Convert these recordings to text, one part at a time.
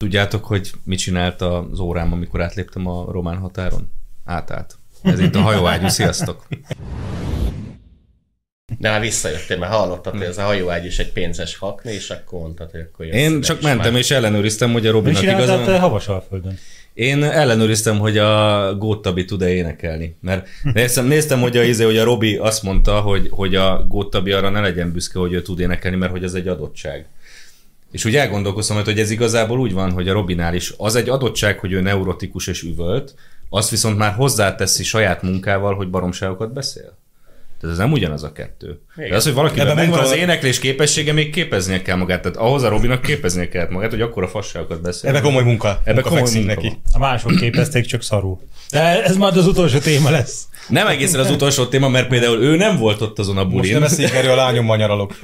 Tudjátok, hogy mit csinált az órám, amikor átléptem a román határon? Átállt. Ez itt a hajóágyú, sziasztok! De már visszajöttél, mert hallottad, hogy ez a hajóágy is egy pénzes hakni, és akkor mondtad, hogy akkor jössz Én ide csak is mentem már. és ellenőriztem, hogy a Mi Robinak csináltál igazán... te Havasalföldön? Én ellenőriztem, hogy a Góttabi tud-e énekelni. Mert néztem, néztem hogy, a, izé, hogy a Robi azt mondta, hogy, hogy a Góttabi arra ne legyen büszke, hogy ő tud énekelni, mert hogy ez egy adottság. És úgy elgondolkoztam, hogy ez igazából úgy van, hogy a Robinál is az egy adottság, hogy ő neurotikus és üvölt, azt viszont már hozzáteszi saját munkával, hogy baromságokat beszél. Tehát ez nem ugyanaz a kettő. De az, hogy valakinek Ebben megvan az megvan- éneklés képessége, még képeznie kell magát. Tehát ahhoz a Robinak képeznie kellett magát, hogy akkor a fasságokat beszél. Ebbe komoly munka. Ebbe munka komoly fekszik munka neki. van. A mások képezték, csak szarú. De ez majd az utolsó téma lesz. Nem egészen az utolsó téma, mert például ő nem volt ott azon a Most bulin. nem beszéljük erről, a lányommal nyaralok.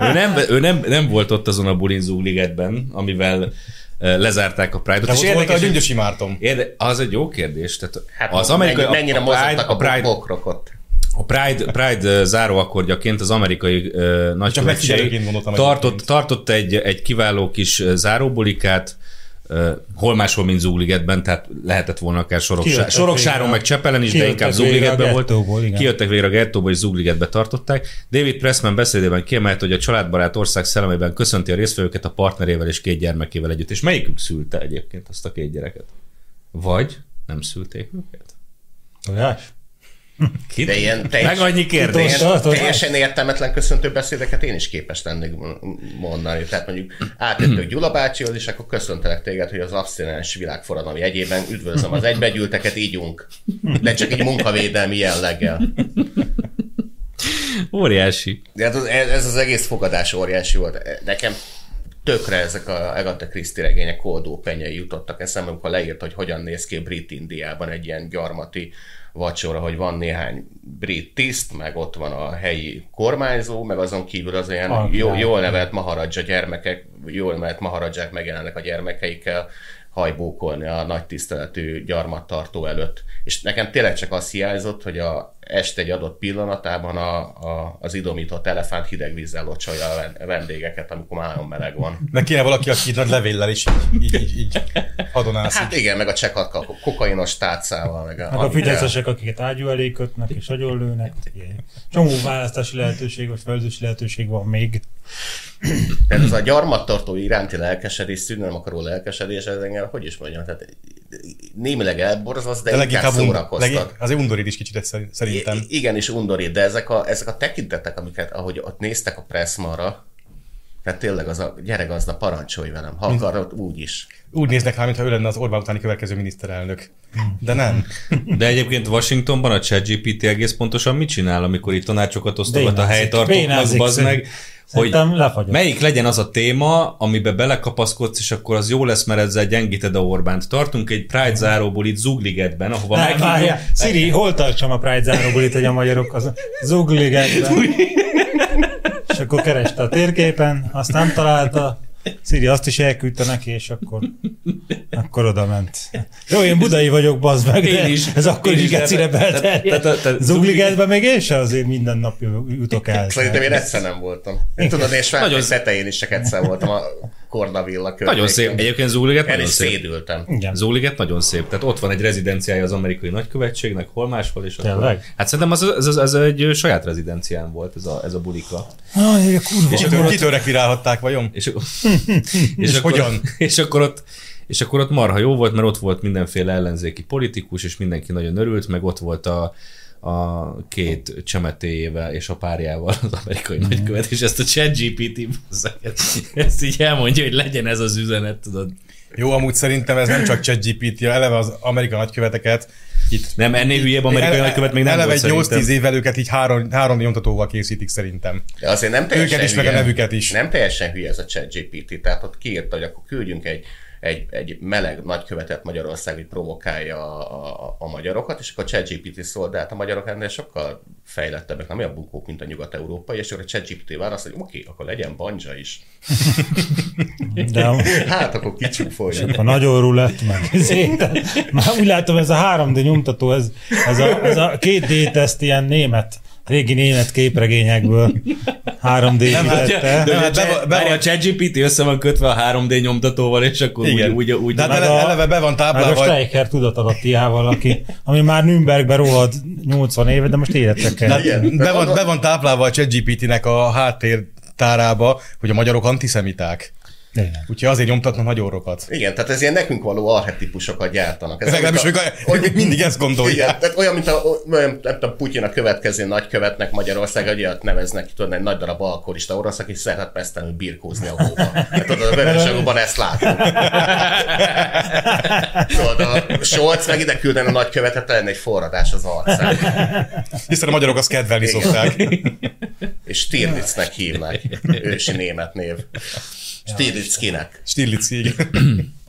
ő nem, ő nem, nem volt ott azon a bulin Zugligetben, amivel eh, lezárták a Pride-ot. De ott volt a érdekes, gyöngyösi Mártom. érde, az egy jó kérdés. Tehát Hát az amerikai, mennyi, mennyire mozogtak a, a Pride, bokrokot. a Pride, Pride eh, záróakordjaként az amerikai uh, nagykövetség megfigyelőként gondoltam tartott, egyébként. tartott egy, egy kiváló kis eh, záróbulikát, eh, hol máshol, mint Zugligetben, tehát lehetett volna akár Soroksa, Kijöttek Soroksáron, végre. meg Csepelen is, de Kijöttek inkább végre a Zugligetben volt. gettóból, igen. Kijöttek végre a gettóba, és Zugligetbe tartották. David Pressman beszédében kiemelt, hogy a családbarát ország szellemében köszönti a résztvevőket a partnerével és két gyermekével együtt. És melyikük szülte egyébként azt a két gyereket? Vagy nem szülték őket? Tojás? Ki? De ilyen teljes, Meg annyi kérdés. Tudod, tudod, teljesen értelmetlen köszöntő beszédeket én is képes lennék mondani. Tehát mondjuk átjöttök Gyula bácsihoz, és akkor köszöntelek téged, hogy az abszinens világforradalom jegyében üdvözlöm az egybegyűlteket, ígyunk. De csak egy munkavédelmi jelleggel. Óriási. De hát az- ez, ez az egész fogadás óriási volt. Nekem tökre ezek a Agatha Christie regények koldó penyei jutottak eszembe, amikor leírt, hogy hogyan néz ki Brit Indiában egy ilyen gyarmati vacsora, hogy van néhány brit tiszt, meg ott van a helyi kormányzó, meg azon kívül az ilyen Ah, jó, jaj. jól nevelt maharadzsa gyermekek, jól nevelt maharadzsák megjelennek a gyermekeikkel hajbókolni a nagy tiszteletű gyarmattartó előtt. És nekem tényleg csak az hiányzott, hogy a este egy adott pillanatában a, a, az idomított elefánt hideg vízzel locsolja a ven- vendégeket, amikor már nagyon meleg van. Meg kéne valaki, aki így nagy levéllel is így, így, így, így adonászik. Hát igen, meg a csekat kokainos tárcával, meg Meg Hát a amikkel- fideszesek, akiket ágyú elé kötnek és agyonlőnek. Ilyen. Csomó választási lehetőség, vagy felzősi lehetőség van még. Tehát ez a gyarmattartó iránti lelkesedés, szűnőm akaró lelkesedés, ez engem, hogy is mondjam, tehát némileg elborzaszt, de, De de inkább leginkább und, szórakoztat. legin, azért undorít is kicsit ez szerint- szerintem. I- Igen, és undorít, de ezek a, ezek a tekintetek, amiket ahogy ott néztek a Pressmanra, tehát tényleg az a gyere gazda, parancsolj velem, ha akarod, úgy is. Úgy néznek rá, mintha ő lenne az Orbán utáni következő miniszterelnök. Hmm. De nem. De egyébként Washingtonban a ChatGPT egész pontosan mit csinál, amikor itt tanácsokat osztogat a Bénázik. helytartóknak, Bénázik, bazd meg, szerintem. hogy Szerintem lefagyott. melyik legyen az a téma, amibe belekapaszkodsz, és akkor az jó lesz, mert ezzel gyengíted a Orbánt. Tartunk egy Pride záróból itt Zugligetben, ahova Nem, meghívjuk. várjál. Siri, hol tartsam a Pride záróbulit, hogy a magyarok az zugligetben. És akkor kereste a térképen, azt nem találta. Siri azt is elküldte neki, és akkor, akkor oda ment. Jó, én budai vagyok, bazd meg, de Én is. ez akkor Én is is, gecire de- tehát- tehát- belterjedt. tehát- Zugligetben még én se azért minden nap jutok el. Szerintem én egyszer nem voltam. Én tudod, és már hát Nagyon Nagyon tetején is csak egyszer voltam a Kornavilla környékén. Nagyon szép. Egyébként Zugliget El nagyon is szép. szédültem. Igen. Zugliget nagyon szép. Tehát ott van egy rezidenciája az amerikai nagykövetségnek, hol máshol, és akkor... Tényleg? Hát szerintem az, az, az, az egy olyan rezidencián volt ez a, ez a bulika. Aj, a kurva. És kitől, kitől rekvirálhatták vajon? És, és, és akkor, hogyan? És akkor, ott, és akkor ott marha jó volt, mert ott volt mindenféle ellenzéki politikus, és mindenki nagyon örült, meg ott volt a, a két csemetéjével és a párjával az amerikai Mhm. mm. nagykövet, és ezt a chat GPT ezt így elmondja, hogy legyen ez az üzenet, tudod. Jó, amúgy szerintem ez nem csak ChatGPT, eleve az amerikai nagyköveteket itt Nem, ennél hülyebb amerikai Ele- nagykövet még nem eleve volt egy 8-10 szerintem. évvel őket így három, három nyomtatóval készítik szerintem. De azért nem teljesen Őket is, meg a hülye. nevüket is. Nem teljesen hülye ez a ChatGPT, tehát ott kiírta, hogy akkor küldjünk egy, egy, egy meleg nagykövetet Magyarország, hogy provokálja a, a, a magyarokat, és akkor a ChatGPT szól, de hát a magyarok ennél sokkal fejlettebbek, nem olyan bukók, mint a nyugat-európai, és akkor a ChatGPT válasz, hogy oké, akkor legyen banja is. De Hát akkor kicsúfoljuk. a nagyon rulett, meg ezért. Már úgy látom, ez a 3D nyomtató, ez, ez, a, ez a 2D teszt ilyen német régi német képregényekből 3D Nem, hát, vitette. de nem, hát hát be, be, be- be- a ChatGPT össze van kötve a 3D nyomtatóval, és akkor Igen. úgy, úgy, úgy De hát meg ele, a- eleve be van Meg a táblával, hogy Steiker tudatalattiával, aki, ami már Nürnbergbe rohad 80 éve, de most életre kell. Hát Igen. Be van, be van táplálva a ChatGPT-nek a háttértárába, hogy a magyarok antiszemiták. Tényleg. Úgyhogy azért nyomtatnak nagy orrokat. Igen, tehát ez ilyen nekünk való arhetipusokat gyártanak. Ez Legalábbis amit ők, a- a- ők mindig ezt Igen, gondolják. tehát olyan, mint a, olyan, nem tudom, Putyin a következő nagykövetnek Magyarország, hogy olyat neveznek, tudod, egy nagy darab alkoholista orosz, aki szeret mesztelenül birkózni a hóba. Hát tudod, a vörös Hajóban ezt látom. Tudod, a Scholz meg ide küldene a nagykövetet, lenne egy forradás az arcán. Hiszen a magyarok azt kedvelni Igen. szokták. És Stirlitznek hívnak, ősi német név. Stirlitzkinek. Stirlitz, igen.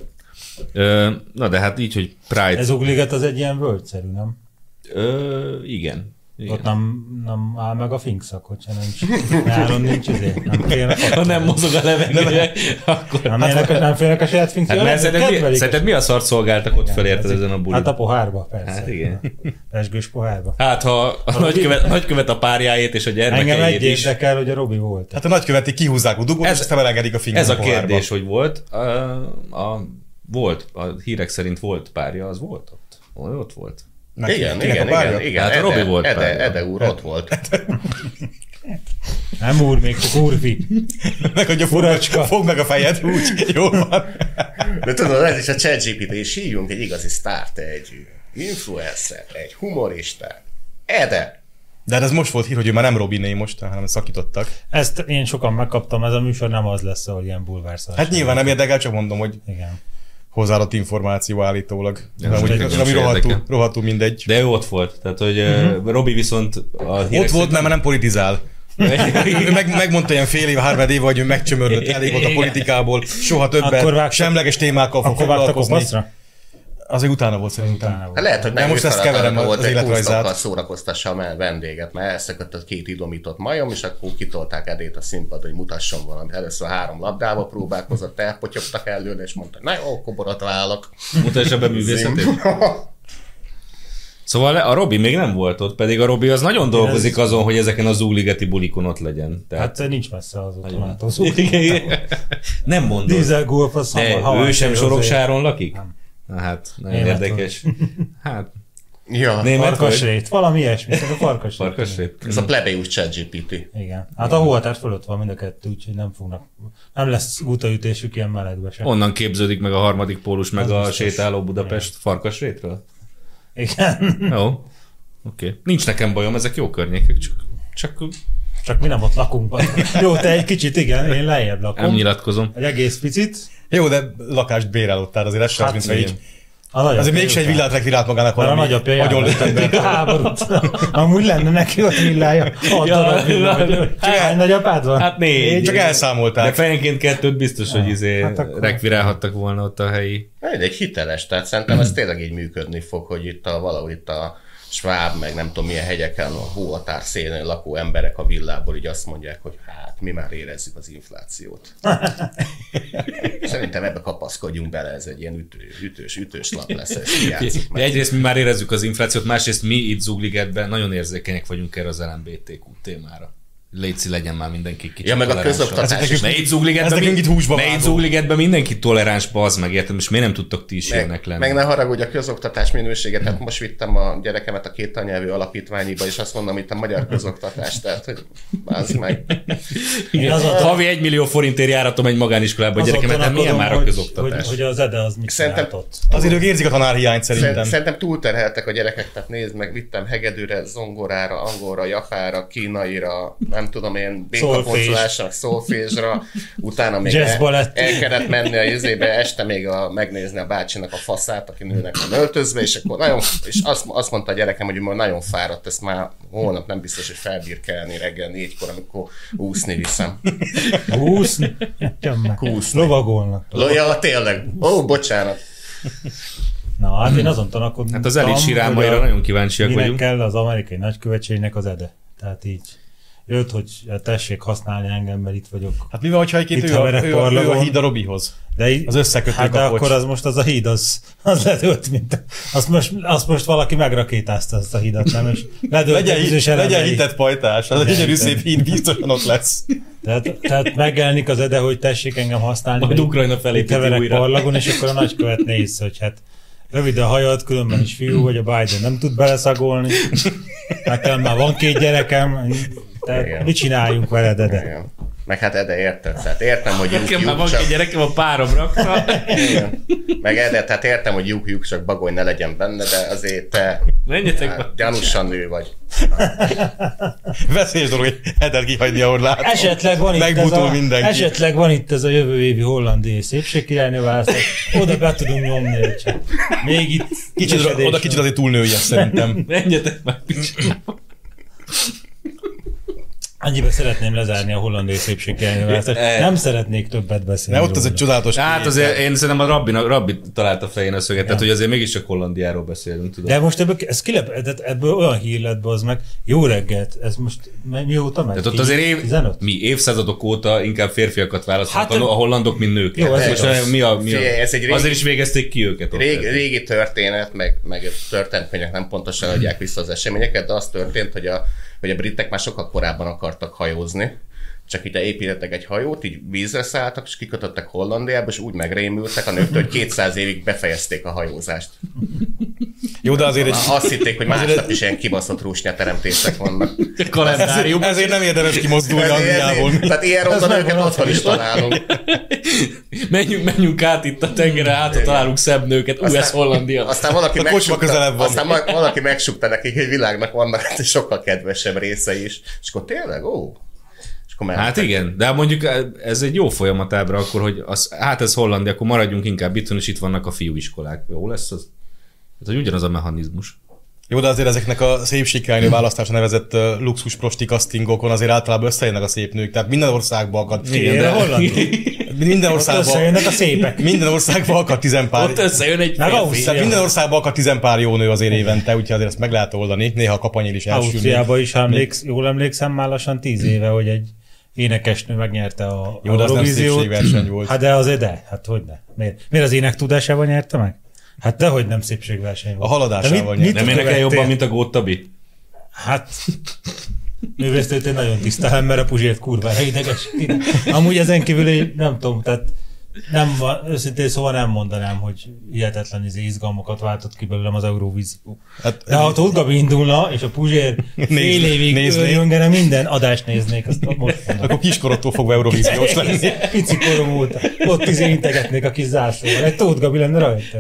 Ö, Na de hát így, hogy Pride. Ez ugliget az egy ilyen völgyszerű, nem? Ö, igen. igen. Ott nem, nem áll meg a finkszak, hogyha nincs. Nyáron nincs ezért. Nem félnek Ha attól. nem mozog a levegő, akkor... Nem, félnek, nem félnek a saját finkszak. Hát mert szerinted, mi, szerinted mi a szart szolgáltak ott felérted ezen a bulin? Hát a pohárba, persze. Hát igen. Pesgős pohárba. Hát ha a nagykövet, a nagykövet a párjáét és a Engem gyermekeit egy is. érdekel, hogy a Robi volt. Hát a nagyköveti kihúzzák a dugót, Ez- és aztán belegedik a fingert Ez a kérdés, hogy volt. A, a, volt, a hírek szerint volt párja, az volt ott. Ott volt. Igen, igen, igen, igen. Hát a Robi volt Ede, párja. Ede úr ott volt. Nem úr, még csak úrfi. Meg, hogy Furacska. a furacska. Fogd meg a fejed, úgy, jó van. De tudod, ez is a ChatGPT, és hívjunk egy igazi sztárt, egy influencer, egy humoristát. Ede! De hát ez most volt hír, hogy ő már nem Robiné most, hanem szakítottak. Ezt én sokan megkaptam, ez a műsor nem az lesz, ahol ilyen bulvárszal. Hát nyilván nem érdekel, csak mondom, hogy Igen. hozzáadott információ állítólag. most De amúgy, engem de sem ami rohadtul, érdekel. rohadtul mindegy. De ő ott volt. Tehát, hogy Mhm. uh-huh. Robi viszont a hírek Ott volt, mert már nem politizál. szerint... Ő meg, megmondta ilyen fél év, három év, hogy ő megcsömörlött, elég volt a politikából, soha többet, Akkor vágtak- semleges témákkal fog Akkor vágtak a foglalkozni. paszra? Az egy utána volt szerintem. Utána Hát volt. lehet, hogy nem De most ő ezt feladata keverem az volt, egy életrajzát. húsztakkal szórakoztassam el vendéget, mert elszökött a két idomított majom, és akkor kitolták Edét a színpadra, hogy mutasson valamit. Először három labdával próbálkozott, elpotyogtak előle, és mondta, na jó, akkor borat válok. Mutassa be művészetét. Szóval a Robi még nem volt ott, pedig a Robi az nagyon dolgozik azon, hogy ezeken az úligeti bulikon ott legyen. Tehát... Hát nincs messze az automától. Igen, igen. nem mondod. Dízel golf a szamar. De Hawaii ő sem Jose. Soroksáron lakik? Na hát, nagyon Németül. érdekes. Hát, ja, német vagy? Farkasrét, valami ilyesmi, tehát a farkasrét. Farkasrét? ez a plebejus ChatGPT. Igen. Hát a holtár fölött van mind a kettő, úgyhogy nem fognak, nem lesz útaütésük ilyen melegbe sem. Onnan képződik meg a harmadik pólus, meg Az a biztos. sétáló Budapest farkasrétről? Igen. Jó. Oké. Okay. Nincs nekem bajom, ezek jó környékek, csak, csak Csak mi nem ott lakunk. Jó, te egy kicsit, igen, én lejjebb nem lakom. nyilatkozom. Egy egész picit. Jó, de lakást bérelottál azért, ez sem az, mint ha így. A nagyapja Azért mégsem egy után. villát rekvirált magának Mert Hát a valami. nagyapja nagyon járványt lett ember. tett a háborút. Amúgy lenne neki ott villája. Hat Ja, darab villa, ja, vagy- ja. Csak Hát, Hány nagyapád van? Hát négy. Csak De elszámolták. fejenként kettőt biztos, hogy izé hát hát akkor- rekvirálhattak volna ott a helyi. Egy, egy hiteles, tehát szerintem Mhm. ez tényleg így működni fog, hogy itt a, valahol itt a sváb, meg nem tudom milyen hegyeken, a hóatár szélén lakó emberek a villából így azt mondják, hogy hát mi már érezzük az inflációt. Szerintem ebbe kapaszkodjunk bele, ez egy ilyen ütő, ütős, ütős lap lesz, ezt játszik De meg. egyrészt mi már érezzük az inflációt, másrészt mi itt Zugligetben nagyon érzékenyek vagyunk erre az LMBTQ témára. Léci legyen már mindenki kicsit Ja, meg a toleránsabb. közoktatás is. Ne itt Ez zugligetben, nekünk itt húsba ne itt vágó. zugligetben mindenki toleráns, bazd meg, értem, és miért nem tudtok ti is ilyenek Meg, lenni? Mhm. meg ne haragudj a közoktatás minőséget, hát most vittem a gyerekemet a két anyelvű alapítványiba, és azt mondom, itt a magyar közoktatás, tehát hogy bázd meg. Igen. Én azon- Havi 1 millió forintért járatom egy iskolába a Azon gyerekemet, hát milyen tanakodom, már a hogy- közoktatás? Hogy, hogy az EDE az mit Szerintem- csinált ott. Azért ők érzik a tanárhiányt Szerintem. szerintem. Szerintem túlterheltek a gyerekek, tehát nézd meg, vittem hegedűre, zongorára, angolra, japára, kínaira, nem tudom én, békaponcolásra, szolfésra, utána még Jazz el, balett. el kellett menni a izébe, este még a, megnézni a bácsinak a faszát, aki nőnek van öltözve, és akkor nagyon, és azt, azt mondta a gyerekem, hogy már nagyon fáradt, ezt már holnap nem biztos, hogy felbírkelni reggel négykor, amikor úszni viszem. Húszni? Jön meg. Húszni. Lovagolnak. Ja, tényleg. Ó, bocsánat. Na, hát én azon tanakodom. Hát az elit sírámaira nagyon kíváncsiak Minek vagyunk. kell az amerikai nagykövetségnek az EDE. Tehát így. jött, hogy hát tessék használni engem, mert itt vagyok. Hát mi van, hogyha egyébként Itt ő, a- heverek ő, a- ő, a parlagon. híd a Robihoz? De így, Az összekötő hát de kapocs. akkor az most az a híd, az, az ledőlt, mint azt most, azt most valaki megrakétázta azt a hídat, nem? És ledőlt Legyen, egy hit, bizonyos legyen elemei. hitett pajtás, az egy Igen, gyönyörű igen. szép híd biztosan ott lesz. Tehát, tehát megjelenik az ede, hogy tessék engem használni. Majd mert Ukrajna itt felépíti heverek újra. Parlagon, és akkor a nagykövet néz, hogy hát rövid a hajad, különben is fiú vagy, a Biden nem tud beleszagolni. Nekem már van két gyerekem, tehát Igen. mit csináljunk veled, ede? Igen. Meg hát Ede érted, tehát értem, hogy Nekem már lyuk-lyuk, van csak... egy gyerekem, a párom rakta. Igen. Meg Ede, tehát értem, hogy lyuk-lyuk, csak bagony ne legyen benne, de azért te Menjetek hát, be. gyanúsan nő vagy. Veszélyes dolog, hogy Eder kihagyni, ahol lát. Hát Esetleg van, itt ez Megbutul a, mindenki. esetleg van itt ez a jövő évi hollandiai szépségkirálynő választás, oda be tudunk nyomni, hogy csak még itt Kicsit, üresedés oda kicsit van. azért túlnője szerintem. Menjetek már, picsába. Annyiba szeretném lezárni a hollandiai szépségkirálynő választást. Eh. Nem szeretnék többet beszélni. Ne, ott az egy róla. csodálatos Hát kivétel. azért én szerintem a rabbi, a rabbi találta fején a szöget, tehát hogy azért mégiscsak Hollandiáról beszélünk, tudod. De most ebből, ez kilep, tehát ebből olyan hír lett be az meg, jó reggelt, ez most mi- mióta megy? Tehát ott azért év, 15? mi évszázadok óta inkább férfiakat választanak Hát, hát, a hollandok, mint nőket. Jó, ez Most igaz. mi a, mi a, Figyelj, ez egy régi- azért is végezték ki őket. ott. Rég, régi történet, meg, meg történetkönyvek nem pontosan adják vissza az eseményeket, de az történt, hogy a, hogy a britek már sokkal korábban akartak hajózni, csak így építettek egy hajót, így vízre szálltak, és kikötöttek Hollandiába, és úgy megrémültek a nőktől, hogy 200 évig befejezték a hajózást. Jó, de azért egy... Azt hitték, hogy másnap is ilyen kibaszott rúsnyateremtések vannak. A kalendárium. Ezért nem érdemes kimozdulni Angliából. Tehát ilyen Ez ronda nem nőket van otthon is találunk. menjünk, menjünk át itt a tengeren, hát ha találunk szebb nőket. Ú, ez Hollandia. Aztán valaki, A kocsma közelebb van. aztán ma- valaki megsukta nekik, hogy világnak vannak hát sokkal kedvesebb részei is. És akkor tényleg, ó. És akkor Hát igen, de mondjuk ez egy jó folyamatábra akkor, hogy az, hát ez Hollandia, akkor maradjunk inkább itthon, és itt vannak a fiúiskolák. Jó lesz az? Hát, hogy ugyanaz a mechanizmus. Jó, de azért ezeknek a szépségkirálynő választásra nevezett ö, luxus prosti castingokon azért általában összejönnek a szép nők, tehát minden országban akad. Igen, de Hollandia. Minden Ott országban, összejönnek a szépek. minden országban akad tizenpár. Ott összejön egy Meg férfi. Tehát Ausztria. minden országban akad tizenpár jó nő azért évente, úgyhogy azért ezt meg lehet oldani. Néha a kapanyél is Hát elsülni. Ausztriában is, ha emléksz, jól emlékszem, már lassan tíz éve, hogy egy énekesnő megnyerte a Jó, de az nem Eurovíziót. szépségverseny volt. Hát de azért de, hát hogy ne. Miért, miért az ének tudásában nyerte meg? Hát dehogy nem szépségverseny volt. A haladásával De nyerte. Nem énekel követtél? jobban, mint a Góttabi? Hát, művésztőt én nagyon tisztelem, mert a Puzsért kurvára ideges. Amúgy ezen kívül én nem tudom, tehát nem, va- őszintén szóval nem mondanám, hogy hihetetlen izé izgalmakat váltott ki belőlem az Eurovízió. Hát, De ha Tóth Gabi indulna, és a Puzsér fél Nézd- évig néznék. őrjöngene, minden adást néznék, azt most mondom. Akkor kiskorottól fogva Eurovíziós lenni. Pici korom óta. Ott izé integetnék a kis zászlóval. Egy Tóth Gabi lenne rajta.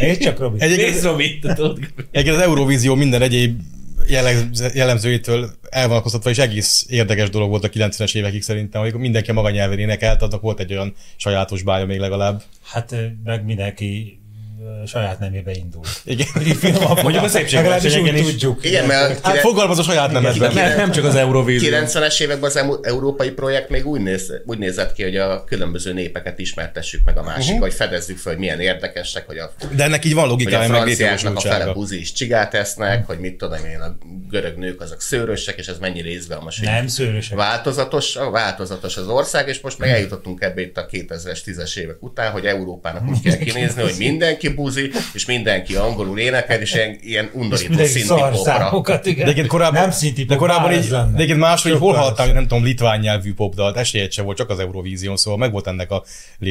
Nézd csak, Robi. Egyébként Nézd, Robi, te tudod. Egyébként az Eurovízió minden egyéb jellemz- jellemzőitől elvonalkoztatva, és egész érdekes dolog volt a 90-es évekig szerintem, amikor mindenki a maga nyelven énekelt, annak volt egy olyan sajátos bája még legalább. Hát ö, meg mindenki ö, saját nemébe indul. Igen. Mondjuk a Legalábbis szépségversenyeken úgy is. tudjuk. Igen, mert Hát kire- fogalmaz a saját nemedben. Nem, nem csak az Eurovízió. 90-es években az emu- európai projekt még úgy, néz, úgy nézett ki, hogy a különböző népeket ismertessük meg a másik, Mhm. uh-huh. vagy fedezzük fel, hogy milyen érdekesek, hogy a, De ennek így van hogy a logikája, meg franciáknak a fele létjogosultsága. buzi is csigát esznek, hogy mit tudom én, a görög nők azok szőrösek, és ez mennyire izgalmas. hogy Nem szőrösek. Változatos, változatos az ország, és most meg eljutottunk ebbe itt a 2000-es, 10-es évek után, hogy Európának úgy kell kinézni, hogy mindenki buzi, és mindenki angolul énekel, és ilyen, ilyen undorító Mindenki szinti popra. szarszámokat, igen. De egyébként korábban, nem szinti de korábban így, de egyébként máshol, Sokkal hol hallottam, lesz. nem tudom, litván nyelvű popdalt, esélyed se volt, csak az Eurovízión, szóval megvolt ennek a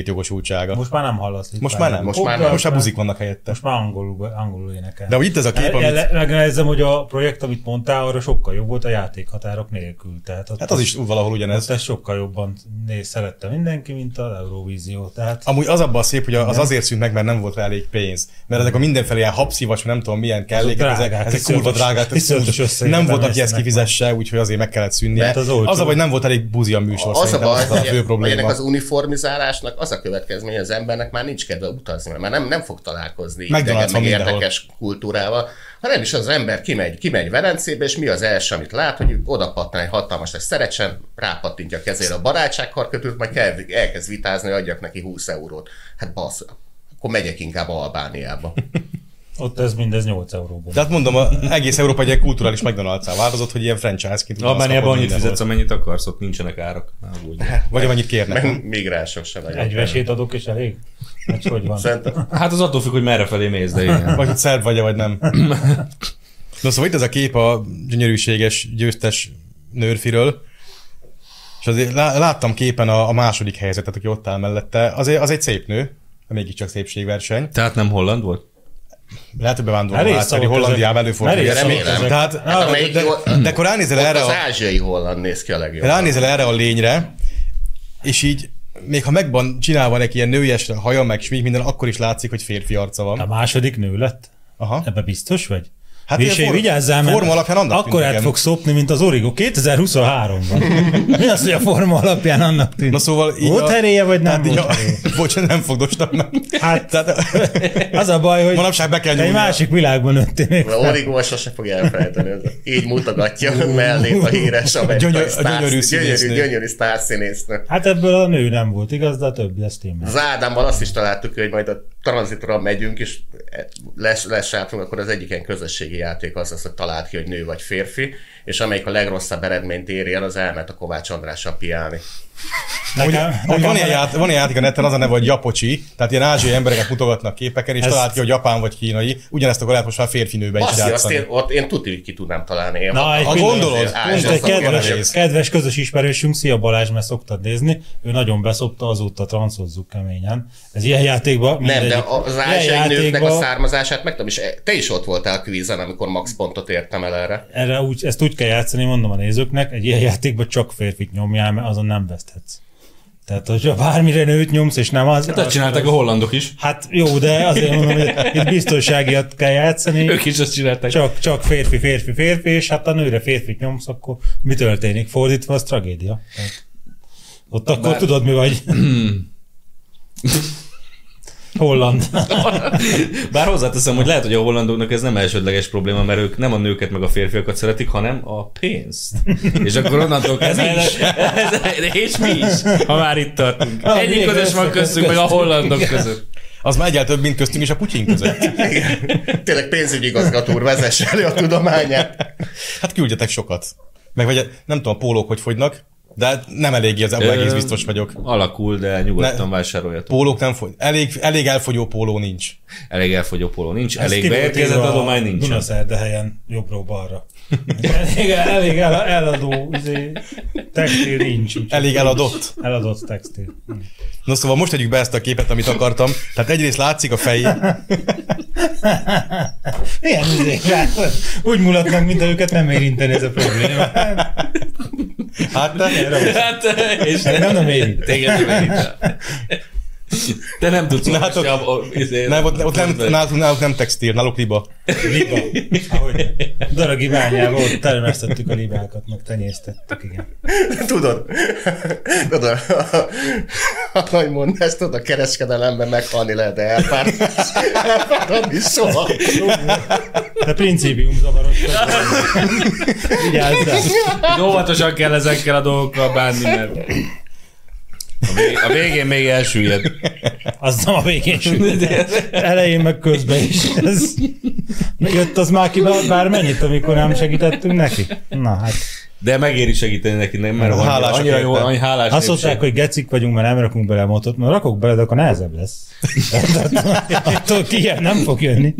létjogosultsága. Most, Most már nem hallasz. itt most már nem. Most már Popdalt, nem. Most már buzik vannak helyette. Most már angolul, angolul énekel. De hogy itt ez a kép, amit... amit... Megnehezem, hogy a projekt, amit mondtál, arra sokkal jobb volt a játékhatárok nélkül. Tehát ott Hát az is valahol ugyanez. Ez sokkal jobban néz, szerette mindenki, mint az Eurovízió. Tehát Amúgy az abban szép, hogy az azért szűnt meg, mert nem volt rá elég pénz. Mert ezek a mindenfelé ilyen habszívas, vagy nem tudom milyen kellék, ezek, drágák, ezek kurva iszonyatos- drágák. tehát iszonyatos úgy összegek nem volt, aki ezt emésztenek kifizesse, úgyhogy azért meg kellett szűnnie. Hát az az, olcsó. az a baj, nem volt elég buzi a műsor, az Az a szerintem baj, az a hogy, fő hogy ennek probléma. az uniformizálásnak az a következménye, az embernek már nincs kedve utazni, mert már nem, nem fog találkozni McDonald's idegen, van meg mindenhol. érdekes kultúrával, hanem is az ember kimegy, kimegy Velencébe, és mi az első, amit lát, hogy oda pattan egy hatalmas nagy szerecsen, rápattintja a kezére a barátságkarkötőt, majd kell, elkezd vitázni, hogy adjak neki 20 eurót. Hát basz, akkor megyek inkább Albániába. Ott ez mindez 8 euróból. De hát mondom, a, egész Európa egy ilyen kulturális McDonald's-á változott, hogy ilyen franchise-ként. Albániában ugyanazt annyit kapod fizetsz, amennyit akarsz, ott nincsenek árak. Ne aggódj. mindenhol. Vagy amennyit kérnek. Meg migránsok se vagyok. Egy vesét adok, és elég? Vagy hogy van? Szerintem Hát az attól függ, hogy merre felé mész, de igen. Vagy hogy szerb vagy vagy nem. Na szóval itt ez a kép a gyönyörűséges, győztes nőrfiről, és azért lá- láttam képen a, a második helyzetet, aki ott áll mellette. Azért, az egy szép nő, mégiscsak szépségverseny. Tehát nem holland volt? Lehet, hogy bevándorló Merész látszani, szavak ezek. Hollandiában előfordul. Merész ilyesmi. szavak ezek. Tehát, Hát de, amelyik de, jól- de akkor ránézel ott erre az a, ázsiai holland néz ki a legjobban. ránézel erre a lényre, és így még ha megvan csinálva neki ilyen nőies haja, meg smink, minden, akkor is látszik, hogy férfi arca A van. második nő lett? Aha. Ebbe biztos vagy? Hát Hát ilyen Vésé, form- vigyázzál, forma alapján annak tűnt akkor át nekem. fogsz szopni, mint az Origo 2023-ban. Mi az, hogy a forma alapján annak tűnik? Na szóval így Volt a- heréje, vagy nem Hát így volt a... heréje? Bocsánat, nem fogdostam meg. Hát, Tehát, az a baj, hogy Manapság be kell egy nyúlnia. másik világban nőttél még. A Origó sose fogja elfelejteni. Ez- Így mutogatja mellé a híres amerikai Gyönyör- sztár- gyönyörű gyönyörű, színésznő. gyönyörű sztárszínésznő. Hát ebből a nő nem volt, igaz, de a többi, ez tényleg. Az Ádámmal azt is találtuk, hogy majd a tranzitora megyünk, és lesz, lesátunk, akkor az egyiken közösségi játék az lesz, hogy találd ki, hogy nő vagy férfi, és amelyik a legrosszabb eredményt éri el, az elmet a Kovács Andrással piálni. Hogy, Nekem- hogy nekem van, ilyen ját, van ilyen játék a neten, az a neve, hogy japocsi, tehát ilyen ázsiai embereket mutogatnak képeken, és Ez- talált ki, hogy japán vagy kínai, ugyanezt akkor lehet most már férfinőben is Azt, azt játszani. én, ott én tuti, hogy ki tudnám találni. Én Na, egy Ha pillanat. gondolod, Á, pont és Most azt egy akkor akkor kedves, nehéz. kedves közös ismerősünk, szia Balázs, mert szoktad nézni, ő nagyon beszopta, azóta transzozzuk keményen. Ez ilyen játékban... Nem, de mindegyik- az ilyen ázsiai nőknek a játékban- származását meg tudom, és te is ott voltál a kvízen, amikor max pontot értem el erre. erre úgy, ezt úgy kell játszani, mondom a nézőknek, egy ilyen játékban csak férfit nyomjál, mert azon nem veszthetsz. Tehát, hogyha bármire nőt nyomsz, és nem az... Ezt csinálták a hollandok is. Hát jó, de azért mondom, hogy itt biztonságiat kell játszani, Ők is azt csinálták. csak, csak férfi, férfi, férfi, és hát a nőre férfit nyomsz, akkor mi történik? Fordítva, az tragédia. Tehát, ott akkor Bár- tudod, mi vagy. Holland. Bár hozzáteszem, hogy lehet, hogy a hollandoknak ez nem elsődleges probléma, mert ők nem a nőket meg a férfiakat szeretik, hanem a pénzt. És akkor onnantól kezdve... Mi is. Ez, ez, és mi is, ha már itt tartunk. Ha, Ennyi mi közös van össze- köztünk, hogy a hollandok között. Az már egyáltalán több, mint köztünk és a Putyin között. Tényleg pénzügyi igazgató úr vezesse elő a tudományát. Hát küldjetek sokat. Meg vagy, nem tudom, a pólók hogy fogynak, de hát nem eléggé, az ebben egész biztos vagyok. Alakul, de nyugodtan Ne. vásároljatok. Pólók nem fogy. Elég, elég elfogyó póló nincs. Elég elfogyó póló nincs, Ez elég ki volt beérkezett írva a adomány nincs. Dunaszerdehelyen jobbról balra. Elég, elég el, eladó izé, textil nincs. úgyhogy- Elég eladott. Eladott textil. Na szóval most tegyük be ezt a képet, amit akartam. Tehát egyrészt látszik a fej, Milyen izék izé, látod? Úgy mulatnak, mint őket nem érinteni ez a probléma. hát Hát, és Nem, nem érint. Téged nem érint el. Te nem tudsz Na, hát olvasni ott- a- a- izé- nem, ott, ott nem, náluk, náluk nem textil, náluk liba. Liba. Ahogy daragi bányában ott termesztettük a libákat, meg tenyésztettük, igen. Tudod, tudod, ahogy mondd ezt, tudod, a kereskedelemben meghalni lehet, de elpárt, elpáradni soha. De principium zavaros. Vigyázzál. Óvatosan hát kell ezekkel a dolgokkal bánni, mert a, vég, a végén még elsüllyed. Az nem a végén sült. Elején meg közben is. Ez... Jött az már ki bár- bármennyit, amikor nem segítettünk neki. Na hát. De megéri segíteni neki, nem, mert annyira, Hálásak annyira jó, érte. annyi hálás Azt mondták, népség. hogy gecik vagyunk, mert nem rakunk bele a motot, mert rakok bele, de akkor nehezebb lesz. Tehát Attól ki ilyen nem fog jönni.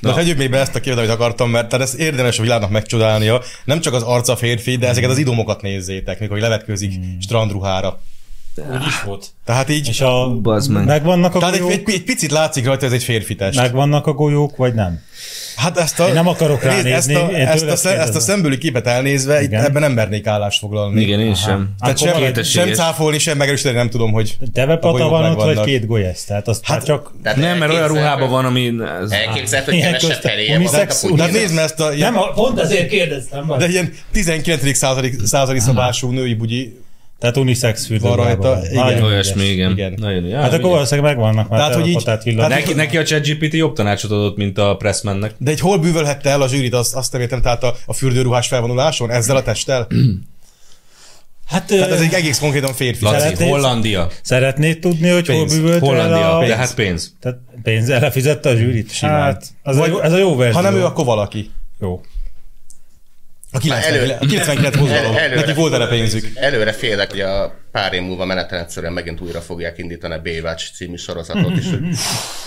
Na, tegyük még be ezt a képet, amit akartam, mert tehát ez érdemes a világnak megcsodálnia. Nem csak az arca férfi, de ezeket az idomokat nézzétek, mikor így levetkőzik strandruhára. Úgy Hmm. hát is volt. Tehát így, És a... Bazd meg. Megvannak a tehát egy, golyók? egy, egy picit látszik rajta, ez egy férfi test. Megvannak a golyók, vagy nem? Hát ezt a, Én nem akarok nézd, ránézni, Ezt a, én ezt a, tőled szem- ezt a kérdezem. szembőli képet elnézve, itt Igen. ebben nem mernék állást foglalni. Igen, én sem. Tehát Akkor sem, kétességes. sem cáfolni, sem megerősíteni, nem tudom, hogy a Tevepata golyók van ott, vagy megvannak. két golyász? Tehát azt hát, már csak... Tehát Nem, mert olyan elképzelhető- ruhában van, ami... ez- Elképzelhető, hogy Ilyen kevesebb közte- feléje van. mint a unisex- Putyin. Tehát nézd meg ezt a... ilyen- Nem, a- pont azért kérdeztem. De De... ilyen 19. századi, századi szabású női bugyi. Tehát unisex fürdő. Van rajta, igen. Nagyon Olyasmi, igen. igen. Igen. Nagyon, ja, Hát akkor igen. valószínűleg megvannak már Tehát, hogy így- terepatát villan. tehát- Neki, neki a ChatGPT jobb tanácsot adott, mint a Pressmannek. De egy hol bűvölhette el a zsűrit, azt, azt nem értem, tehát a, a fürdőruhás felvonuláson, ezzel a testtel? Hát Tehát ez ö, egy egész konkrétan férfi. Laci, Szeretnéd- Hollandia. szeretnéd tudni, hogy hol Pénz. bűvölt el Hollandia. a... De hát pénz. Tehát pénzzel lefizette a zsűrit? Simán. Hát, az Vagy, a, ez a jó verzió. Ha nem ő, akkor valaki. Jó. A 90, elő- a 99 mozgalom. El- előre- Nekik volt erre pénzük. Előre félek, hogy a pár év múlva menetrendszerűen megint újra fogják indítani a Baywatch című sorozatot, és hogy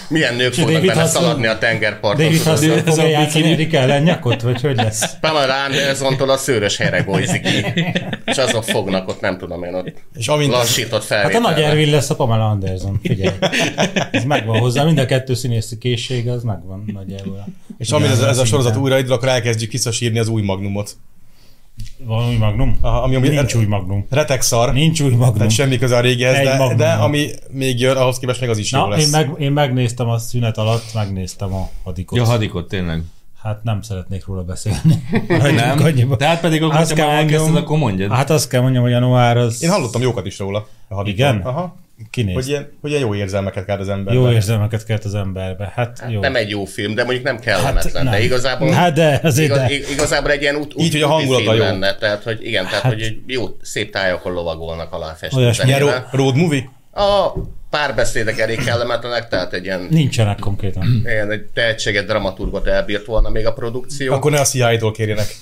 milyen nők fognak David benne Hasselhoff- szaladni a tengerparton. David Hasselhoff ez a fogja játszani bikini. Erik ellen nyakot, vagy hogy lesz? Hát Pamela Andersontól a szőrös helyre gólyzik ki, és azok fognak ott, nem tudom én, ott És amint lassított Hát a felvételben. nagy Ervin lesz a Pamela Anderson, figyelj. Ez megvan hozzá, mind a kettő színészi készsége, az megvan nagyjából. És amint ez, ez a Ugyanazon sorozat szinten. újra indul, akkor elkezdjük visszasírni az új magnumot. Van új magnum? Aha, ami, ami Nincs új magnum. Retek szar, Nincs új magnum. tehát semmi köze a régihez, Egy de, magnum de van. ami még jön, ahhoz képest meg az is jó Na, én, lesz. meg, én megnéztem a szünet alatt, megnéztem a hadikot. Ja, hadikot, tényleg. Hát nem szeretnék róla beszélni. Hagyjuk Nem? annyiba. Tehát pedig akkor, Azt ha kell már elkezdted, mondjam- akkor mondjad. Hát azt kell mondjam, hogy a Noir az... Én hallottam jókat is róla. A hadikon. Igen? Aha. Kinéz. Hogy ilyen, hogy ilyen jó érzelmeket kell az emberben. Jó érzelmeket kelt az emberbe. Hát jó. Nem egy jó film, de mondjuk nem kellemetlen, Hát hát, nem. nem. de igazából... Hát de, azért igaz, de. ig- Igazából egy ilyen út, út, Így, hogy a úti hangulata film jó. lenne, tehát hogy igen, tehát Hát- hát, hogy egy jó szép tájakon lovagolnak alá a festő Olyasmi. Ilyen zenével. ro- road movie? A párbeszédek elég kellemetlenek, tehát egy ilyen, Nincsenek konkrétan. ilyen egy tehetséges dramaturgot elbírt volna még a produkció. Akkor ne a CIA-tól kérjenek.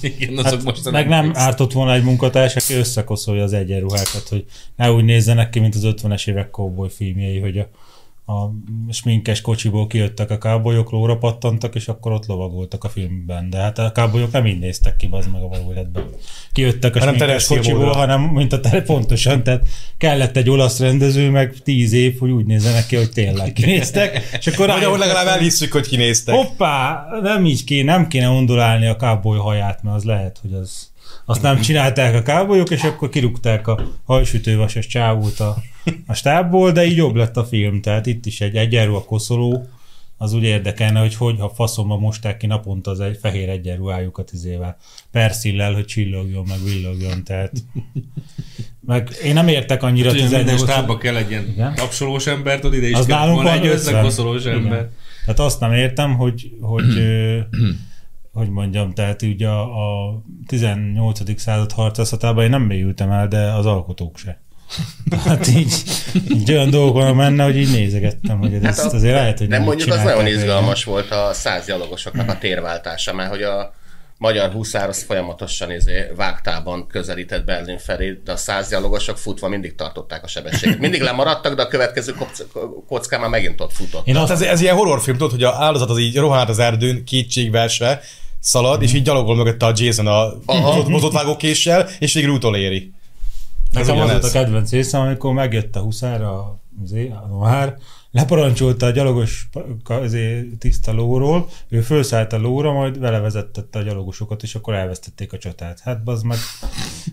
Igen, azok hát, most Meg nem ártott volna egy munkatárs, aki összekoszolja az egyenruhákat, hogy ne úgy nézzenek ki, mint az 50-es évek cowboy filmjei, hogy a, a sminkes kocsiból kijöttek a kábolyok, lóra pattantak, és akkor ott lovagoltak a filmben. De hát a kábolyok nem így néztek ki, az meg a való életben. Kijöttek a Hanem sminkes Terence kocsiból, Gilmore-ra. hanem mint a tele, pontosan, tehát kellett egy olasz rendező, meg tíz év, hogy úgy nézzenek ki, hogy tényleg kinéztek, és akkor Vagy ahol rájöttek, legalább elhisszük, hogy kinéztek. Hoppá, nem így kéne, nem kéne ondulálni a káboly haját, mert az lehet, hogy az, azt nem csinálták a kábolyok, és akkor kirúgták a hajsütővasos csávót a, a stábból, de így jobb lett a film, tehát itt is egy egyenruha a koszoló, az úgy érdekelne, hogy hogy, ha faszomba mosták ki naponta az egy fehér egyenruhájukat izével, perszillel, hogy csillogjon, meg villogjon, tehát meg én nem értek annyira Ugye Hát, minden 18 stábba kell egy ilyen Igen. tapsolós ember, tudod, ide is az kell nálunk volna van egy 50. összekoszolós Igen. ember. Tehát azt nem értem, hogy, hogy, ö, hogy mondjam, tehát ugye a, a 18. század harcászatában én nem mélyültem el, de az alkotók se. Tehát így, így olyan dolgokon menne, hogy így nézegettem, hogy ez, a- hát azért lehet, hogy de nem így mondjuk az csinálták nagyon régen. izgalmas volt a százgyalogosoknak a térváltása, mert hogy a magyar huszár az folyamatosan izé, vágtában közelített Berlin felé, de a százgyalogosok futva mindig tartották a sebességet. Mindig lemaradtak, de a következő kocka- kockán már megint ott futott. Én Hát azt, ez, ez ilyen horrorfilm, tudod, hogy a áldozat az így rohát az erdőn, kétségbeesve, szalad, és így gyalogol mögötte a Jason a mozott- mozotvágó késsel, és végül utoléri. Ez nekem az ugyanez. volt a kedvenc részem, amikor megjött a huszár, a, izé, a nohár, leparancsolta a gyalogos pa- izé, tiszta lóról, ő felszállt a lóra, majd vele vezettette a gyalogosokat, és akkor elvesztették a csatát. Hát bazd meg,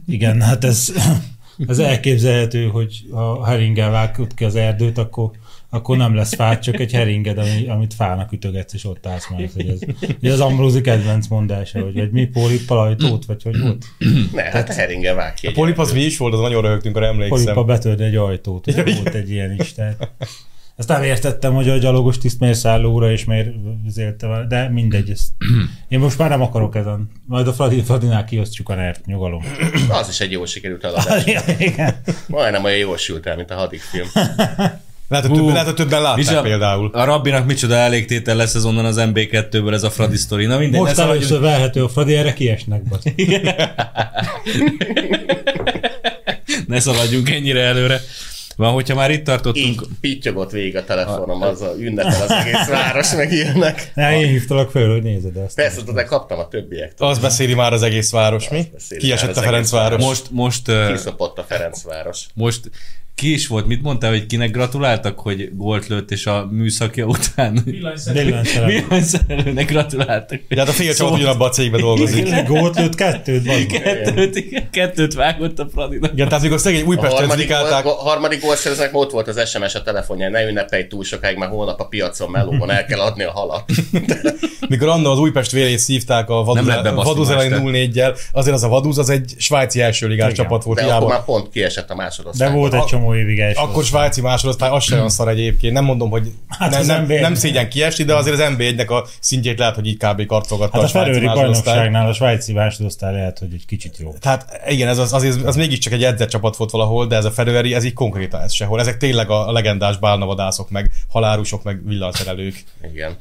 igen, hát ez, ez elképzelhető, hogy ha heringgel vágod ki az erdőt, akkor akkor nem lesz fát, csak egy heringed, ami, amit fának ütögetsz, és ott állsz már. Hogy ez, ugye az Ambrózi kedvenc mondása, hogy, hogy mi póli palajtót, vagy hogy volt. Ne, hát a heringe vág ki. A egy- polip az mi is volt, az nagyon röhögtünk, arra emlékszem. polipa betörni egy ajtót. Ugye volt egy ilyen is, tehát. Ezt nem értettem, hogy a gyalogos tiszt miért száll lóra, és miért zélte vele, de mindegy. Ezt. Én most már nem akarok ezen. Majd a Fradi, Fradinál kiosztjuk a nert, nyugalom. Az is egy jól sikerült eladás. Igen. Majdnem olyan jól sült el, mint a hadik film. Hát, Lehet, hogy, több, Hú. lehet, hogy többen látták Bizsa- hát például. A rabbinak micsoda elégtétel lesz ez onnan az MB2-ből ez a Fradi sztori. Na mindegy, Hmm. Most ez a- először verhető a Fradi, erre kiesnek. bazd. ne szaladjunk ennyire előre. Van, hogyha már itt tartottunk, Így pittyogott végig a telefonom, az a ünnepel az egész város, meg ilyenek. Ne, én hívtalak föl, hogy nézed ezt. Persze, de kaptam a többiektől. Azt beszéli már az egész város, mi? beszéli már Kiesett az a egész Ferencváros. Most most, most, ö, Kiszopott a Ferencváros. most ki is volt, mit mondtál, hogy kinek gratuláltak, hogy gólt lőtt, és a műszakja után Villanyszerelő. villanyszerelőnek gratuláltak. Ugye hát a fél csapat Szóval- ugyanabban a cégben dolgozik. Gólt lőtt kettőt, bazd meg. Kettőt, igen, kettőt vágott a Fradinak. Igen, tehát amikor szegény A Újpesten harmadik, zlikálták, a harmadik gólszerzőnek ott volt az SMS a telefonján, ne ünnepelj túl sokáig, mert holnap a piacon melóban el kell adni a halat. mikor annó az Újpest vélét szívták a vaduz, Nem lehet bebaszni vaduz ma elleni este. 0-4-jel, azért az a vaduz, az egy svájci első ligás Igen. csapat volt De akkor hiába. már pont kiesett a másodosztályba. De volt egy A- csomó csomó évig első. Akkor svájci másodosztály, az se olyan szar egyébként. Nem mondom, hogy Hát nem, az nem, NB1. nem szégyen kiesni, de azért az NB1-nek a szintjét lehet, hogy így kb. karcolgatta Hát a svájci Ferőri másodosztály. bajnokságnál a svájci másodosztály lehet, hogy egy kicsit jó. Tehát igen, ez az, azért, az mégiscsak egy edzett volt valahol, de ez a Ferőeri, ez így konkrétan ez sehol. Ezek tényleg a legendás bálnavadászok, meg halárusok, meg villanszerelők. Igen.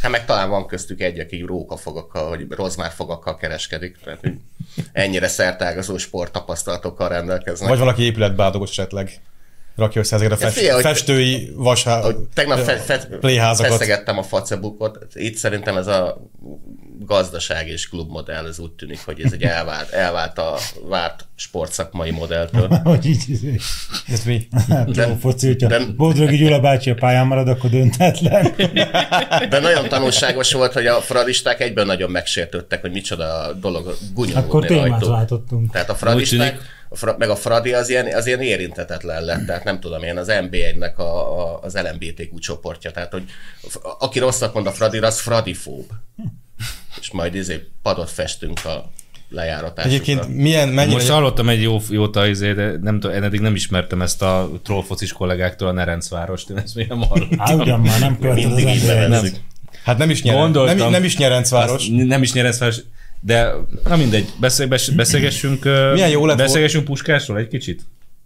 Hát meg talán van köztük egy, aki rókafogakkal, vagy rozmárfogakkal kereskedik. Tehát hogy ennyire szertágazó sporttapasztalatokkal rendelkeznek. Vagy valaki épületbádogos esetleg. Rakja össze ezeket a fest, figyelj, hogy- festői vasá... Ahogy tegnap fe, fe, pléházakat. feszegettem a facebookot, itt szerintem ez a gazdaság és klubmodell, ez úgy tűnik, hogy ez egy elvált, elvált a várt sportszakmai modelltől. Hogy így, Ez mi? Hát, jó foci, hogyha nem- Bodrogi Gyula bácsi a pályán marad, akkor döntetlen. De nagyon tanulságos volt, hogy a fradisták egyben nagyon megsértődtek, hogy micsoda a dolog Akkor gunyolódni témát rajtuk. váltottunk. Tehát a Úgy fradisták, tűnik. a fra, meg a fradi az ilyen, az ilyen érintetetlen lett, tehát nem tudom, ilyen az NB1-nek a, a, az LMBTQ csoportja, tehát hogy a- aki rosszat mond a fradira, az fradifób. Hm. És majd izé padot festünk a lejáratásukra. Egyébként milyen, mennyire... Most hallottam egy jó, jóta izé, de nem tudom, én eddig nem ismertem ezt a trollfocis kollégáktól, a Nerencvárost, én ezt még nem hallottam. Á, Hát ugyan már nem költöz az mindig így ember. nevezzük. Hát nem is, nyeren, Gondoltam. nem, nem is Nyerencváros. Azt Nem is Nerencváros, de na mindegy, beszél, bes- beszélgessünk, ö, Milyen jó lett beszélgessünk Puskásról egy kicsit?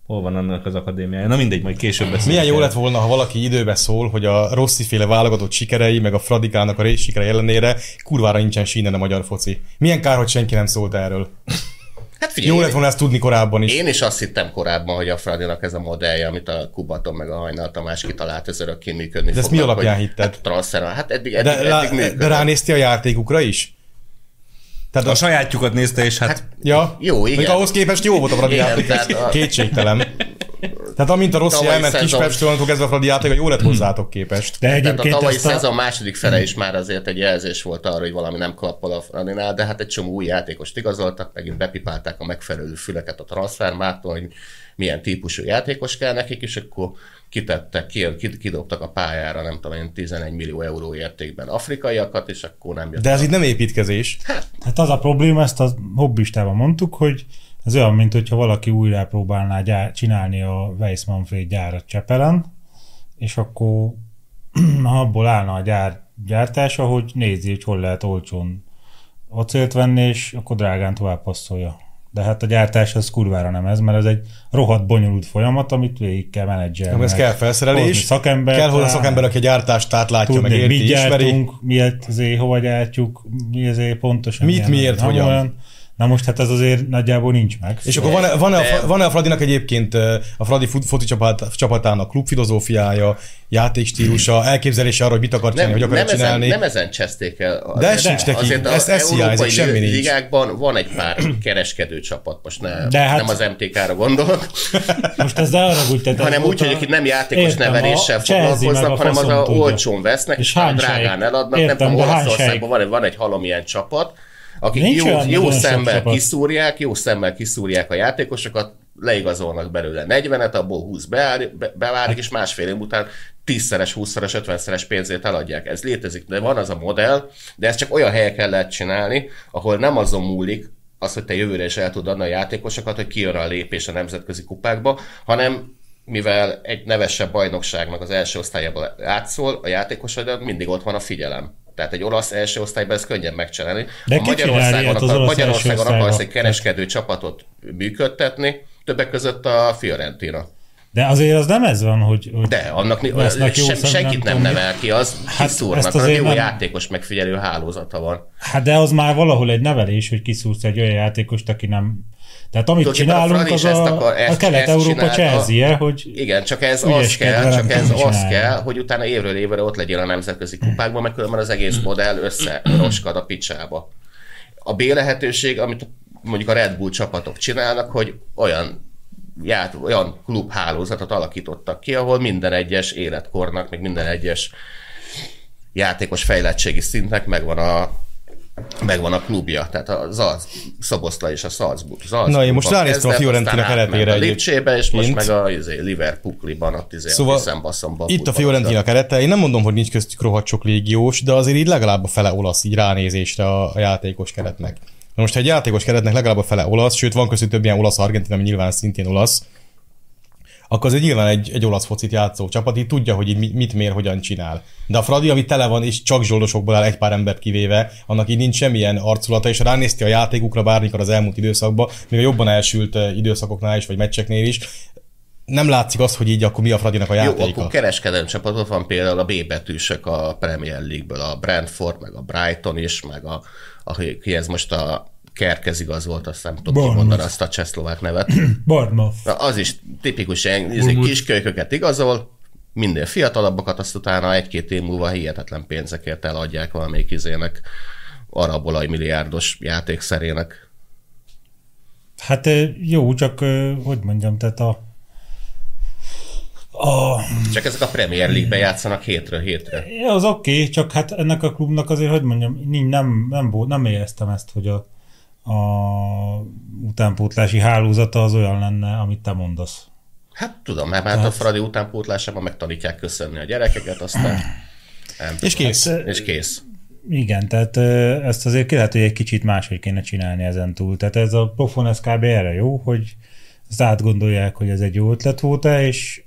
Hol van annak az akadémiája? Na mindegy, majd később beszélünk. Milyen jó erről. lett volna, ha valaki időbe szól, hogy a Rossi féle válogatott sikerei, meg a Fradikának a rész sikere ellenére kurvára nincsen sínen a magyar foci. Milyen kár, hogy senki nem szólt erről. Hát figyelj, Jó lett volna ezt tudni korábban is. Én is azt hittem korábban, hogy a Fradinak ez a modellje, amit a Kubaton meg a Hajnal Tamás kitalált, ez örökké működni De ezt mi alapján hitted? Hát, transfer, hát eddig, eddig, De, eddig lá, működött. de ránézti a játékukra is? Tehát A a, sajátjukat nézte, és hát, Hát, ja, Jó, Mondjuk igen. ahhoz képest jó volt a Fradi Igen, játék, ez tehát a- kétségtelen. Tehát amint a Rossi Tavalyi elment szezon- Kispestől, onnantól kezdve a Fradi játéka jó lett hozzátok képest. De Tehát a egyébként tavalyi ezt a, szezon második fele Mm. is már azért egy jelzés volt arra, hogy valami nem klappol a Fradinál, de hát egy csomó új játékost igazoltak, megint bepipálták a megfelelő füleket a transfermártól, hogy milyen típusú játékos kell nekik, és akkor kitettek, ki- ki- kidobtak a pályára, nem tudom én, 11 millió euró értékben afrikaiakat, és akkor nem jött. De ez itt nem építkezés. Hát az a probléma, ezt a hobbistában mondtuk, hogy ez olyan, mint hogyha valaki újra próbálná gyár, csinálni a Weiss Manfred gyárat Csepelen, és akkor abból állna a gyár, gyártása, hogy nézi, hogy hol lehet olcsón acélt venni, és akkor drágán tovább passzolja. De hát a gyártás az kurvára nem ez, mert ez egy rohadt bonyolult folyamat, amit végig kell menedzselni. Ez kell felszerelés, Hozni szakembert, kell hozzá rá- szakember, aki a gyártást átlátja, Hát meg tudni, mit érti, ismeri. gyártunk, miért azért hova gyártjuk, mi azért pontosan. Mit, milyen- miért, Na, hogyan. olyan- Na most hát ez azért nagyjából nincs meg. És akkor van-e, van-e, a, Fra- van-e a Fradinak egyébként ö, a Fradi fut- foci csapat, csapatának klubfilozófiája, játékstílusa, elképzelése arra, hogy mit akar csinálni, hogy akar nem csinálni? Ezen, nem ezen cseszték el. De ez sincs neki. Ez- ez hiányzik, semmi nincs. ligákban van egy pár kereskedő csapat, most ne, De hát- nem az MTK-ra gondolok, Most ez ne arra úgy, tehát hanem úgy, azóta- hogy akik nem játékos Értem, a neveléssel Chelsea meg a foglalkoznak, hanem az faszom a tudja. olcsón vesznek, És és talán hányság? drágán eladnak. Értem, nem tudom, de Olaszországban hányság? van, van egy halom ilyen csapat, akik Nincs jó, olyan jó nagyon sok szemmel csapat. kiszúrják, jó szemmel kiszúrják a játékosokat, leigazolnak belőle 40-et, abból 20 beáll, be, beválik, és másfél év után 10-szeres, 20-szeres, 50-szeres pénzért eladják. Ez létezik, de van az a modell, de ezt csak olyan helyeken lehet csinálni, ahol nem azon múlik, az, hogy te jövőre is el tudod adni a játékosokat, hogy kijön a lépés a nemzetközi kupákba, hanem mivel egy nevesebb bajnokságnak az első osztályába átszól, a játékosodon mindig ott van a figyelem. Tehát egy olasz első osztályban ez könnyen megcsinálni. De a ki csinálja ilyet az akar- olasz első Magyarországon osztályban? akarsz egy kereskedő csapatot működtetni, többek között a Fiorentina. De azért az nem ez van, hogy... hogy De annak ni- Lesznek jó sem, szem, senkit nem nem, tudom mi. nevel ki, az Hát hát ezt kiszúrnak, azért hanem jó nem- játékos megfigyelő hálózata van. Hát de az már valahol egy nevelés, hogy kiszúrsz egy olyan játékost, aki nem... Tehát amit Tulajdonképpen a csinálunk, Fradi az is a, ezt akar- a ezt- kelet-európa ezt csinálta. Chelsea-je, hogy Igen, csak ez az Ügyeskedve kell, nem csak ez tudom, az csinálja. kell, hogy utána évről évre ott legyél a nemzetközi kupákban, mert különben az egész modell összeroskad a picsába. A B lehetőség, amit mondjuk a Red Bull csapatok csinálnak, hogy olyan ját, olyan klubhálózatot alakítottak ki, ahol minden egyes életkornak, meg minden egyes játékos fejlettségi szintnek megvan a megvan a klubja, tehát a Zalc, Szoboszla és a Salzburg. Salzburg Na, én most ránéztem a Fiorentina keretére A egyébként. Lipcsébe, és most Kint. meg a izé, Liverpool-ban, ott izé, Szóval szóval hiszembasszomban. Itt a Fiorentina kerete, én nem mondom, hogy nincs köztük rohadt sok légiós, de azért így legalább a fele olasz, így ránézésre a, a játékos keretnek. Na most, ha egy játékos keretnek legalább a fele olasz, sőt van köztük több ilyen olasz-argentin, ami nyilván szintén olasz, akkor azért nyilván egy, egy olasz focit játszó csapat így tudja, hogy így mi- mit mér, hogyan csinál. De a Fradi, ami tele van, és csak zsoldosokból áll egy pár embert kivéve, annak így nincs semmilyen arculata, és ha ránézti a játékukra bármikor az elmúlt időszakban, még a jobban elsült eh, időszakoknál is, vagy meccseknél is, nem látszik az, hogy így akkor mi a Fradinak a Jó, játéka. akkor kereskedelmi csapatot van például a B betűsök a Premier League-ből, a Brentford, meg a Brighton is, meg a, a kihez most a Kerkez igaz volt, azt nem tudom Bournemouth. kimondani azt a csehszlovák nevet. Bournemouth. Na, az is tipikus, ilyen izé, kiskölyköket igazol, minden fiatalabbakat, azt utána egy-két év múlva hihetetlen pénzekért eladják valamelyik izének, arabolai milliárdos játékszerének. Hát ö, jó, csak ö, hogy mondjam, tehát a, a Csak ezek a Premier League-ben játszanak hétről hétre. Ja, az oké, okay, csak hát ennek a klubnak azért, hogy mondjam, nem, nem, nem, volt- nem éreztem ezt, hogy a, a utánpótlási hálózata az olyan lenne, amit te mondasz. Hát tudom, mert hát a Fradi utánpótlásában megtanítják köszönni a gyerekeket, aztán nem És kész. Hát, ö, és kész. Igen, tehát ö, ezt azért ki lehet, hogy egy kicsit máshogy kéne csinálni ezen túl. Tehát ez a pofon, ez kb. erre jó, hogy ezt átgondolják, hogy ez egy jó ötlet volt-e, és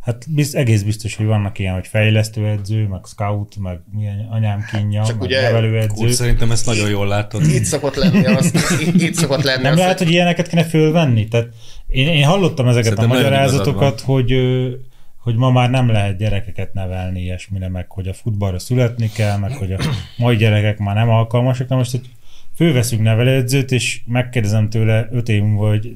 hát biz, egész biztos, hogy vannak ilyen, hogy fejlesztőedző, meg scout, meg milyen anyám kínja, Csak meg ugye- Úgy nevelőedző. szerintem ezt nagyon jól látod. Itt szokott lenni az, itt, itt szokott lenni Nem az, lehet, hogy ilyeneket kéne fölvenni? Tehát én, én hallottam ezeket Szerintem a nagyon magyarázatokat, igazad hogy, ö, hogy ma már nem lehet gyerekeket nevelni ilyesmire, meg hogy a futballra születni kell, meg hogy a mai gyerekek már nem alkalmasak. Na most, hogy fölveszünk nevelőedzőt, és megkérdezem tőle öt év múlva, hogy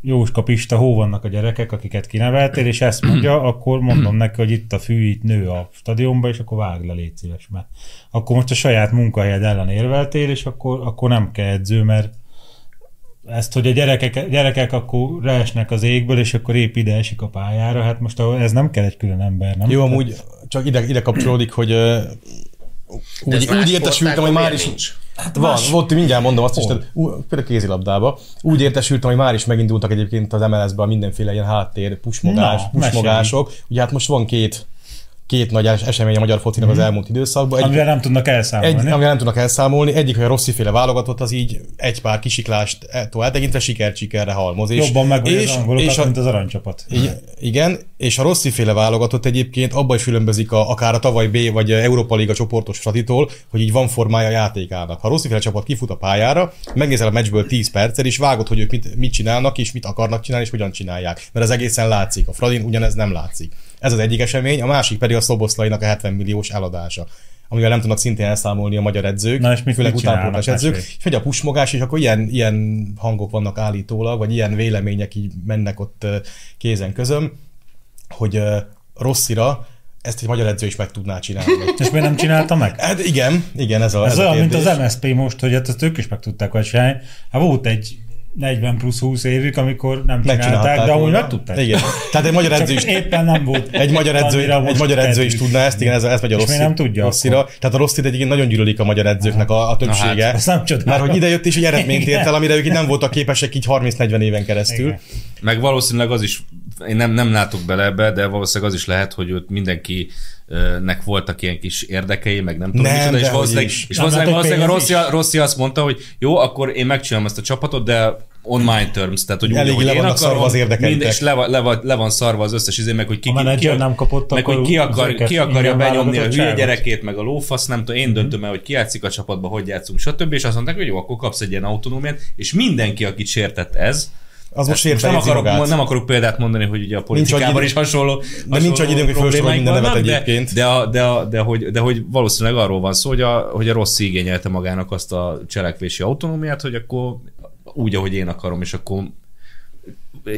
Jóska Pista, hol vannak a gyerekek, akiket kineveltél, és ezt mondja, akkor mondom neki, hogy itt a fű, itt nő a stadionba, és akkor vágd le, légy szíves, mert akkor most a saját munkahelyed ellen érveltél, és akkor, akkor nem kell edző, mert ezt, hogy a gyerekek, gyerekek akkor reesnek az égből, és akkor épp ide esik a pályára, hát most ahol- ez nem kell egy külön ember, nem? Jó, amúgy csak ide, ide kapcsolódik, hogy ö, De ez úgy, más úgy értesültem, hogy sportágban már miért is... nincs? Hát van, volt, mindjárt mondom azt is, tehát, ú, például kézilabdába. Úgy értesültem, hogy már is megindultak egyébként az MLS-ben mindenféle ilyen háttér, pusmogás, Na, pusmogások. Ugye hát most van két, két nagy es- esemény a magyar focinak az elmúlt időszakban. Egy, Mhm. Hát, Amivel nem tudnak elszámolni. egy, amivel nem tudnak elszámolni. Egyik, hogy a rossziféle válogatott, az így egy pár kisiklást e- ettől eltekintve sikert sikerre halmoz. És, Jobban meg és, az angolokat, és a, mint az aranycsapat. I- Igen, és a rossziféle válogatott egyébként abban is különbözik a, akár a tavaly B vagy Európa Liga csoportos fratitól, hogy így van formája a játékának. Ha a rossziféle csapat kifut a pályára, megnézel a meccsből 10 percet, és vágod, hogy ők mit, mit csinálnak, és mit akarnak csinálni, és hogyan csinálják. Mert ez egészen látszik. A Fradin ugyanez nem látszik. Ez az egyik esemény, a másik pedig a szoboszlainak a 70 milliós eladása amivel nem tudnak szintén elszámolni a magyar edzők, Na, és mit- főleg mit csinálnak utánpótlás edzők, másrészt? és hogy a pusmogás, és akkor ilyen, ilyen hangok vannak állítólag, vagy ilyen vélemények így mennek ott ö, kézen közöm, hogy ö, rosszira ezt egy magyar edző is meg tudná csinálni. És miért nem csinálta meg? Hát igen, igen, ez a Ez a olyan, mint kérdés. az MSP most, hogy hát ezt ők is meg tudták hogy csinálni. Hát volt egy 40 plusz 20 évük, amikor nem csinálták, de amúgy volna. meg tudták. Igen. Tehát egy magyar edző Csak is éppen nem volt. egy magyar edző, annyira egy most magyar edző is kedvük. tudná ezt, igen, ez, ez megy a És rossz. miért nem tudja Rosszira. Tehát a rossz egyébként nagyon gyűlölik a magyar edzőknek a, a többsége. hát, azt nem csodálom. Mert hogy idejött és egy eredményt Igen. ért el, amire ők így nem voltak képesek így 30-40 éven keresztül. Igen. Meg valószínűleg az is, én nem, nem látok bele ebbe, de valószínűleg az is lehet, hogy ott mindenkinek voltak ilyen kis érdekei, meg nem tudom Nem, micsoda, és dehogy valószínűleg, is. és Nem, valószínűleg, hát egy valószínűleg a pénz Rossi, Rossi azt mondta, hogy jó, akkor én megcsinálom ezt a csapatot, de on my terms, tehát hogy Elég úgy, ahogy le én vannak akarom, szarva az érdekeitek. mind- És le, van- le, van- le, van szarva az összes izé, meg hogy ki, A ki, menedzser ki, nem kapott, meg, hogy akkor ki, akar, ezeket ki akarja ingyen benyomni a hülye válogatottságot. gyerekét, meg a lófasz, nem tudom, Mhm. én döntöm el, hogy ki játszik a csapatba, hogy játszunk, stb. És azt mondták, hogy jó, akkor kapsz egy ilyen autonómiát, és mindenki, akit sértett ez, Az most most érte Hát nem akarok, magát. nem akarok példát mondani, hogy ugye a annyi politikában idő- is hasonló De nincs annyi időnk, hogy felsorolj minden nevet egyébként. De, a- de, a- de, hogy, de hogy valószínűleg arról van szó, hogy a, hogy a rossz igényelte magának azt a cselekvési autonómiát, hogy akkor úgy, ahogy én akarom, és akkor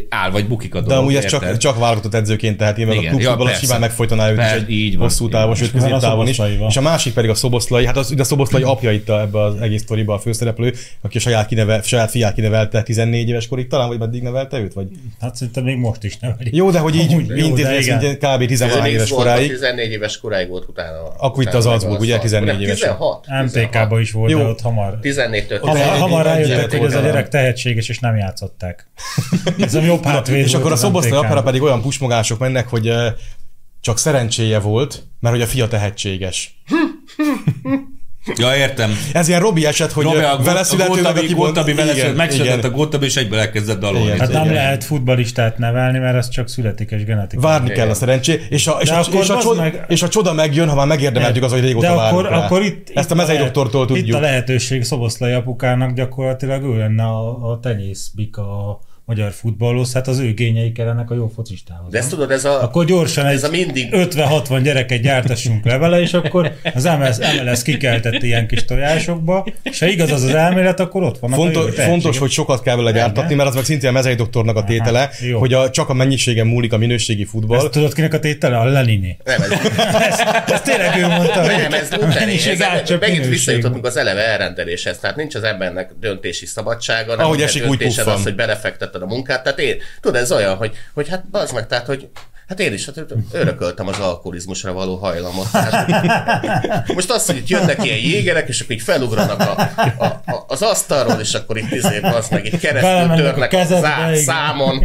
áll vagy bukik a dolog. De amúgy ez érted? csak, csak válogatott edzőként teheti, mert a Igen, ja, klubban ja, persze. simán megfojtaná őt Per- is egy így van, hosszú így van. távon, sőt És mi van a középtávon is. Szoboszlaival? És a másik pedig a szoboszlai, hát az, ugye a szoboszlai apja itt a- ebbe az egész sztoriba a főszereplő, aki a saját, kineve, saját fiát kinevelte 14 éves korig, talán vagy meddig nevelte őt? Vagy... Hát szerintem még most is nevelik. Jó, de hogy így Amúgy jó, de intézni ezt igen. így kb. Ez 13 még éves volt, koráig. 14 éves koráig volt utána. Akkor itt utána az meg Salzburg, ugye, 14 Nem, éves. 16. 16. MTK-ba is volt, Jó. de ott hamar. 14-től Ott Hamar, egy- 16. hamar egy- rájöttek, egy- hogy ez a egy- gyerek tehetséges, és nem játszották. Ez a jobb hátvéd És volt akkor a az szoboszlai MTK-ban. apjára pedig olyan pusmogások mennek, hogy eh, csak szerencséje volt, mert hogy a fia tehetséges. Ja, értem. Ez ilyen Robi eset, hogy Robi, a, Robi, Gó- vele a születőleg, Gótabi, aki Gótabi vele született, megszületett a igen. Gótabi, és egyből elkezdett dalolni. Igen. Hát nem Igen. lehet futbalistát nevelni, mert ez csak születékes genetika. Várni Igen. kell a szerencsé, és a, és, De a, akkor és, a bazd csoda, meg- és a csoda megjön, ha már megérdemeltük az, hogy régóta De akkor, várunk rá. akkor itt, Ezt a itt mezei lehet- doktortól Itt a tudjuk. lehetőség Szoboszlai apukának gyakorlatilag ő lenne a, a tenyészbika a magyar futballhoz, hát az ő gényei kellenek a jó focistához. De ezt nem? tudod, ez a... Akkor gyorsan egy ez a mindig- 50-60 gyereket gyártassunk le vele, és akkor az MLS, MLS kikeltett ilyen kis tojásokba, és ha igaz az az elmélet, akkor ott van a Fontos, jövő tehetsége. fontos, hogy sokat kell vele gyártatni, mert az meg szintén a mezei doktornak a tétele, jó. hogy a, csak a mennyiségen múlik a minőségi futball. Ezt tudod kinek a tétele? A Leniné. Nem, ez, Ezt, ezt tényleg ő mondta. Hát, nem, ez utáni, Mennyiség ez, átcsap megint minőségbe. visszajutottunk az eleve elrendeléshez, tehát nincs az embernek döntési szabadsága, nem Ahogy a esik, úgy döntésed puffan. az, hogy belefektetted a munkát, tehát én, tudod, ez olyan, hogy, hogy hát az meg, tehát, hogy Hát én is, hát örököltem az alkoholizmusra való hajlamot. Tehát, most azt, hogy itt jönnek ilyen jégerek, és akkor így felugranak a, a, a, az asztalról, és akkor itt izé, az meg így keresztül Belemennek a törnek a, kezedbe, zá- igen. számon.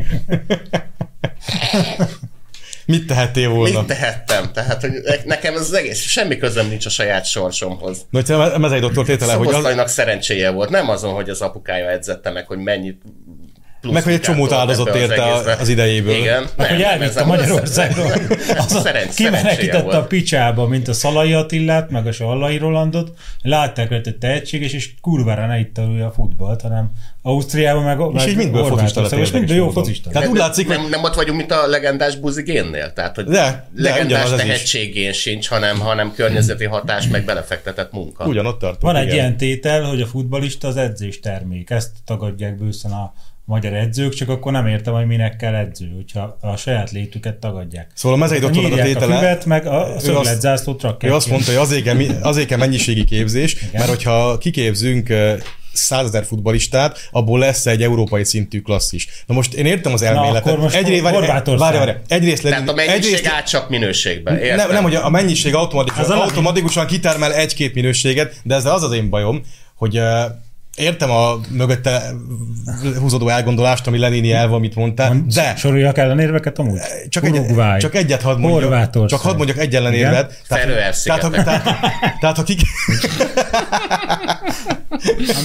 Mit tehettél volna? Mit tehettem? Tehát, hogy ne- nekem ez az egész, semmi közöm nincs a saját sorsomhoz. Nagy a mezei doktor tétele, hogy az, Szoboszlainak szerencséje volt, nem azon, hogy az apukája edzette meg, hogy mennyit plusz Meg, hogy egy csomót munkát áldozott volt ebbe érte egészbe. az idejéből. Igen. Meg, hogy elvitt a Magyarországról. Az a, Szerencs, szerencséje kimenekítette a volt. picsába, mint a Szalai Attillát, meg a Sallai Rolandot. Látták rajta, hogy tehetséges, és kurvára ne itt alulja a futballt, hanem Ausztriában meg és meg így mindből Horvátországban, focista lett És érdekes mindből jó módon. focista. Tehát Hát úgy látszik, hogy nem, nem, ott vagyunk, mint a legendás buzigénnél. Tehát, hogy De, de, legendás ugyanaz ez is. tehetségén sincs, hanem, hanem környezeti hatás, meg belefektetett munka. ugyanott tartunk. Van egy igen. ilyen tétel, hogy a futbalista az edzés termék. Ezt tagadják bőszen a magyar edzők, csak akkor nem értem, hogy minek kell edző, hogyha a saját létüket tagadják. Szóval a mezei doktornak a Nyírják tétele... A füvet, meg a szögletzászlót csak kell Ő azt kérni. mondta, hogy azért kell, mi- azért kell mennyiségi képzés, mert hogyha kiképzünk eh, százezer futbalistát, abból lesz egy európai szintű klasszis. Na most én értem az elméletet. akkor most Egyrészt, várj, várj, Horvátország. várj, egyrészt, Tehát a legyen- mennyiség egyrészt át csak minőségben. Érted? nem, nem, hogy a mennyiség Ez automatikusan, a- automatikusan kitermel egy-két minőséget, de ezzel az az én bajom, hogy eh, értem a mögötte húzódó elgondolást, ami Lenini elv, amit mondtál, de Soroljak ellenérveket amúgy? csak, egy, csak egyet hadd mondjak, Horvátország. csak hadd mondjak egy ellenérvet. Tehát, Feröer-szigetek. tehát, ha- tehát, tehát, ha kik,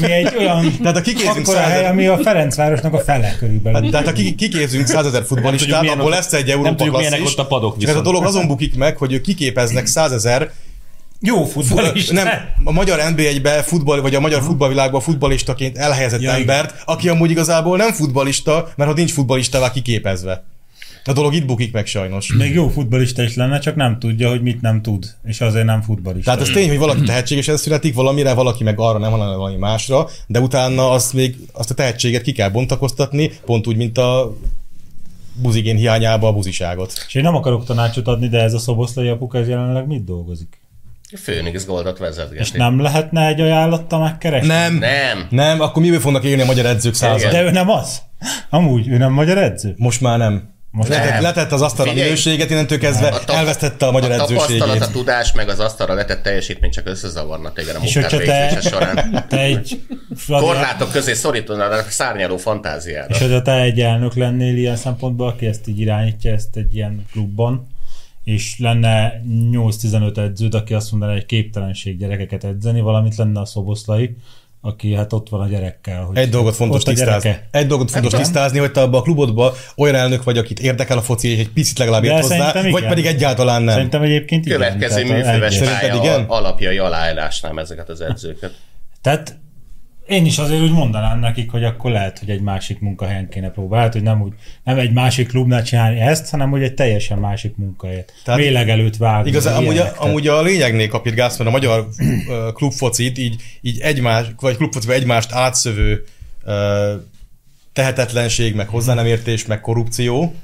Ami egy olyan tehát ha kikézünk Hát, akkora hely, százezer, ami a Ferencvárosnak a fele körülbelül. tehát ha ki- kikézünk százezer futballistát, milyen abból ott- lesz egy nem Európa tudjuk, milyenek klasszis. ott a padok Csak ez a viszont. dolog azon bukik meg, hogy ők kiképeznek százezer Jó Ö, futballista. nem, a magyar NBA-be futball, vagy a magyar futballvilágban futbalistaként elhelyezett Ja, ja, embert, aki amúgy igazából nem futbalista, mert ha nincs futbalistává kiképezve. A dolog itt bukik meg sajnos. Még jó futballista is lenne, csak nem tudja, hogy mit nem tud, és azért nem futballista. Tehát ez tény, hogy valaki tehetségesen születik valamire, valaki meg arra nem, hanem valami másra, de utána azt még azt a tehetséget ki kell bontakoztatni, pont úgy, mint a buzigén hiányába a buziságot. És én nem akarok tanácsot adni, de ez a szoboszlai apuka ez jelenleg mit dolgozik? Főnixgoldot vezetgetni. És nem lehetne egy ajánlatta megkeresni? Nem, Nem. nem, akkor miből fognak élni a magyar edzők század? De ő nem az. Amúgy, ő nem magyar edző. Most már nem. Most Letett, nem. letett az asztalra Figyelj! minőséget, innentől kezdve tap- elvesztette a magyar a tapasztalat, edzőségét. a tudás, meg az asztalra letett teljesítmény csak összezavarna téged a És munkát hogyha te- végzése során. Te egy... Korlátok közé szorítanának a szárnyaló fantáziára. És hogyha te egy elnök lennél ilyen szempontból, aki ezt így irányítja, ezt egy ilyen klubban, és lenne 8-15 edződ, aki azt mondaná, hogy képtelenség gyerekeket edzeni, valamint lenne a szoboszlai, aki hát ott van a gyerekkel. Hogy Egy dolgot fontos ott a tisztázni. gyereke. Egy dolgot fontos tisztázni, hogy te abba a klubodba olyan elnök vagy, akit érdekel a foci, és egy picit legalább De ért hozzá, szerintem vagy igen. pedig egyáltalán nem. Szerintem egyébként igen. Következő tehát a- műfőves egy- Szerinted pálya igen? igen? alapjai aláírásnám ezeket az edzőket. Tehát én is azért úgy mondanám nekik, hogy akkor lehet, hogy egy másik munkahelyen kéne próbálni, Hát, hogy nem, úgy, nem egy másik klubnál csinálni ezt, hanem hogy egy teljesen másik munkahelyet. Tehát Tehát Méleg előtt vágni. Igazán, amúgy, a, ilyenek, tehát- amúgy a lényegnél kapirgálsz, mert a magyar ö, klubfocit így, így egymás, vagy klubfociba egymást átszövő ö, tehetetlenség, meg hozzánemértés, meg korrupció,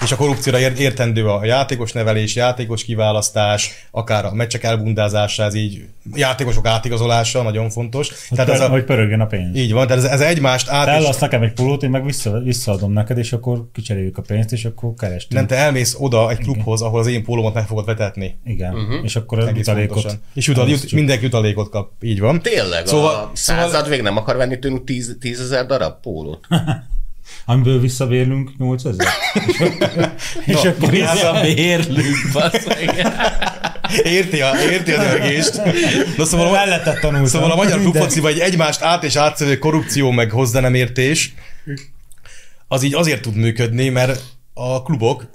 és a korrupcióra ér- értendő a játékos nevelés, játékos kiválasztás, akár a meccsek elbundázása, ez így játékosok átigazolása, nagyon fontos. Hogy, ez pör, Hát hogy pörögjön a pénz. Így van, tehát ez, ez egymást át... Te és- ellasz nekem egy pulót, én meg vissza, visszaadom neked, és akkor kicseréljük a pénzt, és akkor kerestünk. Nem, te elmész oda egy klubhoz, ahol az én pólómat meg fogod vetetni. Igen, uh-huh. és akkor a Egész jutalékot. pontosan. És jutal, jut, elosztjuk. mindenki jutalékot kap, így van. Tényleg, Szóval- szóval, a szóval- század vég nem akar venni tőlünk tíz- tízezer darab pólót. amiből visszabérlünk 8000. és akkor Visszabérlünk, basszeg. Érti a, érti a dörgést. Na szóval a, mellettet tanultam. Szóval a magyar Minden. klubfociban egy egymást át és átszövő korrupció meg hozzá nem értés, az így azért tud működni, mert a klubok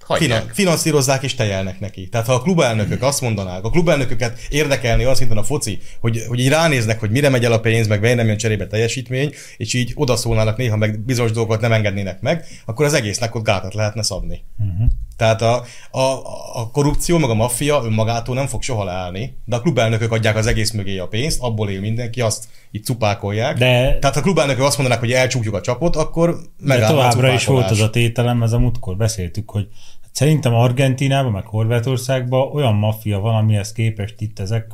Hagyják. finan- finanszírozzák és tejelnek neki. Tehát ha a klubelnökök azt mondanák, a klubelnököket érdekelni az szinten a foci, hogy, hogy így ránéznek, hogy mire megy el a pénz, meg miért nem jön cserébe teljesítmény, és így odaszólnának néha, meg bizonyos dolgokat nem engednének meg, akkor az egésznek ott gátat lehetne szabni. Mhm. Uh-huh. Tehát a, a, a korrupció, meg a maffia önmagától nem fog soha leállni, de a klubelnökök adják az egész mögé a pénzt, abból él mindenki, azt így cupákolják. De- Tehát ha a klubelnökök azt mondanák, hogy elcsukjuk a csapot, akkor De megállna a továbbra is cupákolás. volt az a tételem, ez a múltkor beszéltük, hogy szerintem Argentinában, meg Horvátországban olyan maffia van, amihez képest itt ezek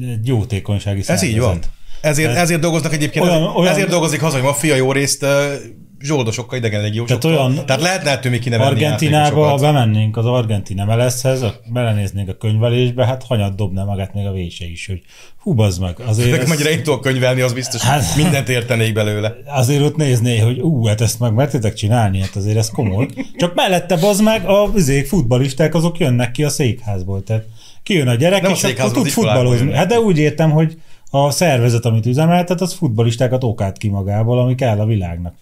egy jótékonysági Ez így van. Ezért, ezért dolgoznak egyébként, Olyan- olyan, olyan- olyan, ezért dolgozzik hazai maffia jó részt ö, zsoldosokkal, idegen legiósokkal. Tehát Tehát, olyan- olyan, Tehát lehetne ettől még kinevelni Argentinába, ha játékosokat. bemennénk az Argentina MLS-hez, a- belenéznénk a könyvelésbe, hát hanyat dobná magát még a vése is, hogy hú, bazd meg, azért, Nekem ezt, annyira itt tudok könyvelni, az biztos, Hát- hát... mindent értenék belőle. azért ott nézné, hogy ú, hát ezt meg mertétek csinálni, hát azért ez komoly. Csak mellette bazd meg, a vizék, futbalisták azok jönnek ki a székházból, tehát kijön a gyerek, Nem a és akkor székházból, tud az iskolából futballozni. jönnek. Hát de úgy értem, hogy a szervezet, amit üzemeltet, az futbalistákat okát ki magából, ami kell a világnak.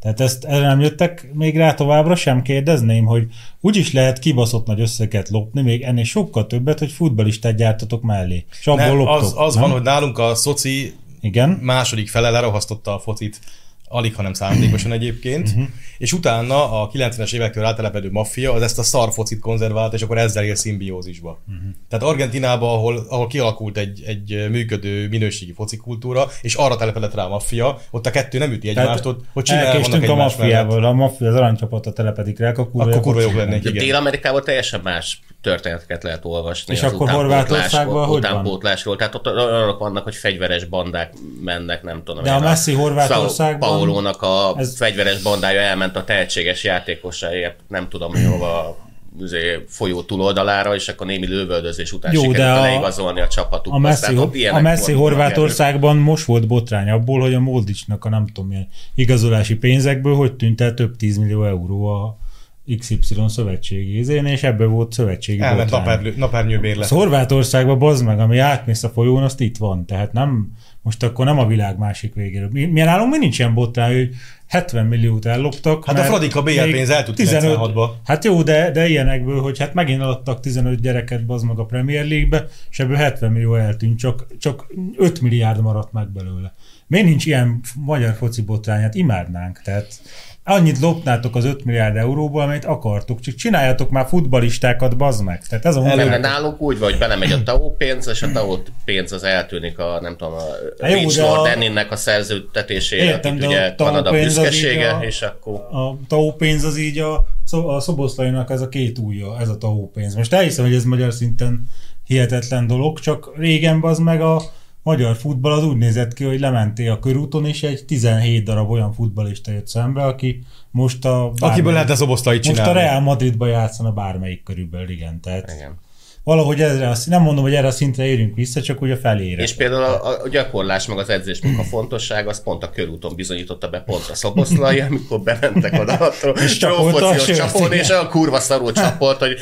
Tehát ezt erre nem jöttek még rá továbbra, sem kérdezném, hogy úgyis lehet kibaszott nagy összeget lopni, még ennél sokkal többet, hogy futbalistát gyártatok mellé. És abból Nem, loptok. az, az nem? van, hogy nálunk a szoci Igen. második fele lerohasztotta a focit, alig, hanem szándékosan egyébként, Mhm. és utána a 90-es évektől rátelepedő maffia az ezt a szar focit konzervált, és akkor ezzel él szimbiózisba. Mhm. Tehát Argentinában, ahol, ahol kialakult egy, egy működő minőségi focikultúra, és arra telepedett rá a maffia, ott a kettő nem üti Tehát egymást, ott, hogy csinálják vannak elkéstünk a egymás mellett. maffiával, ha a maffia az aranycsapata telepedik rá, akkor kurva, Akkor jók kurva jók csinálnak. lennénk, igen. Dél-Amerikában teljesen más történeteket lehet olvasni. És az akkor utánpótlásról- Horvátországban hogy van? utánpótlásról. Tehát ott olyanok vannak, hogy fegyveres bandák mennek, nem tudom. De én, a Messi Horvátországban- Sao Paolónak a Ez- ez... fegyveres bandája elment a tehetséges játékosáért, nem tudom, hogy hova izé, folyó túloldalára, és akkor némi lövöldözés után Jó, Jó, de sikerült a- a, leigazolni a csapatukba. A Messi, Tehát ott a ilyenek Messi vannak, Horvátországban most volt botrány abból, hogy a Moldicsnak a nem tudom milyen igazolási pénzekből hogy tűnt el több 10 millió euró a XY szövetségi izén, és ebből volt szövetségi Elment botrány. napernyő, napernyőbérlet. Az Horvátországba bazd meg, ami átmész a folyón, azt itt van. Tehát nem, most akkor nem a világ másik végéről. Mi, mi nálunk mi nincsen botrány, hogy 70 milliót elloptak. Hát a mert Fradika BL még pénz eltűnt 96-ba. Hát jó, de, de ilyenekből, hogy hát megint eladtak 15 gyereket bazd meg a Premier League-be, és ebből 70 millió eltűnt, csak, csak 5 milliárd maradt meg belőle. Miért nincs ilyen magyar foci botrány? Hát imádnánk. Tehát annyit lopnátok az 5 milliárd euróból, amit akartok, csak csináljátok már futbalistákat, bazd meg. Tehát ez a Nem, mert munkánk. nálunk úgy vagy, belemegy a TAO pénz, és a TAO pénz az eltűnik a, nem tudom, a Hát jó, Rich de a- Lord Enninnek a szerződtetésére, Értem, Értem, de akit a ugye TAO Kanada pénz az így büszkesége, a- és akkor... a tahópénz az így a, szo- a szoboszlainak ez a két ujja, ez a tahópénz. Most elhiszem, hogy ez magyar szinten hihetetlen dolog, csak régen az meg a magyar futball az úgy nézett ki, hogy lementél a körúton, és egy 17 darab olyan futballista jött szembe, aki most a... Akiből bármelyik- lehetne szoboszlai Most a csinálni. Real Madridba játszana bármelyik körülbelül, igen. Tehát igen. Igen. valahogy ezre, a szín- nem mondom, hogy erre a szintre érünk vissza, csak úgy a felére. És például a, a gyakorlás, meg az edzés munka fontosság, az pont a körúton bizonyította be pont a szoboszlai, amikor bementek oda a tro- És csapolta a trófociós sört, csapon, igen. és olyan kurva szarul csapolt, hogy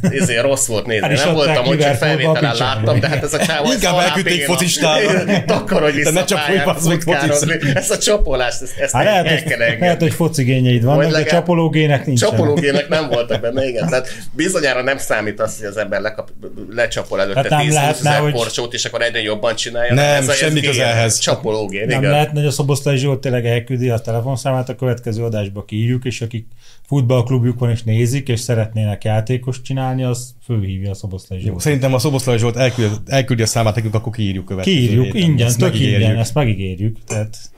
ezért rossz volt nézni. El is Nem adták voltam, hogy csak Liverpoolba felvételen a picsába. láttam, de hát ez a csávó... ez Inkább halál elküldték béna. focistára. Takar, hogy De vissza ne csapolj, pályára bazd meg, futkározni. focizni. Ez a csapolás, ezt, ezt Hát lehet, el hogy, kell engedni. lehet, hogy focigényeid vannak, de legalább- csapológének nincsen. Csapológének nem voltak benne, igen. Tehát bizonyára nem számít az, hogy az ember lekap, lecsapol Tehát nem előtte 10 lehetne, ezer hogy- hogy... porcsót, és akkor egyre jobban csinálja. Nem, a- semmi gén. köze ehhez. Csapológén, Nem igen. lehet, hogy a Szoboszlai Zsolt tényleg elküldi a telefonszámát, a következő adásba kiírjuk, és akik futballklubjuk van és nézik, és szeretnének játékost csinálni, az fölhívja a Szoboszlai Jó, Zsolt. szerintem a Szoboszlai Zsolt elküldi, elküldi a számát nekünk, akkor kiírjuk következő Kiírjuk, héten. ingyen, Ezt tök megígérjük. ingyen, ezt megígérjük. Tehát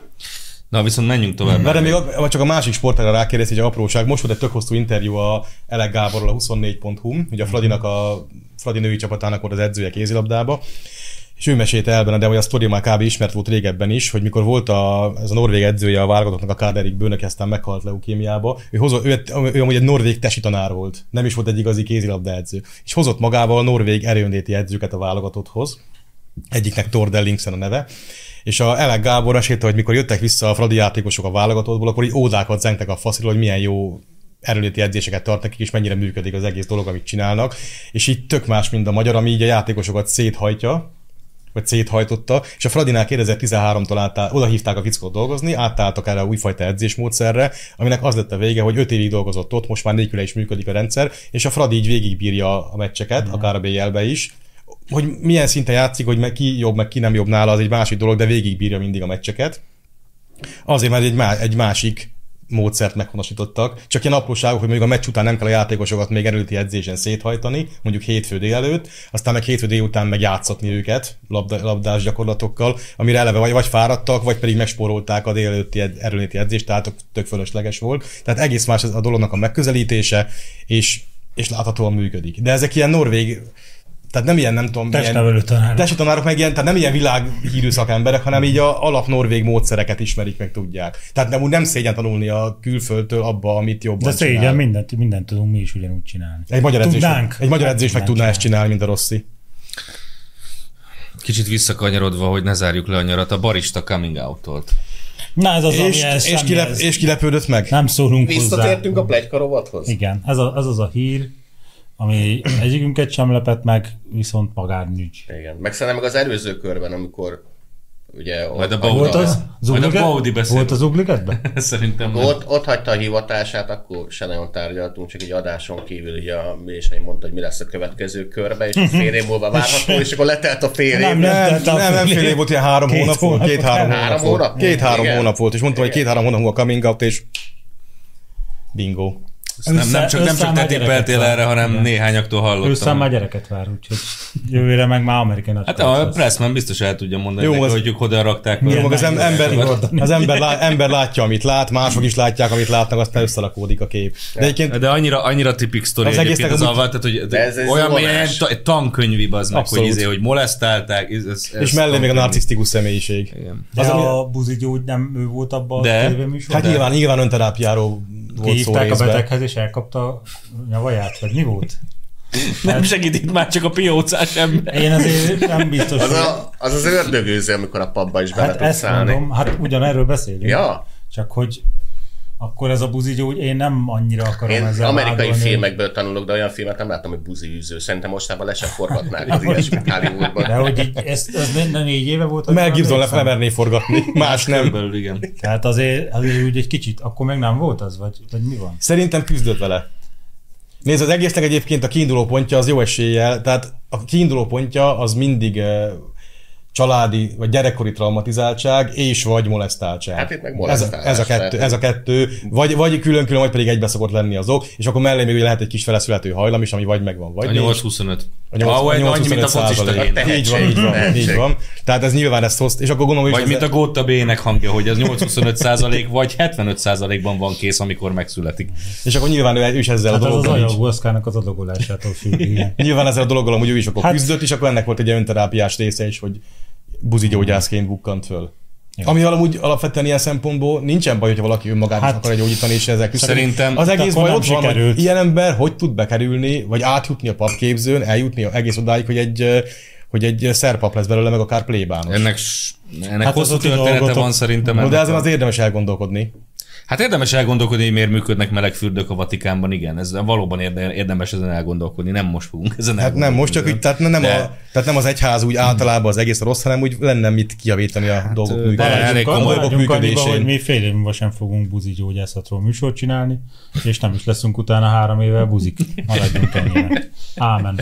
Na, viszont menjünk tovább. Várj, még a, vagy csak a másik sportágra rákérdez, egy apróság. Most volt egy tök hosszú interjú a Elek Gáborral a 24.hu, ugye a Fradinak a Fradi női csapatának volt az edzője kézilabdába, és ő mesélte el benne, de hogy a sztori már kb. ismert volt régebben is, hogy mikor volt a, ez a norvég edzője a válogatottnak, a Kárderik bőnök, aztán meghalt leukémiába, ő, hozott, ő, ő, amúgy egy norvég tesi tanár volt, nem is volt egy igazi kézilabda edző, és hozott magával a norvég erőnléti edzőket a válogatotthoz, egyiknek Tord Ellingsen a neve, És a Elek Gábor mesélte, hogy mikor jöttek vissza a Fradi játékosok a válogatottból, akkor így ódákat zengtek a faszról, hogy milyen jó erőléti edzéseket tart nekik, és mennyire működik az egész dolog, amit csinálnak. És így tök más, mint a magyar, ami így a játékosokat széthajtja, vagy széthajtotta, és a Fradinál 2013-tól átáll, oda hívták a fickót dolgozni, átálltak erre a újfajta edzésmódszerre, aminek az lett a vége, hogy 5 évig dolgozott ott, most már nélküle is működik a rendszer, és a Fradi így végigbírja a meccseket, mm. akár a BL-be is, hogy milyen szinten játszik, hogy meg ki jobb, meg ki nem jobb nála, az egy másik dolog, de végigbírja mindig a meccseket. Azért, mert egy, má- egy másik módszert meghonosítottak. Csak ilyen apróságok, hogy mondjuk a meccs után nem kell a játékosokat még erőti edzésen széthajtani, mondjuk hétfő délelőtt, aztán meg hétfő délután meg játszatni őket labda, labdás gyakorlatokkal, amire eleve vagy, vagy fáradtak, vagy pedig megspórolták a délelőtti ed- erőléti edzést, tehát tök fölösleges volt. Tehát egész más a dolognak a megközelítése, és, és láthatóan működik. De ezek ilyen norvég tehát nem ilyen, nem tudom, Testnevelő tanárok. Testi tanárok meg ilyen, tehát nem ilyen világhírű szakemberek, hanem így a alap norvég módszereket ismerik, meg tudják. Tehát nem úgy nem szégyen tanulni a külföldtől abba, amit jobban De szégyen, csinál. mindent, mindent tudunk mi is ugyanúgy csinálni. Egy magyar edzés, Tudnánk. egy magyar edzés meg Tudnánk tudná ezt csinálni, mint a Rossi. Kicsit visszakanyarodva, hogy ne zárjuk le a nyarat, a barista coming out-olt. Na ez az, ami És, ez, és, semmi kilep, ez. és kilepődött meg? Nem szólunk hozzá. Visszatértünk a plegykarovathoz? Igen, ez, a, ez az a hír, ami egyikünket sem lepett meg, viszont magárnügy. Igen. Meg szerintem meg az előző körben, amikor ugye Majd a ott, Baudi. Volt az? Majd a Zugliget? Baudi beszél. Volt az Ugligetben? Szerintem nem. ott, ott hagyta a hivatását, akkor se nagyon tárgyaltunk, csak egy adáson kívül ugye a Mései mondta, hogy mi lesz a következő körbe, és fél év múlva várható, és akkor letelt a fél év. Nem, Nem, Tehát nem, a- nem, fél év volt, ilyen három Két hónap volt, hónap. két-három Három hónap volt. hónap? Két-három Igen. hónap volt, és mondtam, hogy két-három hónap múlva coming out, és bingo. Nem, nem csak, nem csak te tippeltél erre, hanem néhányaktól Ő hallottam. szám már gyereket vár, úgyhogy jövőre meg már amerikai nagy Hát a Pressman biztos el tudja mondani, Jó, Jó, az- neki, hogy ők hogyan rakták Jó, meg. meg az em- ember, Gordon. az ember, lá- ember látja, amit lát, mások is látják, amit látnak, aztán összerakódik a kép. De egyébként De annyira, annyira tipik sztori Az az egyébként egésznek az amúgy- alvát, tehát hogy De ez- ez olyan, zolás. milyen ta- egy tankönyv az meg, hogy, Abszolút. izé, hogy molesztálták. Ez, ez, ez és mellé még a tankönyv. narcisztikus személyiség. Igen. De az, ami- a buzi gyógy nem ő volt abban De. a tévéműsorban? Hát nyilván, nyilván önterápiáról volt szó Kihívták a részben. beteghez, és elkapta a nyavaját, vagy mi volt? Nem segít itt már csak a piócás ember. Én azért nem biztos, Az, hogy- a, az az ördögőző, amikor a papba is bele Hát tudsz ezt állni. mondom, hát ugyanerről beszélünk. Ja. Csak hogy akkor ez a buzi gyógy, én nem annyira akarom Én ezzel amerikai vádolni. filmekből tanulok, de olyan filmet nem láttam, hogy buzi űző. Szerintem mostában le sem forgatnák az ilyesmit De Hollywoodban. hogy így, ez, ez né- né- négy éve volt. Mel amikor Gibson le emlékszem. lemerné forgatni, más nem. Körülbelül, igen. Tehát azért, azért úgy egy kicsit, akkor meg nem volt az, vagy, vagy mi van? Szerintem küzdött vele. Nézd, az egésznek egyébként a kiinduló pontja az jó eséllyel, tehát a kiinduló pontja az mindig eh, családi vagy gyerekkori traumatizáltság és vagy molesztáltság. Hát itt meg ez, a- molesztálás, ez, a kettő, tehát- ez a kettő, vagy, vagy külön-külön, vagy pedig egybe szokott lenni az ok, és akkor mellé még ugye lehet egy kis feleszülető hajlam is, ami vagy megvan, vagy A nincs. 8-25. A nyolc- Ah, a olyan 8-25 annyi, mint a focista százalék. én. Így van, így van, Tehetség. így van. Tehát ez nyilván ezt hozt, és akkor gondolom, hogy Vagy ez- mint a Góta B-nek hangja, hogy ez 8-25 százalék, vagy 75 százalékban van kész, amikor megszületik. és akkor nyilván ő, ő is ezzel Hát a az az dologgal így- anyagú oszkának az adagolásától függ, igen. Nyilván ezzel a dologgal amúgy ő is akkor Hát- hát... küzdött, és akkor ennek volt egy ilyen önterápiás része is, hogy buzigyógyászként bukkant föl. Ami amúgy alapvetően ilyen szempontból nincsen baj, hogyha valaki önmagát hát, Hát- is akarja gyógyítani, és ezek küzd. Szerintem- az egész akkor baj nem ott van, sikerült. hogy ilyen ember hogy tud bekerülni, vagy átjutni a papképzőn, eljutni egész odáig, hogy egy hogy egy szerpap lesz belőle, meg akár plébános. Ennek, s- ennek Hát hát az hosszú a ti története dolgotok. van szerintem. No, ennek de ezen a- az érdemes elgondolkodni. Hát érdemes elgondolkodni, hogy miért működnek melegfürdők a Vatikánban, igen. Ez valóban érde- érdemes ezen elgondolkodni, nem most fogunk ezen Hát nem, most csak úgy, tehát nem, De- a, tehát nem az egyház úgy általában az egész rossz, hanem úgy lenne mit kijavítani a hát, dolgok ö, működését. Elég Maradjunk- komoly dolgok maradjunk annyiba, működésén. hogy mi fél év múlva sem fogunk buzi gyógyászatról műsort csinálni, és nem is leszünk utána három éve buzik. Maradjunk ennyire. Ámen.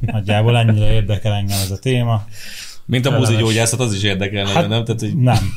Nagyjából ennyire érdekel engem ez a téma. Mint a Kellemes. buzi gyógyászat, az is érdekel hát, Hát- nem? Tehát, hogy Nem.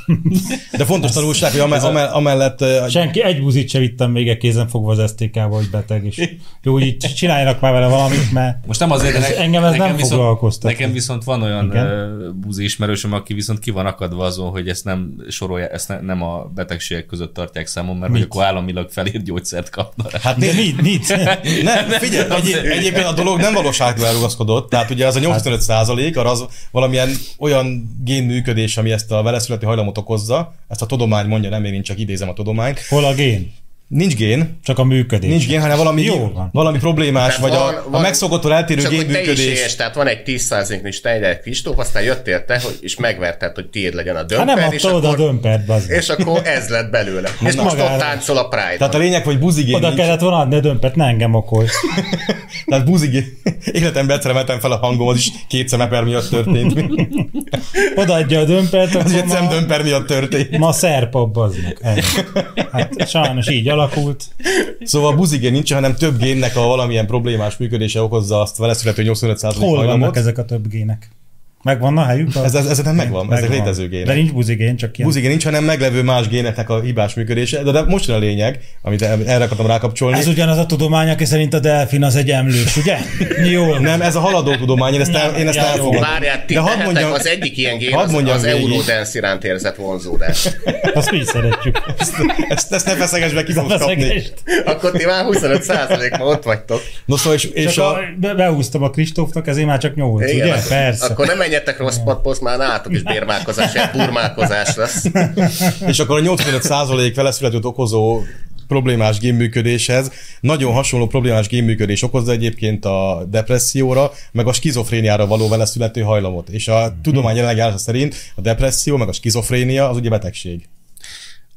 De fontos tanulság, hogy amell- amell- amellett eh, Senki, egy buzit se vittem még egy kézen fogva az STK-ba, hogy beteg, és jó, hogy így csináljanak már vele valamit, mert most nem azért, Ez- engem ez nem foglalkoztat. Nekem viszont van olyan Igen. ö, buzi ismerősöm, aki viszont ki van akadva azon, hogy ezt nem sorolja, ezt ne, nem a betegségek között tartják számon, mert hogy akkor államilag felírt gyógyszert kapna rá. Hát de mit, né- mit? nem, figyelj, egy, egyébként a dolog nem valóságban elrugaszkodott, tehát ugye Hát- az a 85 százalék, arra az valamilyen olyan génműködés, ami ezt a veleszületi hajlamot okozza, ezt a tudomány mondja, nem én csak idézem a tudományt, Hol a gén? Nincs gén, Csak a működés. nincs gén, hanem valami, Jó van. valami problémás, Tehát vagy van- a, a van- megszokottól eltérő Csak hogy te is génműködés. éhes, tehát van egy 10%-nyi Steiner Kristóf, aztán jöttél te, hogy, és megverted, hogy tiéd legyen a Hát dömper, nem és, adta oda a akkor, dömpert, bazd. és akkor ez lett belőle. és most magára. ott táncol a Pride-on. Tehát a lényeg, hogy buzigén Oda nincs. kellett volna adni a dömpert, ne engem okolj. Tehát buzigén. Életemben egyszer emeltem fel a hangom, az is kétszer meper miatt történt. Odaadja a dömpert, Az akkor is egy ma, szemdömper miatt történt. ma szerpap, bazd meg. Ennyi. Hát sajnos így alakult. Szóval buzigén nincs, hanem több génnek a valamilyen problémás működése okozza azt vele születő 85% Hol vannak hajlamot. ezek a több gének? Megvan a helyük? A... Ez, ez, ez nem megvan, megvan, ezek létező gének. De nincs buzigén, csak ilyen. Buzigén nincs, hanem meglevő más géneknek a hibás működése, de, de most jön a lényeg, amit el- erre akartam rákapcsolni. Ez ugyanaz a tudomány, aki szerint a delfin az egy emlős, ugye? Jól. Nem, ez a haladó tudomány, én ezt, el, én ezt Nem, elfogadom. Várjál, ti De hadd tehetek, mondjam- az egyik ilyen gén hadd az, mondjam az végig. Eurodance iránt érzett vonzódás. Azt mi szeretjük. Ezt, ezt, ezt ne feszeges be, ki fogsz A kapni. szegést. Akkor ti már 25%-ban ott vagytok. No, szóval és, és Csak a, a... be- behúztam a Kristófnak, ezért már csak nyolc, ugye? akkor, Persze. Akkor nem menjetek rossz patposz, már nálatok is bérmálkozás, egy burmálkozás lesz. és akkor a 85% veleszületőt okozó problémás génműködéshez nagyon hasonló problémás génműködés okozza egyébként a depresszióra, meg a skizofréniára való veleszülető hajlamot. És a tudomány jelenleg állása szerint a depresszió, meg a skizofrénia az ugye betegség.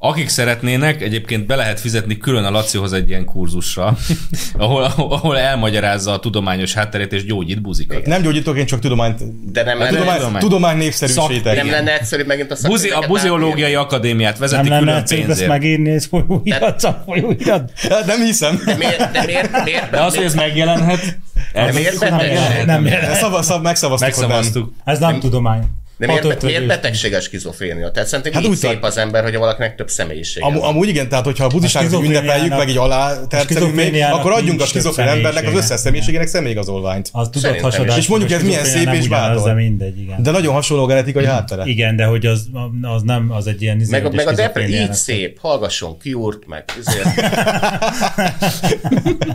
Akik szeretnének, egyébként be lehet fizetni külön a Lacihoz egy ilyen kurzusra, ahol, ahol elmagyarázza a tudományos hátterét és gyógyít buzikat. Nem gyógyítok, én csak tudományt... De Hát nem, lenne, Tudomány, tudomány. tudomány Szak- népszerűsítek. nem lenne egyszerű megint a Buzi, a szakményeket buziológiai akadémiát nem vezeti lenne külön egyszerűbb ezt pénzért. megírni, ez folyóirat, csak folyóirat. Hát Nem hiszem. átírni? Miért, de miért, miért, De az, hogy ez megjelenhet, ez miért nem beteg? megjelenhet. Nem De jelent. Szava, szava, megszavaztuk, hogy nem. Megszavaztuk. Ez nem tudomány. de miért, Hatötödés. miért betegséges skizofrénia? Tehát szerintem Hát hát így úgy szép tart- az ember, hogy valakinek több személyisége Am, van. amúgy igen, tehát hogyha a buddhistákat skizofréniának- ünnepeljük, meg így alá tercelünk még, skizofréniának akkor adjunk a nincs több skizofrén embernek az összes személyisége. személyiségének személyigazolványt. Az tudod Szerintem is. hasadás. És mondjuk ez milyen szép és bátor. De mindegy, igen. De nagyon hasonló a genetikai háttere. Igen, de hogy az, az nem, az egy ilyen Meg, a- izéletes meg a depre így skizofréniának. szép, hallgasson kiúrt, meg ezért.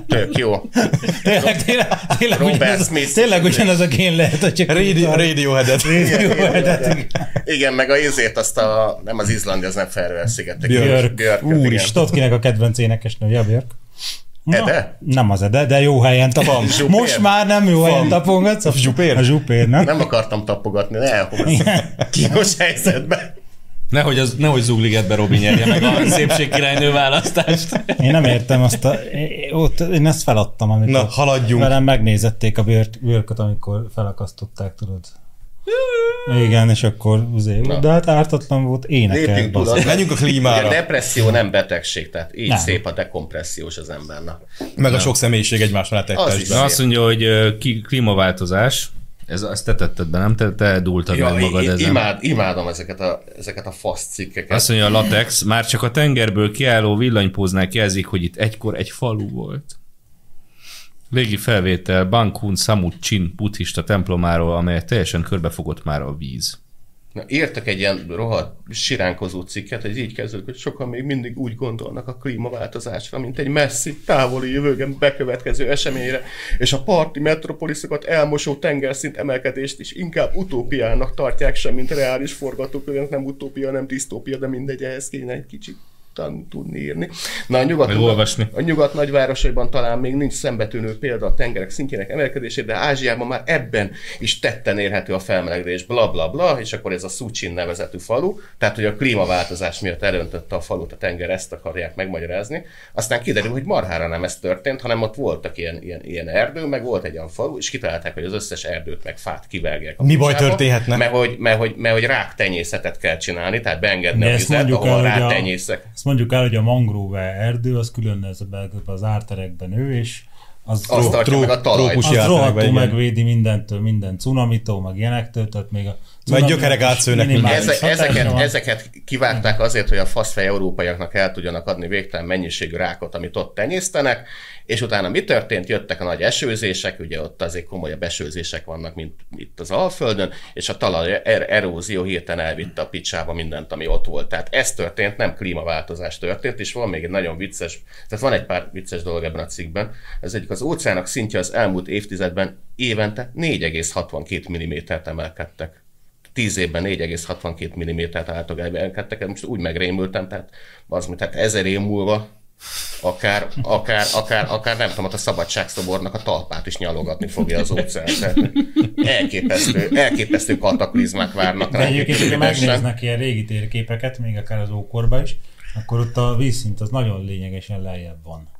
Tök jó. Tényleg, tényleg, tényleg, Robert ugyanaz, Smith. tényleg ugyanaz a kén lehet, hogy csak... Radio, Radioheadet. Radiohead. Igen, meg a izért azt a, nem az Izlandi, az nem Ferrer szigetek. Björk. És Úristen. tudod, kinek a kedvenc énekesnője a Björk? Ede? Nem az Ede, de jó helyen tapong. Zsupér. Most már nem jó helyen tapongatsz. A Zsupér? A Zsupér, nem? Nem akartam tapogatni, ne elhozz. Kínos helyzetben. Nehogy, az, nehogy zugligetbe Robi nyerje meg a szépségkirálynő választást. Én nem értem azt a... é- Ott, én ezt feladtam, amikor Na, haladjunk. velem megnézették a bőrt, bőrköt, amikor felakasztották, tudod. Igen, és akkor üzé, de hát ártatlan volt, énekel. Lépjünk túl basszus. azon. Menjünk a Ugye a klímára, depresszió nem betegség, tehát így Nem. szép a dekompressziós az embernek. meg a sok személyiség egymásra Az letettesben. is. Na, azt mondja, hogy ö, ki, klímaváltozás, ez, ezt te tetted be, nem? Te, te dúltad Ja, meg magad i- ezen. imád, imádom ezeket a, ezeket a fasz cikkeket. Azt mondja a latex, már csak a tengerből kiálló villanypóznák jelzik, hogy itt egykor egy falu volt. Légi felvétel Bankun Samucsin buddhista templomáról, amelyet teljesen körbefogott már a víz. Na, írtak egy ilyen rohadt siránkozó cikket, hogy így kezdődik, hogy sokan még mindig úgy gondolnak a klímaváltozásra, mint egy messzi, távoli jövőben bekövetkező eseményre, és a parti metropoliszokat elmosó tengerszint emelkedést is inkább utópiának tartják sem, mint reális forgatókönyvnek, nem utópia, nem disztópia, de mindegy, ehhez kéne egy kicsit tan- tudni írni. Na, a nyugat, Meg olvasni. a nyugat nagyvárosaiban talán még nincs szembetűnő példa a tengerek szintjének emelkedésére, de Ázsiában már ebben is tetten érhető a felmelegedés, bla bla bla, és akkor ez a Szucsin nevezetű falu, tehát hogy a klímaváltozás miatt elöntötte a falut a tenger, ezt akarják megmagyarázni. Aztán kiderül, hogy marhára nem ez történt, hanem ott voltak ilyen, ilyen, ilyen erdő, meg volt egy olyan falu, és kitalálták, hogy az összes erdőt meg fát kivágják. a Mi baj kocsába, történhetne? Mert hogy, mert, hogy, mert hogy ráktenyészetet kell csinálni, tehát beengedni De hát a ezt vizet, mondjuk ahol el, hogy a, rátenyészek. ezt mondjuk el, hogy a mangrove erdő, az külön ez a- az árterekben ő, és az, Azt tartja meg a talajt. trópusi az jártanak be, rohadtul igen. megvédi mindentől, minden cunamitól, meg ilyenektől, tehát még a Mert gyökerek átszőnek minimális Ezek, hatása ezeket, van. ezeket kivágták azért, hogy a faszfej európaiaknak el tudjanak adni végtelen mennyiségű rákot, amit ott tenyésztenek, és utána mi történt? Jöttek a nagy esőzések, ugye ott azért komolyabb esőzések vannak, mint itt az Alföldön, és a talaj er- erózió hirtelen elvitte a picsába mindent, ami ott volt. Tehát ez történt, nem klímaváltozás történt, és van még egy nagyon vicces, tehát van egy pár vicces dolog ebben a cikkben. Ez egyik az óceának szintje az elmúlt évtizedben évente 4,62 mm-t emelkedtek. 10 évben Hát 4,62 mm-t álltok elkentek, most úgy megrémültem, tehát az, tehát ezer év múlva akár, akár, akár, akár nem tudom, ott a szabadságszobornak a talpát is nyalogatni fogja az óceán. Tehát elképesztő, elképesztő kataklizmák várnak De egyébként, hogyha Budapesten. megnéznek ilyen régi térképeket, még akár az ókorba is, akkor ott a vízszint az nagyon lényegesen lejjebb van.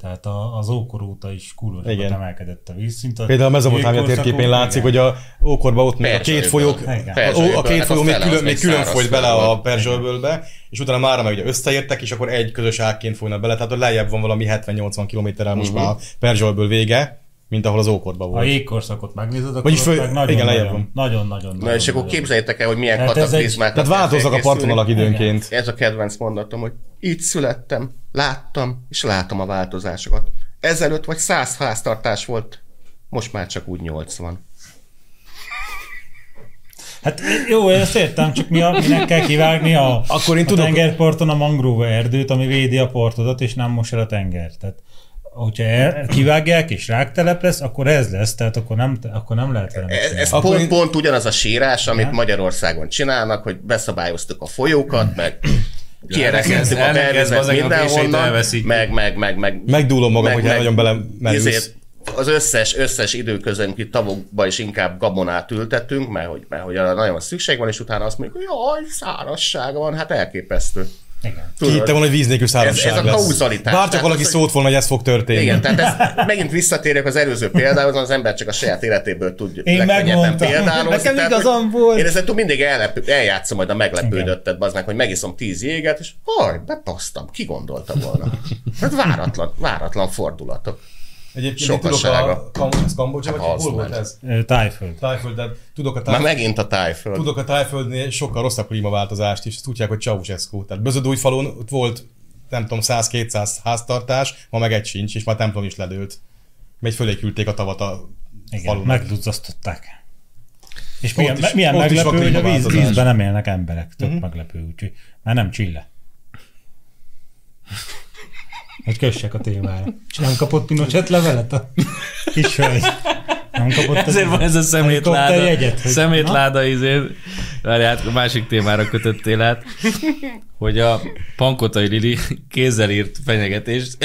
Tehát a, az ókor óta is kurva Igen. emelkedett a vízszint. A Például a mezopotámia jégkorszakok- térképén igen. látszik, hogy a ókorban ott még a Perzsa két öböl. folyók, Igen. Perzsa a, a öbölnek két a folyó még fele Hát az még külön, még külön száraz folyt bele fel a volt. Perzsölbölbe, és utána már meg ugye összeértek, és akkor egy közös ágként folynak bele, tehát ott lejjebb van valami 70-80 kilométerrel most Mhm. már a Perzsölből vége, mint ahol az ókorban Ha a volt. jégkorszakot megnézed, akkor Vagyis Vagyis föl- meg nagyon, igen, igen, lejjebb nagyon, van. nagyon, nagyon, Na és akkor nagyon- képzeljétek el, hogy milyen Tehát ez egy- kataklizmák. Hát Tehát változnak a partvonalak időnként. Ez a kedvenc mondatom, hogy itt születtem, láttam, és látom a változásokat. Ezelőtt vagy 100 háztartás volt, most már csak úgy 80. Hát jó, ezt értem, csak mi a, minek kell kivágni a, Akkor én a tudok- tengerparton a mangrove erdőt, ami védi a partodat, és nem mos el a tenger. Tehát hogyha el, kivágják és ráktelep lesz, akkor ez lesz, tehát akkor nem, akkor nem lehet vele mit Ez, csinálni. ez Akkor pont, én- pont ugyanaz a sírás, amit Magyarországon csinálnak, hogy beszabályoztuk a folyókat, meg kierekedtük a elkezdve belvizet az engem a véseit mindenhonnan, elveszítjük. meg, meg, meg, meg, Megdúlom magam, hogy nagyon izé, belemerülsz. Az összes, összes időközönki tavokba is inkább gabonát ültetünk, mert hogy, mert hogy arra nagyon szükség van, és utána azt mondjuk, hogy jaj, szárassága van, hát elképesztő. Igen. Ki hitte volna, hogy víz nélkül Ez- ez szárazság a lesz. kauzalitás. Bár csak Tehát valaki az, szólt volna, hogy ez fog történni. Igen, tehát ez, megint visszatérjek az előző példához, az ember csak a saját életéből tud Én legkönnyebben megmondtam. példálozni. Nekem Tehát, igazam hogy volt. Én ezen túl mindig ellepő, eljátszom majd a meglepődöttet baznak, hogy megiszom tíz jéget, és haj, bepasztam, ki gondolta volna. Tehát váratlan, váratlan fordulatok. Egyébként én tudok Sokassága. a Kam- ez Kambodzsa, vagy Hát az hol volt már. ez? Ö, Tájföld. Tájföld, de tudok a Már tájföld. megint a tájföld. Tudok a tájföldnél sokkal rosszabb klímaváltozást is, ezt tudják, hogy Ceausescu. Tehát Bözödújfalon ott volt, nem tudom, 100-200 háztartás, ma meg egy sincs, és már templom is ledőlt. Megy fölé küldték a tavat a Igen, falunak. megduzzasztották. És milyen, is- is, milyen ott is van meglepő, hogy a víz, klímaváltozás. vízben nem élnek emberek. Mhm. Tök meglepő, úgyhogy már nem csille. Hogy kössek a témára. És nem kapott Pinochet levelet a kis hölgy. Nem kapott Ezért van ez a szemétláda. helikopter jegyet, hogy- Szemétláda izé. Várjál, hát a másik témára kötöttél át, hogy a Pankotai Lili kézzel írt fenyegetést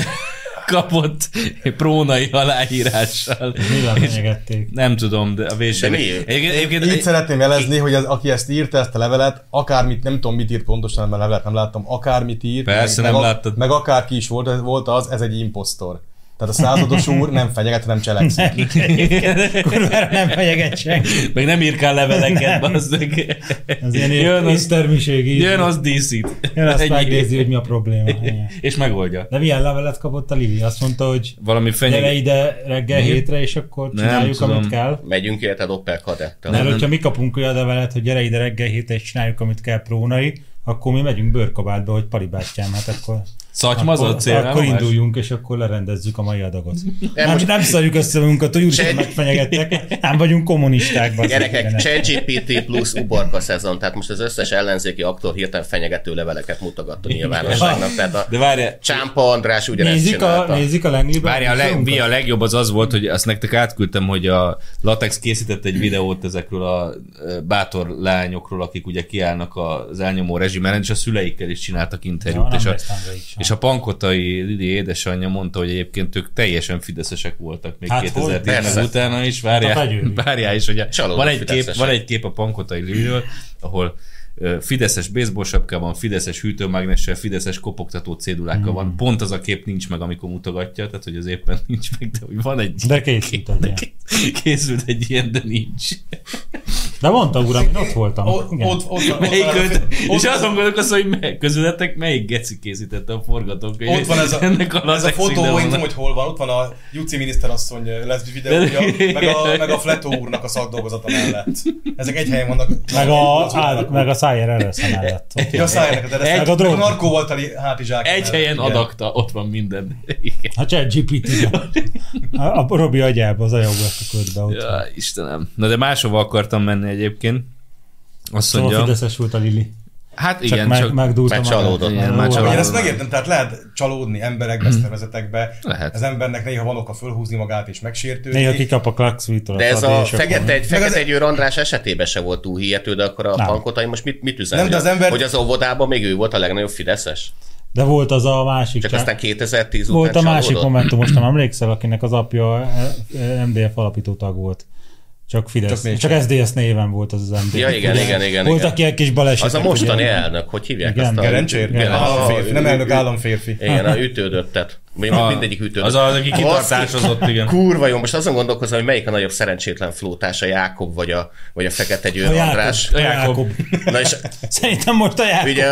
kapott prónai aláírással. Mivel És fenyegették? Nem tudom, de a véség. De miért? Egyébként, Itt egyébként szeretném jelezni, hogy az, aki ezt írta, ezt a levelet, akármit, nem tudom, mit írt pontosan, mert a levelet nem láttam, akármit írt, Persze, meg, nem meg, a- láttad. meg akárki is volt, volt az, ez egy imposztor. Tehát a százados úr nem fenyeget, hanem cselekszik. Kurvára nem fenyeget senki. meg nem írkál leveleket, bazdmeg. Ez ilyen Jön az, észtermiség így. jön az díszít. Jön azt Ennyi. megnézi, hogy mi a probléma. Igen. És megoldja. De milyen levelet kapott a Livi? Azt mondta, hogy Valami gyere fenyeget. ide reggel Mi? hétre, és akkor Nem csináljuk, tudom. amit kell. Megyünk érted Opel kadettel. Mert Nem, hogyha mi kapunk olyan levelet, hogy gyere ide reggel hétre, és csináljuk, amit kell prónai, akkor mi megyünk bőrkabátba, hogy palibástyám, hát akkor... Szatymazott akkor, célra. akkor induljunk, és akkor lerendezzük a mai adagot. Nem, most- most... nem szarjuk össze magunkat, hogy úristen Se- megfenyegettek, nem vagyunk kommunisták. bazd meg, Gyerekek, igen. ChatGPT plusz uborka szezon, tehát most az összes ellenzéki aktor hirtelen fenyegető leveleket mutogatta nyilvánosságnak. Tehát a De várjál, Csámpa András ugyanezt Nézik a, csinálta. nézik a lenglibe. Várj, a, leg, mi a legjobb az az volt, hogy azt nektek átküldtem, hogy a Latex készített egy videót ezekről a ö, bátor lányokról, akik ugye kiállnak az elnyomó rezsim ellen, és a szüleikkel is csináltak interjút. és, a, és a pankotai Lili édesanyja mondta, hogy egyébként ők teljesen fideszesek voltak még Hát hát hogy? 2010 Persze. utána is. Hát a Várjál, fegyőri. várjál is, hogy a, Csalódott van, egy kép, fideszesek. van egy kép a pankotai Liliről, ahol ö, fideszes baseball sapkában, fideszes hűtőmágnessel, fideszes kopogtató cédulákkal mm. Hmm. van. Pont az a kép nincs meg, amikor mutogatja, tehát hogy az éppen nincs meg, de hogy van egy De készült egy ilyen. készült egy ilyen, de nincs. De mondta uram, én ott voltam. Ott- Igen. ott- ott- ott- Melyik öt, ott- és azon gondolkozz, hogy mely, közületek melyik geci készítette a forgatókönyvet. Ott van ez a, ennek a, ez a latex fotó, én videónak. tudom, hogy hol van, ott van a Juci miniszterasszony leszbi De- videója, meg a, meg a Fletó úrnak a szakdolgozata mellett. Ezek egy helyen vannak. Meg a, Az á, úrnak. meg a szájér előszem mellett. Ott Ja, szájjának, de Egy- ezt meg a a drog. narkóval teli hátizsák. Egy mellett. helyen Igen. adakta, ott van minden. Igen. A chat GPT. A, a Robi agyába, az agyaggatta körbe ott. Ja, Istenem. Na de máshova akartam menni egyébként. Azt Szóval mondja, fideszes volt a Lili. hát Csak igen, meg, csak, megdúlta már magát. csalódott. Igen, Ó, már hát Én csalódott. ezt megértem, tehát lehet csalódni emberekbe, szervezetekbe. Lehet. Az embernek néha van oka fölhúzni magát és megsértődni. Néha kikap a Klaxvitól. De ez a fekete, egy, Meg az- fekete egy András esetében se volt túl hihető, de akkor a Nem. pankotai most mit, mit üzen? Nem, hogy de az a- ember- Hogy az óvodában még ő volt a legnagyobb fideszes? De volt az a másik. Csak aztán 2010 után volt a másik csalódott? momentumos, nem emlékszel, akinek az apja eh, MDF alapító tag volt. Csak Fidesz. Csak még Csak, csak SZDSZ néven volt az az MDF. Ja, igen, igen, igen, Voltak igen. ilyen kis balesetek. Az a mostani ugye. elnök, hogy hívják Igen, azt a... Gerencsér? Geren- Államférfi. Nem elnök, államférfi. Igen, a ütődöttet. Mondjuk A- mindegyik ütődött. Az, az, aki Baszki. kitartásozott, igen. Kurva jó, most azon gondolkozom, hogy melyik a nagyobb szerencsétlen flótás, a Jákob vagy a, vagy a Fekete Győr A András. Jákob. A Jákob. Jákob. Na és Szerintem most a Jákob. ugye...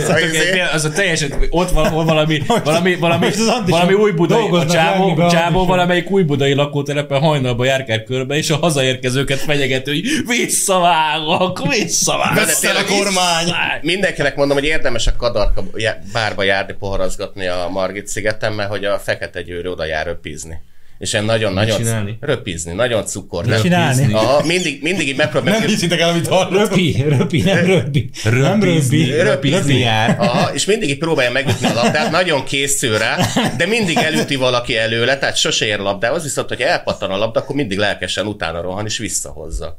Szóval izé- Igen, az, az, a- az, az a teljesen, ott van van valami, valami, valami, most az Andis valami új budai, a dolgoznak csávó, valamiben, csávó Andis. valamelyik új budai lakótelepen hajnalba járkál körbe, és a hazaérkezőket fenyegető, hogy visszavágok, visszavágok. Veszel a kormány! Mindenkinek mondom, hogy érdemes a kadarka já- bárba járni, poharazgatni a Margit szigeten, mert hogy a Fekete Győr oda jár röpizni. És én nagyon-nagyon csinálni? röpizni, nagyon cukor. Nem. Csinálni. Aha, mindig, mindig így Nem megpróbáljuk. hiszitek el, amit hallottam. Röpi, röpi, nem röpi. Nem röpi. röpizni jár. Aha, és mindig így próbálja megütni a labdát, nagyon készül rá, de mindig elüti valaki előle, tehát sose ér labdához, viszont hogy elpattan a labda, akkor mindig lelkesen utána rohan és visszahozza.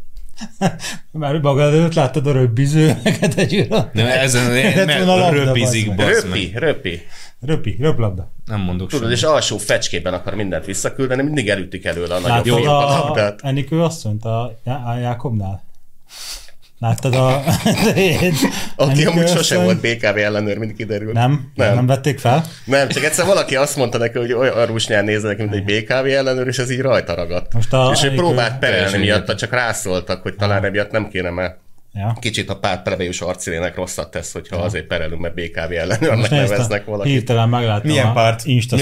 Már magad előtt láttad a röbbiző, neked hát egy ura. Nem, ezen Lett volna mert labda, röpizik, bazd basz meg. Röpi, röpi. Röpi, röplabda. Nem mondok Tudod, semmit. és alsó fecskében akar mindent visszaküldeni, mindig elütik előle a nagyobb Láttad fiúk a a, labdát. Enikő asszonyt a, Já- a Jákobnál? Láttad a... Aki Enikő amúgy sose asszony- volt BKV ellenőr, mint kiderült. Nem, Nem. nem, nem vették fel. Nem, csak egyszer valaki azt mondta neki, hogy olyan arusnyán néznek, mint egy BKV ellenőr, és ez így rajta ragadt. Most a- és ő próbált perelni Teljesen miatta, csak rászóltak, hogy talán emiatt nem kéne, mert Ja. kicsit a pár plebejus arcilének rosszat tesz, hogyha azért perelünk, mert BKV ellenőrnek Most nézd, neveznek a- valakit. hirtelen megláttam Milyen a párt? Insta,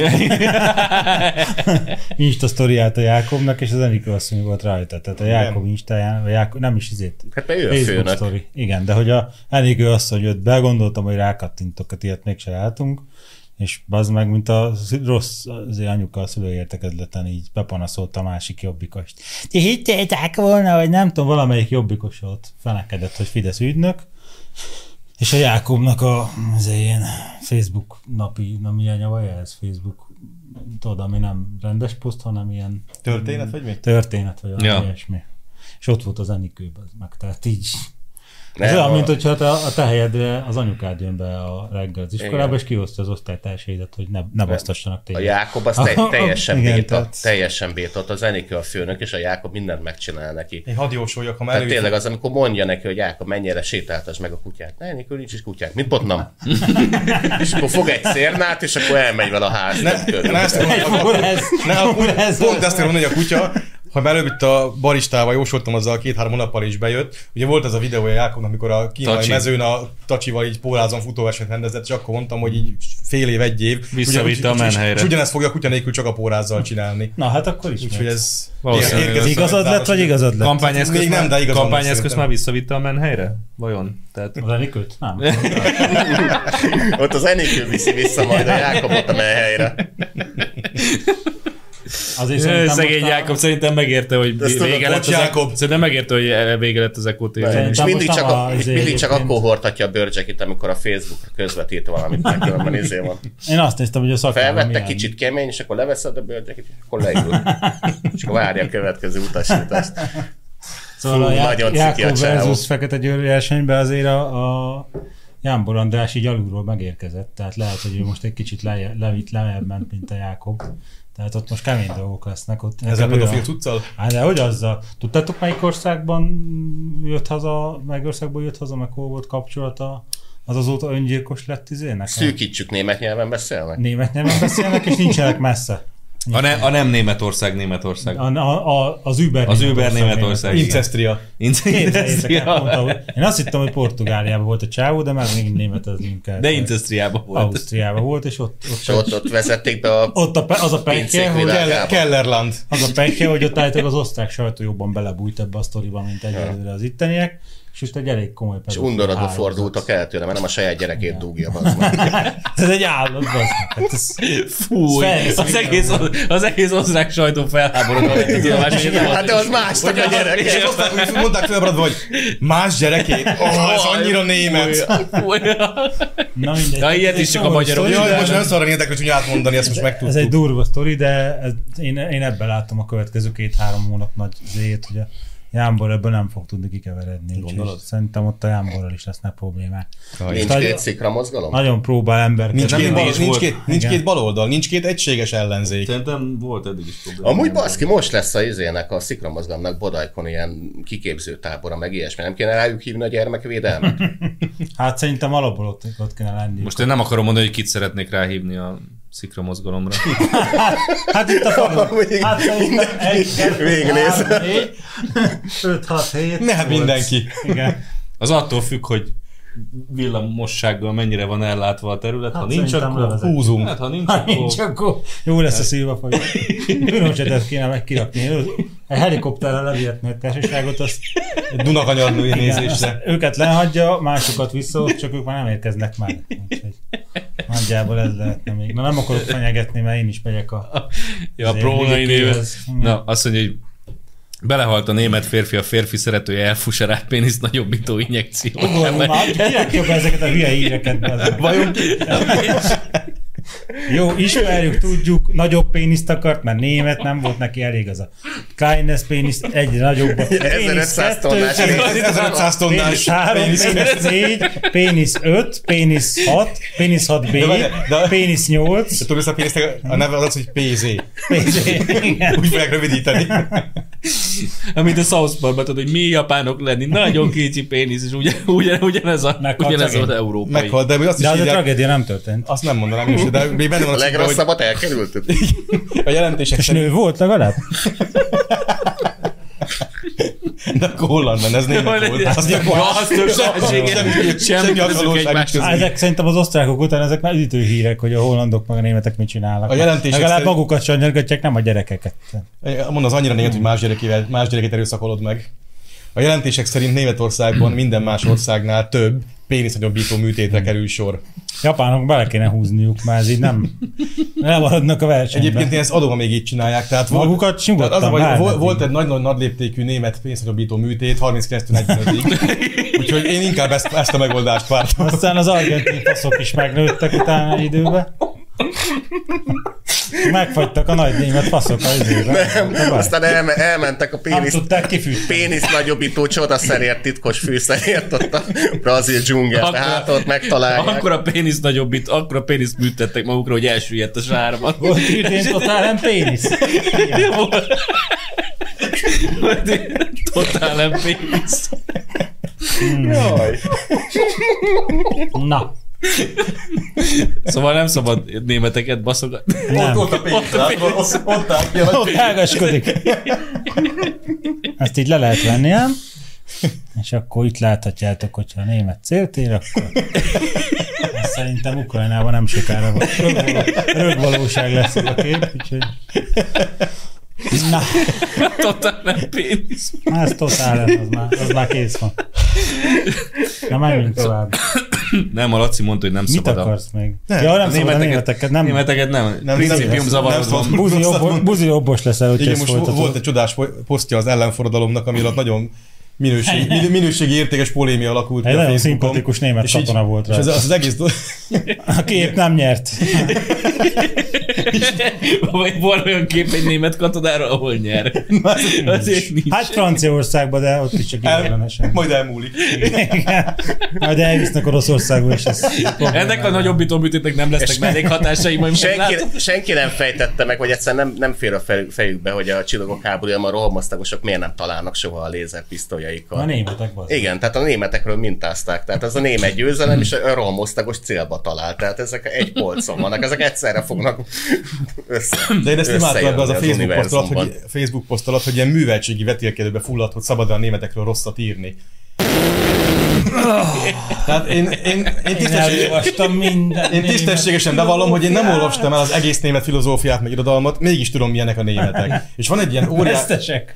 Insta sztoriát a Jákobnak, és az Enikő asszony volt rajta. Tehát a Jákob Instáján, vagy Jákob, nem is izét. Hát mert ő a Facebook főnök. sztori. Igen, de hogy a Enikő asszony jött be, gondoltam, hogy rákattintok, hogy ilyet mégsem látunk, és az meg, mint a sz- rossz az anyuka a szülői értekezleten így bepanaszolt a másik jobbikost. Ti hittétek volna, hogy nem tudom, valamelyik jobbikos ott felekedett, hogy Fidesz ügynök, és a Jákobnak a az ilyen Facebook napi, na milyen nyava ez? Facebook, tudod, ami nem rendes poszt, hanem ilyen Történet vagy mi? történet, vagy valami Ja. ja. ilyesmi. És ott volt az Enikő, az meg, tehát így. Nem, ez olyan, a- mint hogyha te, a te helyedre az anyukád jön be a reggel az iskolába, Igen. és kiosztja az osztálytársaidat, hogy ne, ne basztassanak A téged. Jákob az te- teljesen Igen, béta, tehát- teljesen béta, ott az Enikő a főnök, és a Jákob mindent megcsinál neki. Én hadd jósoljak, ha már Tehát előjött- tényleg az, amikor mondja neki, hogy Jákob, mennyire sétáltasd meg a kutyát. Ne, Enikő, nincs is kutyák. Mit botnam? és akkor fog egy szérnát, és akkor elmegy vele a ház. Ne, ne ezt Egy akartam- fúrhez, ne, fúrhez. pont ezt akarom mondani, hogy a kutya, ha már előbb itt a baristával jósoltam, azzal két-három hónappal is bejött. Ugye volt az a videója Jákobnak, amikor a kínai Tacsi. mezőn a tacsival így pólázon futóversenyt rendezett, és akkor mondtam, hogy így fél év, egy év. Visszavitte Ugyan- a és- menhelyre. És ugyanezt fogja a kutya nélkül csak a pórázzal csinálni. Na hát akkor is. Úgyhogy ez... Valószínűleg érkezett ez Igazad a- lett, vagy igazad lett? Kampányeszköz Még már- nem, de igazán kampányeszköz szerintem. már visszavitte a menhelyre? Vajon? Tehát Az Enikőt? Nem. Ott az Enikő viszi vissza majd a Jákobot a helyre. Azért Ő, szerintem Szegény most a- Jákob szerintem megérte, hogy Ezt tudom, vége lett Kocs az Jákob. Szerintem megérte, hogy e- vége lett az Eko TV. Szerintem És mindig most csak, nem a, a- és izé mindig csak egyébként. akkor hordhatja a bőrcsekit, amikor a Facebookra közvetít valamit, mert különben izé van. Én azt néztem, hogy a szakmában Felvette milyen. kicsit kemény, és akkor leveszed a bőrcsekit, és akkor leül. és akkor várja a következő utasítást. Szóval Fú, a Já- nagyon ciki a Jákob csávó. versus Fekete Győr versenyben azért a, a Jámbor András így alulról megérkezett, tehát lehet, hogy ő most egy kicsit lejjebb, levitt, lejjebb ment, mint a Jákob. Tehát ott most kemény dolgok lesznek. Ott, Ez a ő pedofil cuccal? Hát de hogy azzal? Tudtátok melyik országban jött haza, melyik országból jött haza, meg hol volt kapcsolata? Az azóta öngyilkos lett izének? Szűkítsük, német nyelven beszélnek. Német nyelven beszélnek, és nincsenek messze. A, ne, a nem Németország, Németország. A, a, a, az Uber Az Uber Németország Németország. Németország. Incestria. Képzeljétek el, pont Incestriában. ahogy- Én azt hittem, hogy Portugáliában volt a csávó, de már még németeznünk kell. De Incestriában volt. Ausztriában volt, és ott, ott, És ott, ott vezették be a... ott a, pe- az a Pincék pekje, hogy, világ. Keller- Kellerland. az a pekje, hogy ott állítólag az osztrák sajtó jobban belebújt ebbe a sztoriba, mint egyelőre az itteniek, és most egy elég komoly És pedofil undorodva hálózat. fordultak el tőle, mert nem a saját gyerekét dugja. bazd meg. Hát Ez egy állat, bazd meg. Hát ez- Fúj, Ez az felnéz, egész, az egész osztrák sajtó felháborodva lett az tudomás, hogy ez Hát de volt. az más, hogy a És gyerek. aztán úgy mondták felmaradva, hogy más gyerekét? Oh, ez annyira német. Fúj. Na mindegy. Na, ilyet Ez is csak a komoly magyarok sztori, Jaj, de- most nem szarra érdekli, hogy átmondani, ezt most megtudtuk. Ez egy durva sztori, de ez, én, én ebben látom a következő két-három hónap nagy zét, hogy a Jámbor ebből nem fog tudni kikeveredni. úgyhogy Gondolod? Szerintem ott a Jámborral is lesznek problémák. Nincs Stadion- két szikra mozgalom? Nagyon próbál ember. Nincs, Nem két, mindig bal, is nincs, volt. két, nincs Igen. két baloldal, nincs két egységes ellenzék. Szerintem volt eddig is probléma. Amúgy baszki, most lesz a izének, a szikramozgalomnak Bodajkon ilyen kiképző tábora, meg ilyesmi. Nem kéne rájuk hívni a gyermekvédelmet? Hát szerintem alapból ott, ott kéne lenni. Most én nem akarom mondani, hogy kit szeretnék ráhívni a szikra mozgalomra. Hát itt a Amúgy favorit. Hát szerintem mindenki egy, kettő, végignéz. három, négy, öt, hat, hét. Ne, hát nyolc. mindenki. Igen. Az attól függ, hogy villamossággal mennyire van ellátva a terület. Ha Hát nincs, szerintem akkor... levezet. Húzunk. Hát, ha nincs, Ha nincs, akkor... akkor jó lesz a szilva fogy. Különbösetet kéne meg kirakni. A helikopterrel elvihetni a társaságot, azt Egy Dunakanyarnói igen, azt nézésre. őket lehagyja, másokat vissza, csak ők már nem érkeznek már. Úgyhogy nagyjából ez lehetne még. Na nem akarok fenyegetni, mert én is megyek a... Ja, a az próbálni MVP-hez. néven. Igen. Na, azt mondja, hogy Belehalt a német férfi, a férfi szeretője elfuserát pénisz nagyobbító injekció. Ugorjunk már, kinek jobb ezeket a hülye híreket? bazd meg. Vajon ki? Jó, ismerjük, tudjuk, nagyobb péniszt akart, mert német nem volt neki elég az a Kleines pénisz, egyre nagyobb. a pénisz 1500 kettő, tonnás. pénisz 1500 Pénisz tonnás 3, pénisz 4, pénisz 5, pénisz 6, pénisz 6B, De várjál, de- pénisz 8, Tudod, a pénznek a neve az az, hogy PZ. pénisz... Igen. Úgy fogják rövidíteni. Amit a South Parkban tudod, hogy mi japánok lenni, nagyon kicsi pénisz, és ugyan, ugyan, ugyanez, a, Meghalt ugyanez az szegény. európai. Meghalt, de azt is De az a írják. tragédia nem történt. Azt nem mondanám is, de még benne van A a cikkben, hogy legrosszabbat elkerültük? a jelentések És szerint, nő volt legalább? de akkor holland van, ez német volt. Az Azt akkor- az tök Semmi- lehetséges. Semmi semmi közük hasonlóság egymáshoz. között. Á, Hát ezek szerintem az osztrákok után ezek már üdítő hírek, hogy a hollandok meg a németek mit csinálnak. A jelentések Legalább szerint- magukat sanyargatják, nem a gyerekeket. Mond az annyira német, hogy más, gyerekével, más gyereket erőszakolod meg. A jelentések szerint Németországban minden más országnál több pénisznagyobbító műtétre kerül sor. Japánok bele kéne húzniuk, már ez így nem lemaradnak a versenyben. Egyébként én ezt adóban még így csinálják. Tehát volt, magukat tehát az, a nyugodtan baj, várnak. volt, volt egy nagy-nagy nagyléptékű német pénzhagyobbító műtét 39-45-ig, úgyhogy én inkább ezt, ezt a megoldást vártam. Aztán az argentin faszok is megnőttek utána egy időben. Megfagytak a nagy német faszok az időben. Nem, aztán elme, elmentek a nem pénisz, tudták kifűteni. pénisz nagyobbító csodaszerért, titkos fűszerért ott a brazil dzsungelbe, hát ott megtalálják. Akkor a pénisz nagyobb, itt, akkor a pénisz műtettek magukra, hogy elsüllyedt a sárban. Volt idén totálem pénisz. Totál nem pénisz. Jaj. Na, Szóval nem szabad németeket baszogatni. nem. a pénz, ott, ott állt ki Ott ágaskodik. Ezt így le lehet venni, nem? És akkor itt láthatjátok, hogyha a német célt ér, akkor Ez szerintem Ukrajnában nem sokára van. Rögvaló- Rögvalóság lesz ez a kép, úgyhogy... Na, Totál nem pénisz. ez totál, az már, az már kész van. Na, menjünk tovább. Nem, a Laci mondta, hogy nem Mit szabad. a- akarsz még? Nem, ja, nem szabad a németeket, nem. Németeket nem. nem nem Principium szabad. zavarod Nem szabad. van. Buzi, obbo- buzi jobbos leszel, hogy Igen, ezt most vo- folytatod. volt egy csodás po- posztja az ellenforradalomnak, ami alatt nagyon minőség, min- minőségi értékes polémia alakult Egy ki a nagyon Facebookon. szimpatikus német És így- katona volt És rá. ez, az, az egész do- A kép nem nyert. Vagy van olyan kép egy német katonára, ahol nyer. Azért nincs. Hát Franciaországban, de ott is csak el, ideiglenesen. majd elmúlik. Igen. Majd elvisznek Oroszországba, és ez Ennek a nagyobb műtétnek nem lesznek mellékhatásai, majd meglátod. Senki, senki nem fejtette meg, vagy egyszerűen nem, nem fér a fejük- fejükbe, hogy a csillagok háborújában a rohamosztagosok miért nem találnak soha a lézerpisztolyaikkal. A németek bazd. Igen, tehát a németekről mintázták. Tehát ez a német győzelem és a rohamosztagos célba talált. Tehát ezek egy polcon vannak, ezek egyszerre fognak össze. De én ezt imádtam ebbe az a összejönni Facebook poszt alatt, hogy, univerzumban. Facebook poszt alatt, hogy ilyen műveltségi vetélkedőbe fulladt, hogy szabad a németekről rosszat írni. Tehát én, én, én, Én tisztességes, elolvastam minden. én tisztességesen bevallom, hogy én nem olvastam el az egész német filozófiát, meg irodalmat, mégis tudom, milyenek a németek. És van egy ilyen óriás... Vesztesek.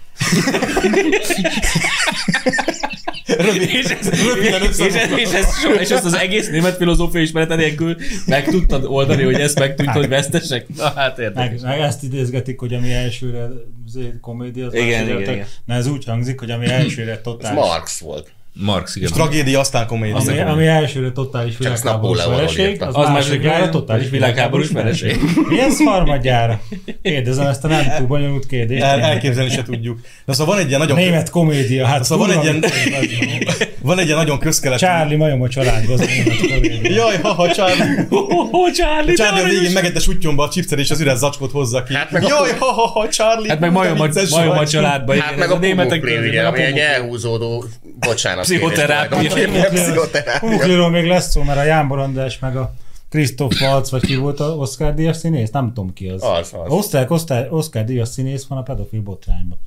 Rövid, És ez, röviden és, ez, összefoglalva. és, ez, so- és ezt az egész német filozófia ismerete nélkül meg tudtad oldani, hogy ezt megtűnt, hogy vesztesek? Na hát érdekes. Meg, meg ezt idézgetik, hogy ami elsőre azért komédia, az Igen, másodjára igen, tök- igen. Na ez úgy hangzik, hogy ami elsőre Ez totális. Marx volt. Marx, igen. És tragédia, aztán komédia. Ami, ami elsőre totális világháborús Napóleonról vereség, írtam. az, Az másodjára másodjára totális világháborús világháborús vereség. Mi ez harmadjára? Kérdezem ezt a nem túl bonyolult kérdést. El, elképzelni se tudjuk. Na szóval van egy ilyen nagyon... Német komédia, hát Szóval van kurva, egy ilyen- mit tudom, az Van egy ilyen nagyon van. közkeletű... Charlie majom a családban, az a német komédia. Jaj, haha, Charlie. Oh, Charlie, Charlie a végén megette süttyomba a chipszet és az üres zacskót hozza ki. Hát meg a- Jaj, haha, Charlie. Hát meg de majom a, vicces majom a vagy. családba. Hát meg a pumukli, ugye, ami egy elhúzódó, bocsánat. kérdés, Pszichoterápia. tulajdonképpen. Pszichoterápia. Pumukliról Szóval még lesz szó, mert a Jámbor András meg a Krisztóf Falc, vagy ki volt a Oscar díjas színész? Nem tudom ki az. Az, az. Osztrák Osztrák- Oscar díjas színész van a pedofil botrányban.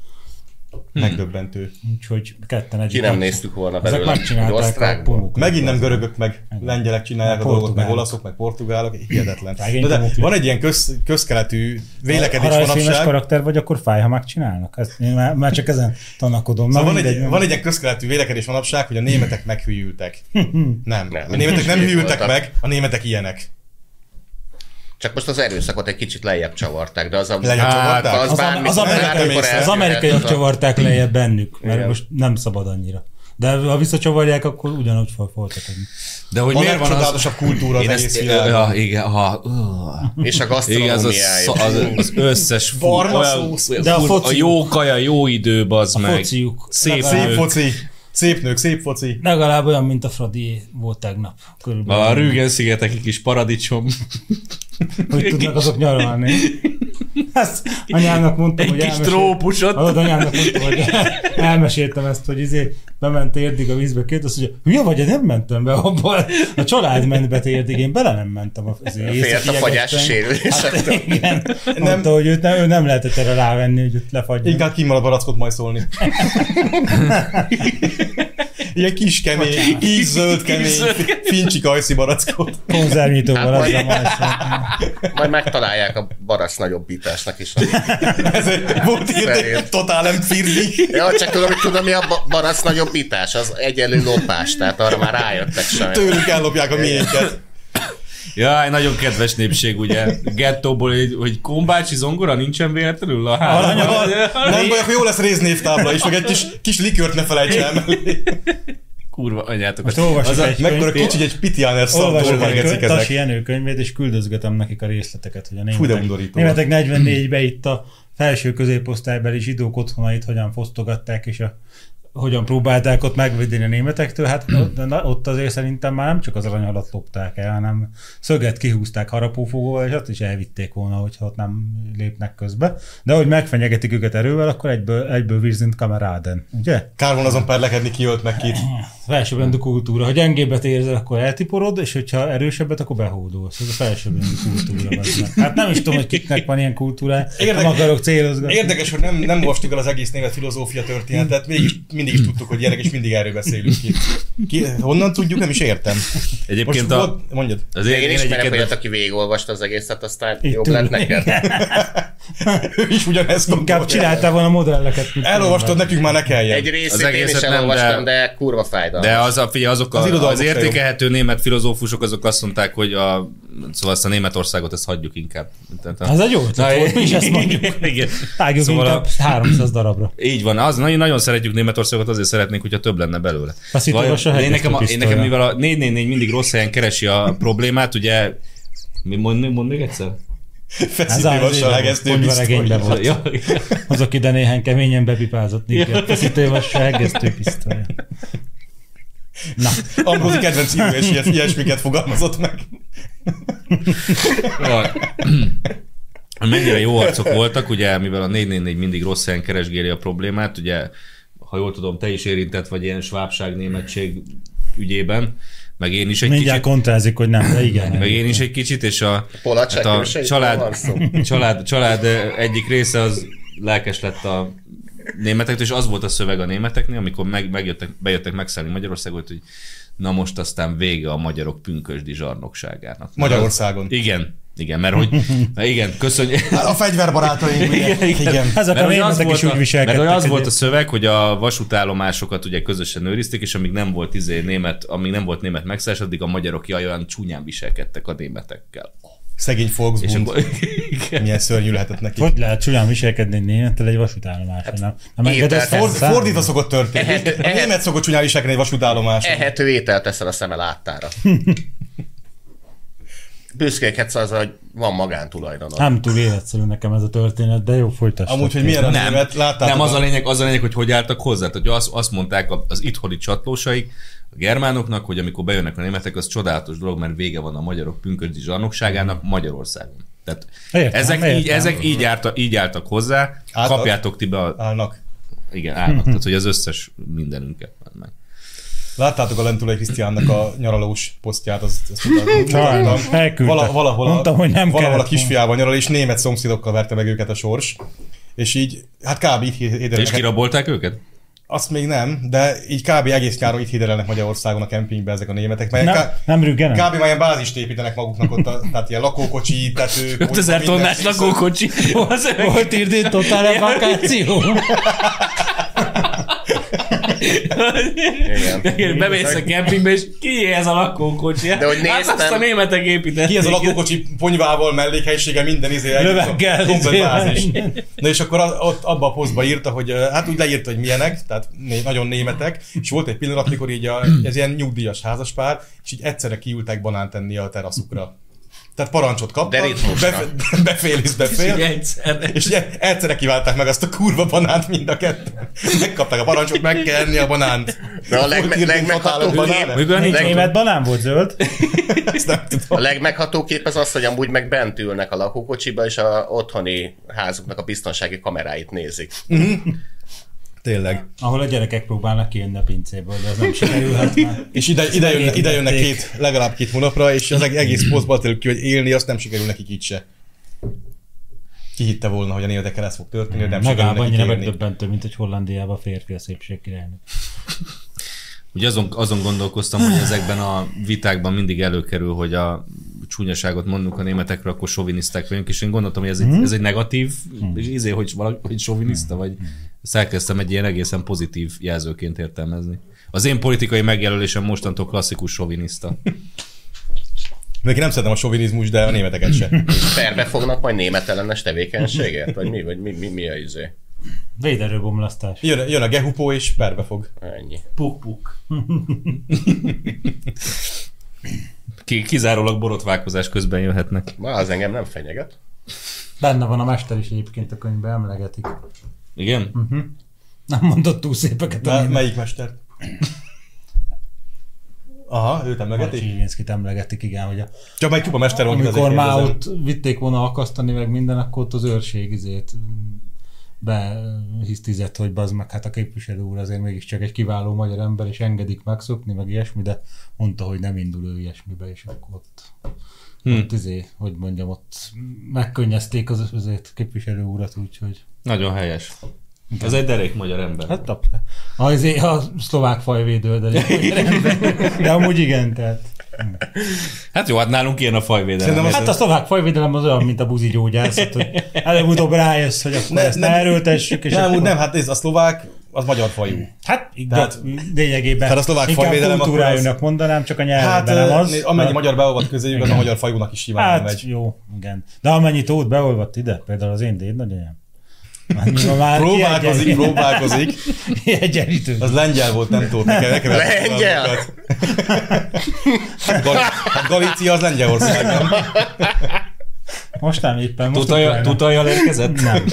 Megdöbbentő. Úgyhogy ketten egy. Ki nem néztük volna Ezek belőle. hogy megcsinálták a Osztrákból. pumuklit. Megint nem görögök, meg lengyelek csinálják a Meg dolgot, meg portugálok. olaszok, meg portugálok, hihetetlen. Szegény Na de pumukli. van egy ilyen köz, közkeletű vélekedés Ha rajzfilmes manapság. karakter vagy, akkor fáj, ha megcsinálnak. Ezt én már, már csak ezen tanakodom. Na, Szóval van, mindegy, egy, van egy ilyen közkeletű vélekedés manapság, hogy a németek meghűltek. Nem, Nem. a németek nem Hülyék hűltek voltak. meg, a németek ilyenek. Csak most az erőszakot egy kicsit lejjebb csavarták, de az a... Lejjebb csavarták? az, Hát, az, am- bármi- az, bármikor amerikai, eltűnhet, az amerikaiak az a- csavarták lejjebb bennük, mert Igen. most nem szabad annyira. De ha visszacsavarják, akkor ugyanúgy fog folytatni. De hogy Van miért egy van az... csodálatosabb kultúra az Én egész ezt, világon. ja, igen, ha, uh, És a igen, az, az, gasztronómiája. az, az összes fú, Barna olyan, szósz. de a, fú, foci, a jó kaja, jó idő, az A meg. fociuk. Szép, Szép nők. foci, szép nők, szép foci. Legalább olyan, mint a Fradi volt tegnap. Körülbelül. A Rügen szigeteki kis paradicsom. hogy tudnak azok nyaralni. Ezt anyának mondtam, Egy hogy kis elmesél- trópusot. Hallod, anyának mondtam, hogy elmeséltem ezt, hogy izé bement érdig a vízbe két, azt mondja, hülye vagy, én nem mentem be abban. A család ment be érdig, én bele nem mentem. Az Félt a fagyás Hát, sérülésektől. igen. Mondta, hogy őt nem, ő nem lehetett erre rávenni, hogy őt lefagyjon. Inkább kimarad barackot majd szólni. Ilyen kis kemény, így zöld kemény, fincsik ajszi barackot. Konzervnyitóval Hát, az a vagy- majszom. Majd megtalálják a barasz nagyobbításnak is. Ez egy volt Szerint. érdek, totál nem firli. Ja, csak tudom, hogy tudom, mi a ba- barasz nagyobbítás. Az egyenlő lopás, tehát arra már rájöttek sajnos. Tőlünk ellopják a miénket. Jaj, nagyon kedves népség, ugye. Gettóból, hogy, hogy kombácsi zongora nincsen véletlenül a házban. Aranyos. Nem baj, akkor jó lesz réznévtábla is, meg egy kis, kis likört ne felejts el mellé. Kurva anyátokat. Most olvasok Az a- egy Mekkora könyvét. kicsi egy Pitiáner szartól Olvasok egy megecik kö- Tasi ezek. Jenő könyvét, és küldözgetem nekik a részleteket, hogy a Fú, de németek, undorító. németek 44-ben itt a felső középosztálybeli zsidók otthonait hogyan fosztogatták, és a, hogyan próbálták ott megvédeni a németektől, hát ott, na, ott azért szerintem már nem csak az arany alatt lopták el, hanem szöget kihúzták harapófogóval, és azt is elvitték volna, hogyha ott nem lépnek közbe. De hogy megfenyegetik őket erővel, akkor egyből, egyből virzint kameráden, ugye? Kár volna azon perlekedni, ki ölt meg kit. felsőbbrendű kultúra. Ha gyengébbet érzel, akkor eltiporod, és hogyha erősebbet, akkor behódolsz. Ez a felsőbbrendű kultúra. bazd meg. Hát nem is tudom, hogy kiknek van ilyen kultúrája. Érdek- Érdek... Nem akarok célozgatni. Érdekes, hogy nem, nem olvastuk el az egész német filozófia történetet, mégis mindig is tudtuk, hogy ilyenek, és mindig erről beszélünk ki. ki honnan tudjuk, nem is értem. Egyébként Most a, volt, mondjad. az Én ismerek kedvenc- olyat, aki végigolvasta az egészet, aztán Itt jobb ül. lett neked. Ő is ugyanezt Inkább gondolja. csináltál volna modelleket. mint Elolvastad, nekünk már ne kelljen. Egy részét én is egészet nem, elolvastam, de- de, kurva fájdalmas. De az a, figyelj, azok Az a, az, irodalmak az se jó. értékelhető német filozófusok, azok azt mondták, hogy a, szóval ezt a Németországot, ezt hagyjuk inkább. Tehát a- Hát Ez egy jó ötlet volt, mi is ezt mondjuk. Igen. Vágjuk Szóval szóval a- inkább 300 darabra. Így van, az, nagyon, nagyon szeretjük Németországot, azért szeretnénk, hogyha több lenne belőle. A Szitó Vajon- Rosa én, hegyes nekem, a- én pisztolya. nekem, mivel a 444 mindig rossz helyen keresi a problémát, ugye, mi mond, mi mond még egyszer? Feszítő lassan hegesztő Ponyvaregényben biztos. volt. Ja, igen. Azok ide néhány keményen bepipázott négy feszítő vas egésztő pisztolya. Na, Ambrózi kedvenc író, és ilyes- ilyesmiket fogalmazott meg. Jaj. Mennyire jó arcok voltak, ugye, mivel a 444 mindig rossz helyen keresgéli a problémát, ugye, ha jól tudom, te is érintett vagy ilyen svábság németség ügyében, meg én is egy mindjárt kicsit, kontrázik, hogy nem, de igen. meg én is egy kicsit, és a, hát Polacsak a őseikről van család, szó. család, család egyik része az lelkes lett a németektől, és az volt a szöveg a németeknél, amikor meg, megjöttek, bejöttek megszállni Magyarországot, hogy na most aztán vége a magyarok pünkösdi zsarnokságának. Magyarországon. Igen, igen, mert hogy, na igen, köszönjük. A fegyverbarátaim. ugye? Igen. Ezek Mert, a hogy az németek volt is a, úgy viselkedtek. mert hogy az volt a egyébként. szöveg, hogy a vasútállomásokat ugye közösen őrizték, és amíg nem volt izé német, amíg nem volt német megszállás, addig a magyarok jaj, olyan csúnyán viselkedtek a németekkel. Szegény És Volksbund. akkor... Milyen szörnyű lehetett neki. Hogy lehet csúnyán viselkedni egy némettel egy vasútállomáson? Nem, Hát nem ételt engedett tesz- Ford, felszállni? fordítva szokott történni. Ehet- A ehet- német szokott csúnyán viselkedni egy vasútállomáson. Ehető ételt teszel a szeme láttára. Büszkékedsz az, hogy van magántulajdonod. Nem túl életszerű nekem ez a történet, de jó, folytassuk. Amúgy, hogy milyen a német, láttátok? nem az a a... lényeg, az a lényeg, hogy hogy álltak hozzá. Tehát, hogy azt, azt mondták a- az itthoni csatlósaik, a germánoknak, hogy amikor bejönnek a németek, az csodálatos dolog, mert vége van a magyarok pünkösdi zsarnokságának Magyarországon. Tehát Értem, ezek, értem. Így, ezek így, állta, így álltak hozzá, Álltak? álltak. kapjátok ti be a... Állnak. Igen, állnak. Tehát, hogy az összes mindenünket. Meg. Láttátok a Lentulai Krisztiánnak a nyaralós posztját, azt, azt Sajnos, mutattam. elküldte. Vala, valahol, Mondtam, a, hogy nem valahol a kellett kisfiával nyaral, és német szomszédokkal verte meg őket a sors. És így, hát kb. itt És héderelnek. kirabolták őket? Azt még nem, de így kb. egész nyáron itt héderelnek Magyarországon a kempingbe ezek a németek. Mert Nem, ká- nem rüggenem. Kb. már ilyen bázist építenek maguknak ott, a, tehát ilyen lakókocsi, tetők. 5000 minden. tonnás lakókocsi. Az Volt indítottál el vakáció? Igen. Igen, bemész a kempingbe, és ki ez a lakókocsi? De hogy hát azt néztem- a németek építették. Ki ez a lakókocsi ponyvával, mellékhelyisége, minden izé. Löveggel, egész a komplet izé, bázis. minden. Na és akkor a- ott abba a posztba írta, hogy ö, hát úgy leírta, hogy milyenek, tehát né- nagyon németek, és volt egy pillanat, mikor így a, ez ilyen nyugdíjas házaspár, és így egyszerre kiültek banánt enni a teraszukra. Tehát parancsot kaptak, Derétmusra. befe- befél is Így befél, egyszer. és ugye egyszerre kiválták meg azt a kurva banánt mind a ketten. Megkapták a parancsot, meg kell enni a banánt. De a Volt legme- írni, legmeghatóbb hogy kép- banán- Mondjuk olyan nincs- leg- Német banán volt zöld. Ezt nem tudom. A legmegható kép az az, hogy amúgy meg bent ülnek a lakókocsiba, és a otthoni házuknak a biztonsági kameráit nézik. Tényleg. Ahol a gyerekek próbálnak kijönni a pincéből, de ez nem sikerülhet már. És ide, ide, jönne, ide jönnek megértették. két, legalább két hónapra, és az egész posztban terül ki, hogy élni, azt nem sikerül nekik itt se. Ki hitte volna, hogy a németekkel ez fog történni, hogy nem Magában sikerül annyira nekik élni. megdöbbentő, mint hogy Hollandiában a férfi a szépség királynő. Ugye azon, azon gondolkoztam, hogy ezekben a vitákban mindig előkerül, hogy a csúnyaságot mondunk a németekről, akkor soviniszták vagyunk, és én gondoltam, hogy ez, egy, ez egy negatív, és izé, hogy, valaki, hogy soviniszta, vagy ezt elkezdtem egy ilyen egészen pozitív jelzőként értelmezni. Az én politikai megjelölésem mostantól klasszikus soviniszta. Neki nem szeretem a sovinizmus, de a németeket se. Perbe fognak majd német ellenes tevékenységért? Vagy mi, vagy mi, mi, mi a izé? Véderőbomlasztás. Jön, jön a gehupó, és perbe fog. Ennyi. Puk-puk. Ki, kizárólag borotválkozás közben jöhetnek. Ma az engem nem fenyeget. Benne van a mester is egyébként a könyvben, emlegetik. Igen? Nem mondott túl szépeket a Na, német. melyik mester? Aha, őt emlegetik. Marcsinszkit emlegetik, igen, hogy a, Csak majd csupa mester volt, amikor igazán már kérdezem. ott vitték volna akasztani meg minden, akkor ott az őrség izét mm, behisztizett, hogy bazd meg, hát a képviselő úr azért mégiscsak egy kiváló magyar ember, és engedik megszokni, meg ilyesmi, de mondta, hogy nem indul ő ilyesmibe, és akkor ott, hmm. ott izé, hogy mondjam, ott megkönnyezték az azért képviselő urat, úgyhogy Nagyon helyes. Ez egy derék magyar ember. Hát tap. Ha, izé, ha a szlovák fajvédő, de, de amúgy igen, tehát. Hát jó, hát nálunk ilyen a fajvédelem. Szerintem Hát a szlovák fajvédelem az olyan, mint a buzi gyógyászat, hogy előbb-utóbb rájössz, hogy akkor Ne- ezt nem- erőltessük. És Nem, akkor... úgy nem, hát ez a szlovák, az magyar fajú. Hát, Tehát- tehát, lényegében Tehát a szlovák inkább fajvédelem akkor kultúrájönnek mondanám, csak a Hát, nyelvben ö, nem az. amennyi Hát- magyar beolvat közéjük, az a magyar fajúnak is simán hát, megy. jó, igen. De amennyit ott beolvadt ide, például az én déd nagyanyám. Annyira Már Próbálkozik, kiegyen- próbálkozik. kiegyenlítő. Az lengyel volt, nem tudom, nekem, nekem Lengyel? hát, Gal- hát Galícia az Lengyelország, nem? Most nem éppen. Most Tutaja, Ukrajna. tutajjal érkezett? Nem.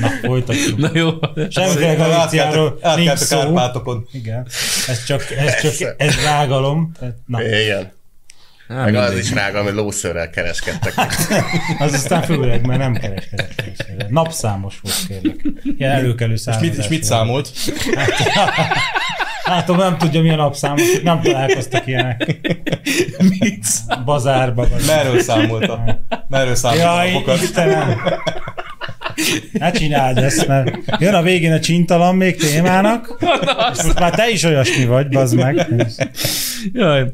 Na, folytatjuk. Na jó. Semmiféle Galíciáról Hát, Átkeltek- nincs átkeltek a szó. Kárpátokon. Igen. Ez csak, ez csak, ez rágalom. Tehát, Na, Igen. Hát, Meg az is rága, hogy lószőrrel kereskedtek. az aztán főleg, mert nem kereskedett. pénzféle. Napszámos volt, kérlek. Ilyen előkelő És számozás. mit, és mit volt. számolt? Látom, nem tudja, milyen napszámos. Nem találkoztak ilyenek. mit? Bazárba. Vagy. Merről számolta? Merről számolta a Jaj, napokat? Istenem! Ne csináld ezt, mert jön a végén a csintalan még témának, és most már te is olyasmi vagy, bazd meg. Jaj.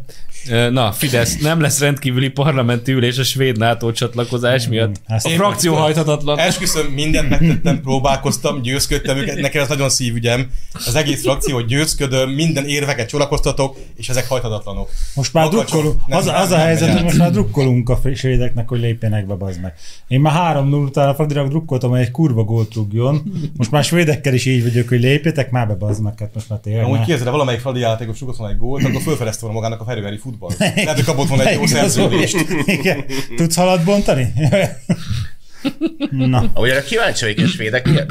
Na, Fidesz, nem lesz rendkívüli parlamenti ülés a svéd NATO csatlakozás miatt. Ezt- A frakció hajthatatlan. Esküszöm, mindent megtettem, próbálkoztam, győzködtem őket, nekem ez nagyon szívügyem. Az egész frakció, hogy győzködöm, minden érveket csolakoztatok, és ezek hajthatatlanok. Most már Makacsok. drukkolunk, Nem, az, nem, az a nem helyzet, megy hogy át. most már drukkolunk a svédeknek, hogy lépjenek be, bazd meg. Én már 3 0 után a Fradinak drukkoltam, hogy egy kurva gólt rúgjon. Most már svédekkel is így vagyok, hogy lépjetek már be, bazd meg, hát most már tényleg. Amúgy már- kérdezed, ha valamelyik Fradi játékos rúgott volna egy gólt, akkor fölfedezte volna magának a ferőveri futball. Lehet, hogy kapott volna egy jó szerződést. Igen. Tudsz halat bontani? Na, Ahogy erre kíváncsi vagyok, és védek, mi, a-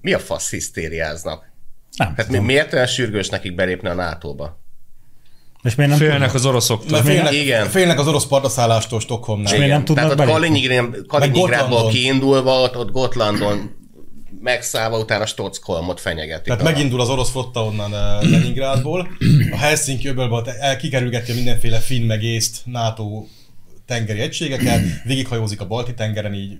mi a fasz hisztériáznak? nem Hát mi, tudom. miért olyan sürgős nekik belépni a NATO-ba? És miért nem Félnek tudnak? az oroszoktól. Mert félnek, Igen. félnek az orosz partaszállástól Stockholmnál. miért nem tudnak Tehát ott belépni? Kaliningrádból- Kaliningrádból Gotlandon. kiindulva, ott, ott Gotlandon megszállva utána Stockholmot fenyegetik. Tehát A- megindul az orosz flotta onnan eh, Leningrádból, a Helsinki öbölből te- el- kikerülgeti a mindenféle finn meg észt NATO tengeri egységeket, végighajózik a balti tengeren így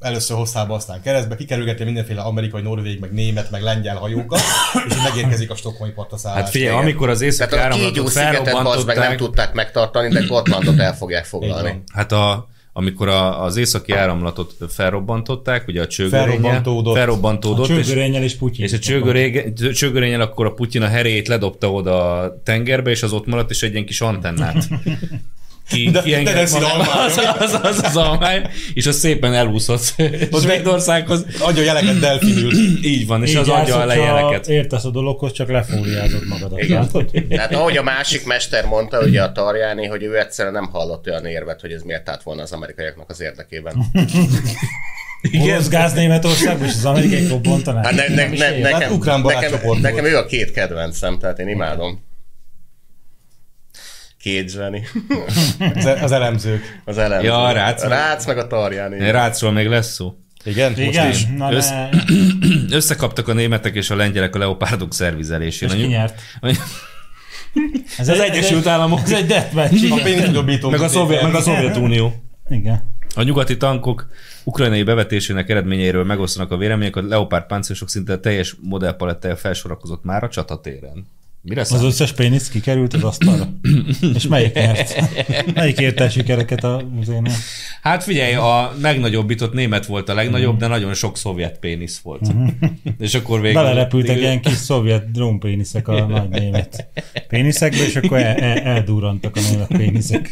először hosszába, aztán keresztbe, kikerülgeti a mindenféle amerikai, norvég, meg német, meg lengyel hajókat, és így megérkezik a stockholmi partaszállásra. Hát figyelj, amikor az északi Tehát a kígyó áramlatot szigetet bazd meg nem felrobbantották, tudták megtartani, de Gotlandot el fogják foglalni. Hát a, amikor a, az északi áramlatot felrobbantották, ugye a csőgörénye, Felrobbantódott. felrobbantódott A és, csőgörényel és Putyin. és a csőgörége- csőgörényel akkor a Putyin a herét ledobta oda a tengerbe, és az ott maradt, és egy ilyen kis antennát. Ki, De- kiengedett de leszi magába. almára. az, az, az, az almány, és az szépen elúszott Svédországhoz. Adja jeleket delfinül. Így van, és Így az adja a állsz, hogyha lejeleket. Értesz a dologhoz, csak lefóliázod magadat. látod? Tehát ahogy a másik mester mondta, ugye a Tarjáni, hogy ő egyszerűen nem hallott olyan érvet, hogy ez miért állt volna az amerikaiaknak az érdekében. Orosz gáz Németországban, és az amerikai robbantanák. Hát ne, ne, Nem is ne, ér. Hát nekem, ukrán nekem, barátcsoport nekem volt. ő a két kedvencem, tehát én imádom. Két zseni. Az, e- az elemzők. Az elemző. Ja, a Rácz. A Rácz meg a Tarjáni. Rácról még lesz szó. Igen? Igen, Most is. na Össz- ne. Összekaptak a németek és a lengyelek a leopárdok szervizelésén. És ki nyert? Ez Az Egyesült Államok. Ez egy deathmatch. A pénzkidobító. Meg a, szovjet, meg a Szovjetunió. Igen. A nyugati tankok ukrajnai bevetésének eredményeiről megosztanak a vélemények, a Leopard páncélosok szinte a teljes modellpalettája felsorakozott már a csatatéren. Mire Az számít? összes pénisz kikerült az asztalra. És melyik nyert? Melyik érte a sikereket a muzénál? Hát figyelj, a megnagyobbított német volt a Mhm. legnagyobb, de nagyon sok szovjet pénisz volt. És akkor végül... Belerepültek ilyen kis szovjet drónpéniszek a nagy német péniszekbe, és akkor el, el, eldurrantak a német péniszek.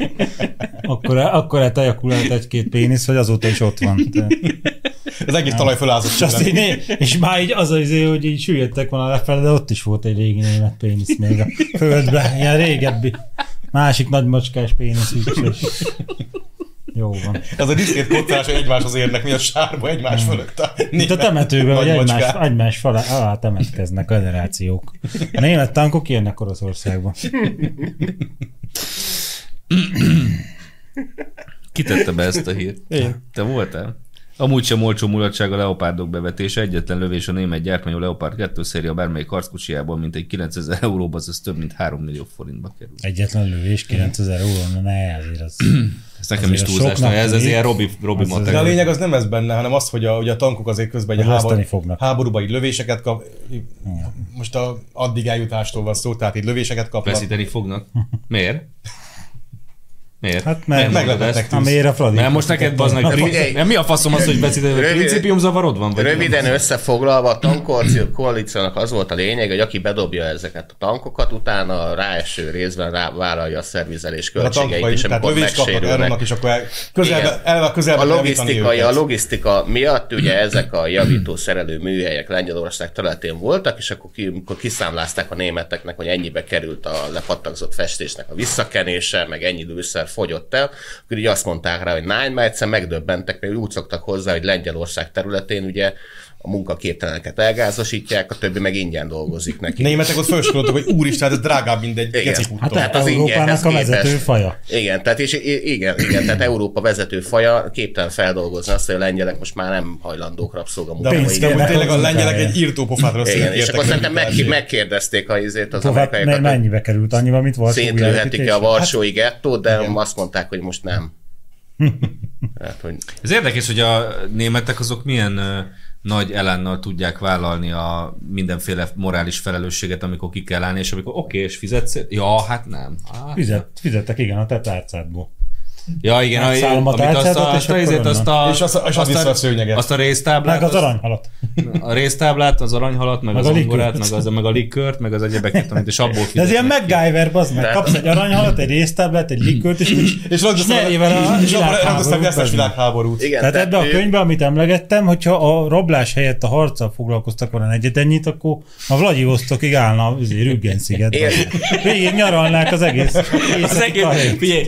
Akkor, akkor eltajakulált egy-két pénisz, hogy azóta is ott van. Tehát, Az egész talaj fölázott. és, azt így, tőlem. né- és már így az az hogy így süllyedtek volna lefelé, de ott is volt egy régi német pénisz még a földben, ilyen régebbi. Másik nagy macskás pénisz is. Jó van. Ez a diszkrét kockás, hogy egymáshoz érnek, mi a sárba egymás fölött. A Itt Hmm. a temetőben, vagy Nagy egymás, macskák. egymás falá, alá temetkeznek a generációk. A német tankok jönnek Oroszországba. Kitette be ezt a hírt? Én. Te voltál? Amúgy sem olcsó mulatság a leopárdok bevetése, egyetlen lövés a német gyártmányú Leopard 2 széria bármelyik harckocsijából, mint egy 9000 euróba, az több mint 3 millió forintba kerül. Egyetlen lövés 9000 euró, ne azért az. Ez nekem Azért is az túlzás, soknak ez, ez tűnik. ilyen Robi, Robi Az- az- De a matek. lényeg az nem ez benne, hanem az, hogy a, ugye a tankok azért közben egy Hogy háború, veszteni fognak. Hmm. háborúban így lövéset kap, most a, addig eljutástól van szó, tehát így lövéseket kapnak. Veszíteni fognak. Miért? Miért? Hát meg, Miért mondod meglepetnek ezt? tűz. Amiért a Fradi. Mert most neked bazd meg, figyelj. prin- mi a faszom az, hogy beszélni, Rövid- principium zavarod van? Vagy Röviden összefoglalva, a tankorció koalíciónak az volt a lényeg, hogy aki bedobja ezeket a tankokat, utána a ráeső részben rá, vállalja a szervizelés a tankok, költségeit, és tehát amikor lövést kapnak, megsérülnek. elronnak, és akkor el, közelbe, Igen. elve, közelbe A kell logisztikai, javítani a őket. logisztika miatt ugye ezek a javító-szerelő műhelyek Lengyelország területén voltak, és akkor, ki, akkor kiszámlázták a németeknek, hogy ennyibe került a lepattagzott festésnek a visszakenése, meg ennyi lőszer fogyott el, akkor így azt mondták rá, hogy nány, mert egyszer megdöbbentek, mert úgy szoktak hozzá, hogy Lengyelország területén ugye a munkaképteleneket elgázosítják, a többi meg ingyen dolgozik neki. Németek ott felsoroltak, hogy úristen, hát ez drágább, mint egy Igen. Hát, gecikúttól. Tehát hát az az ingyenhez Európának a képest. vezető faja. Igen, tehát, és, i- igen, igen, tehát Európa vezető faja képtelen feldolgozni azt, hogy a lengyelek most már nem hajlandók De rabszolgamunkába Pénzt amúgy- de amúgy kell tényleg a hozzá, lengyelek hát- igen. egy írtó pofátra Igen, és akkor szerintem meg, meg, megkérdezték a izét az Hát, mert amerikaiakat, hogy mennyibe került annyiba, mint volt szétlőhetik a Varsói gettót, de azt mondták, hogy most nem. Hát, hogy Ez érdekes, hogy a németek azok milyen ö, nagy elánnal tudják vállalni a mindenféle morális felelősséget, amikor ki kell állni, és amikor oké, okay, és fizetsz? Ja, hát nem. Hát, Fizet, fizettek, igen, a te tárcádból. Ja, igen, a, Megszállom a amit azt tárcádat, a, és azt a, akkor izét, onnan. azt a, És azt- és azt vissza a szőnyeget. Azt a Meg résztáblát, az aranyhalat. a résztáblát, az aranyhalat, meg, meg Meg az a zongorát, likört. meg, az, meg a likört, meg az egyebeket, amit és abból De ez ilyen fizetnek. MacGyver, bazd meg. De- Kapsz egy aranyhalat, egy résztáblát, egy likört, és úgy- És ragdoztam nyerjével a és abban világháborút, ragdoztam ki ezt a bazd meg. világháborút. Igen, Tehát ebbe a ő- könyvbe, amit emlegettem, hogyha a rablás helyett a harccal foglalkoztak volna egyet ennyit, akkor a Vladivostokig állna az Rüggen sziget. Végig nyaralnák az egész. Az egész, figyelj,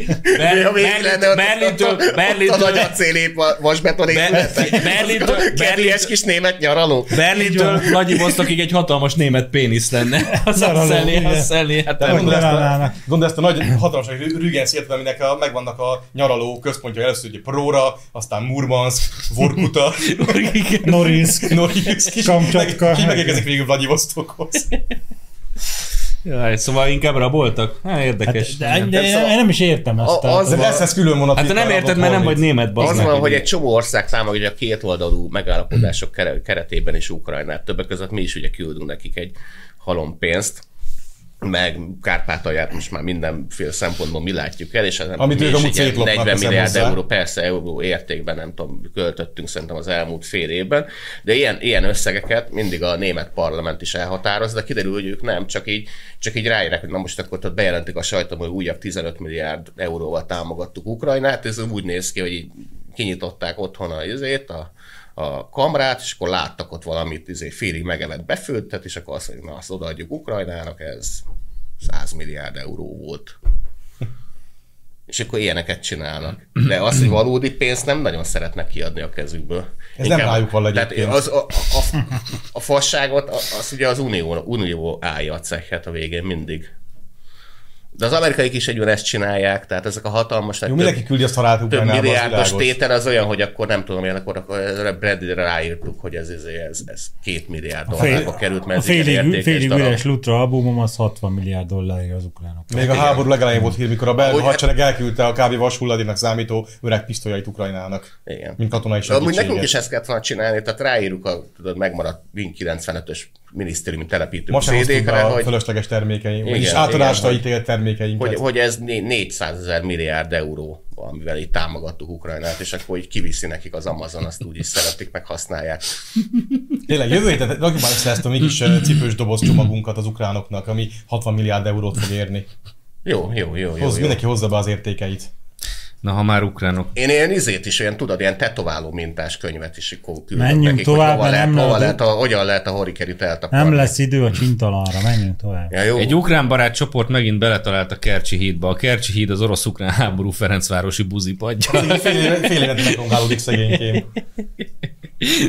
Ja, Ber- még lenne Berlin- ott- Berlintől, ott a- Ott a Berlintől, nagy acélép a vasbeton épületek. Berlintől- Kedélyes kis német nyaraló. Berlintől Vladivostokig egy hatalmas német pénisz lenne. Az Nyaraló, asszelé, igen. asszelé, hát De nem gondolj ezt, a, Leállnának. gondolj ezt a nagy hatalmas Rü- Rügen szigetet, aminek a, megvannak a nyaraló központja először, ugye Próra, aztán Murmansk, Vorkuta, Norilsk. Norilsk, és Kamcsatka. meg, ki megérkezik végül Vladivostokhoz. Jaj, szóval inkább raboltak? Hát érdekes. De, de, Hát, de én, én nem is értem ezt. A- A, az- az, De lesz ez külön vonat. hát te nem itt érted, van, mert nem vagy Norvég. német, bazd Az meg. van, hogy egy csomó ország támogatja a két oldalú megállapodások kere- keretében is Ukrajnát. Többek között mi is ugye küldünk nekik egy halom pénzt, meg Kárpátalját most már mindenféle szempontból mi látjuk el, és nem Amit mi ők is amúgy ilyen szétlopnak, 40 teszem milliárd hozzá. euró, persze euró értékben nem tudom, költöttünk szerintem az elmúlt fél évben, de ilyen, ilyen összegeket mindig a német parlament is elhatároz, de kiderül, hogy ők nem, csak így, csak így ráérek, hogy na most akkor ott bejelentik a sajtom, hogy újabb 15 milliárd euróval támogattuk Ukrajnát, ez úgy néz ki, hogy így kinyitották otthon a izét, a, a kamrát, és akkor láttak ott valamit, izé, félig megevett befőttet, és akkor azt mondjuk, na azt odaadjuk Ukrajnának, ez 100 milliárd euró volt. És akkor ilyeneket csinálnak. Mhm. De az, hogy valódi pénzt nem nagyon szeretnek kiadni a kezükből. Ez nem rájuk van Tehát egyébként. az, a, a, a, a fasságot, a- az ugye az unió, unió állja a cechet a végén mindig. De az amerikaiak is egyben ezt csinálják, tehát ezek a hatalmas Jó, nagy több- mindenki küldi azt halált több Ukrajnába, az milliárdos világos. tétel az olyan, hogy akkor nem tudom én, akkor, akkor erre Bradley-re ráírtuk, hogy ez, ez, ez, ez két milliárd dollárba került, mert a ez ilyen félig, értékes félig darab. üres Lutra albumom az 60 milliárd dollárja az ukránok. Még a háború legelején volt hír, mikor a belga Hogy- hadsereg elküldte a kb. vashulladéknak számító öreg pisztolyait Ukrajnának. Igen. Mint katonai De amúgy segítséget. nekünk is ezt kellett volna csinálni, tehát ráírjuk a tudod, megmaradt Win 95-ös minisztériumi telepítő Ma sem hoztuk be CD-kre, a hogy, fölösleges termékeink, Igen, vagyis igen, átadásra hogy- ítélt termékeinket. hogy, hogy ez né- 400 ezer milliárd euró, amivel itt támogattuk Ukrajnát, és akkor így kiviszi nekik az Amazon, azt úgy is szeretik, meg használják. Tényleg, jövő héten rakjuk már össze ezt a mi kis ö, cipős doboz csomagunkat az ukránoknak, ami 60 milliárd eurót fog érni. Jó, jó, jó, jó. Hozz, jó. mindenki hozza be az értékeit. Na, ha már ukránok. Én ilyen izét is, olyan tudod, ilyen tetováló mintás könyvet is akkor küldök Menjünk nekik, tovább, hogy hova, mert lehet, nem hova lehet- lehet, a, hogyan lehet a horikerít eltakarni. Nem lesz idő a csintalanra, menjünk tovább. Ja, jó. Egy ukrán barát csoport megint beletalált a Kercsi hídba. A Kercsi híd az orosz-ukrán háború Ferencvárosi buzipadja. Fél, éve- fél évet megrongálódik szegénykém.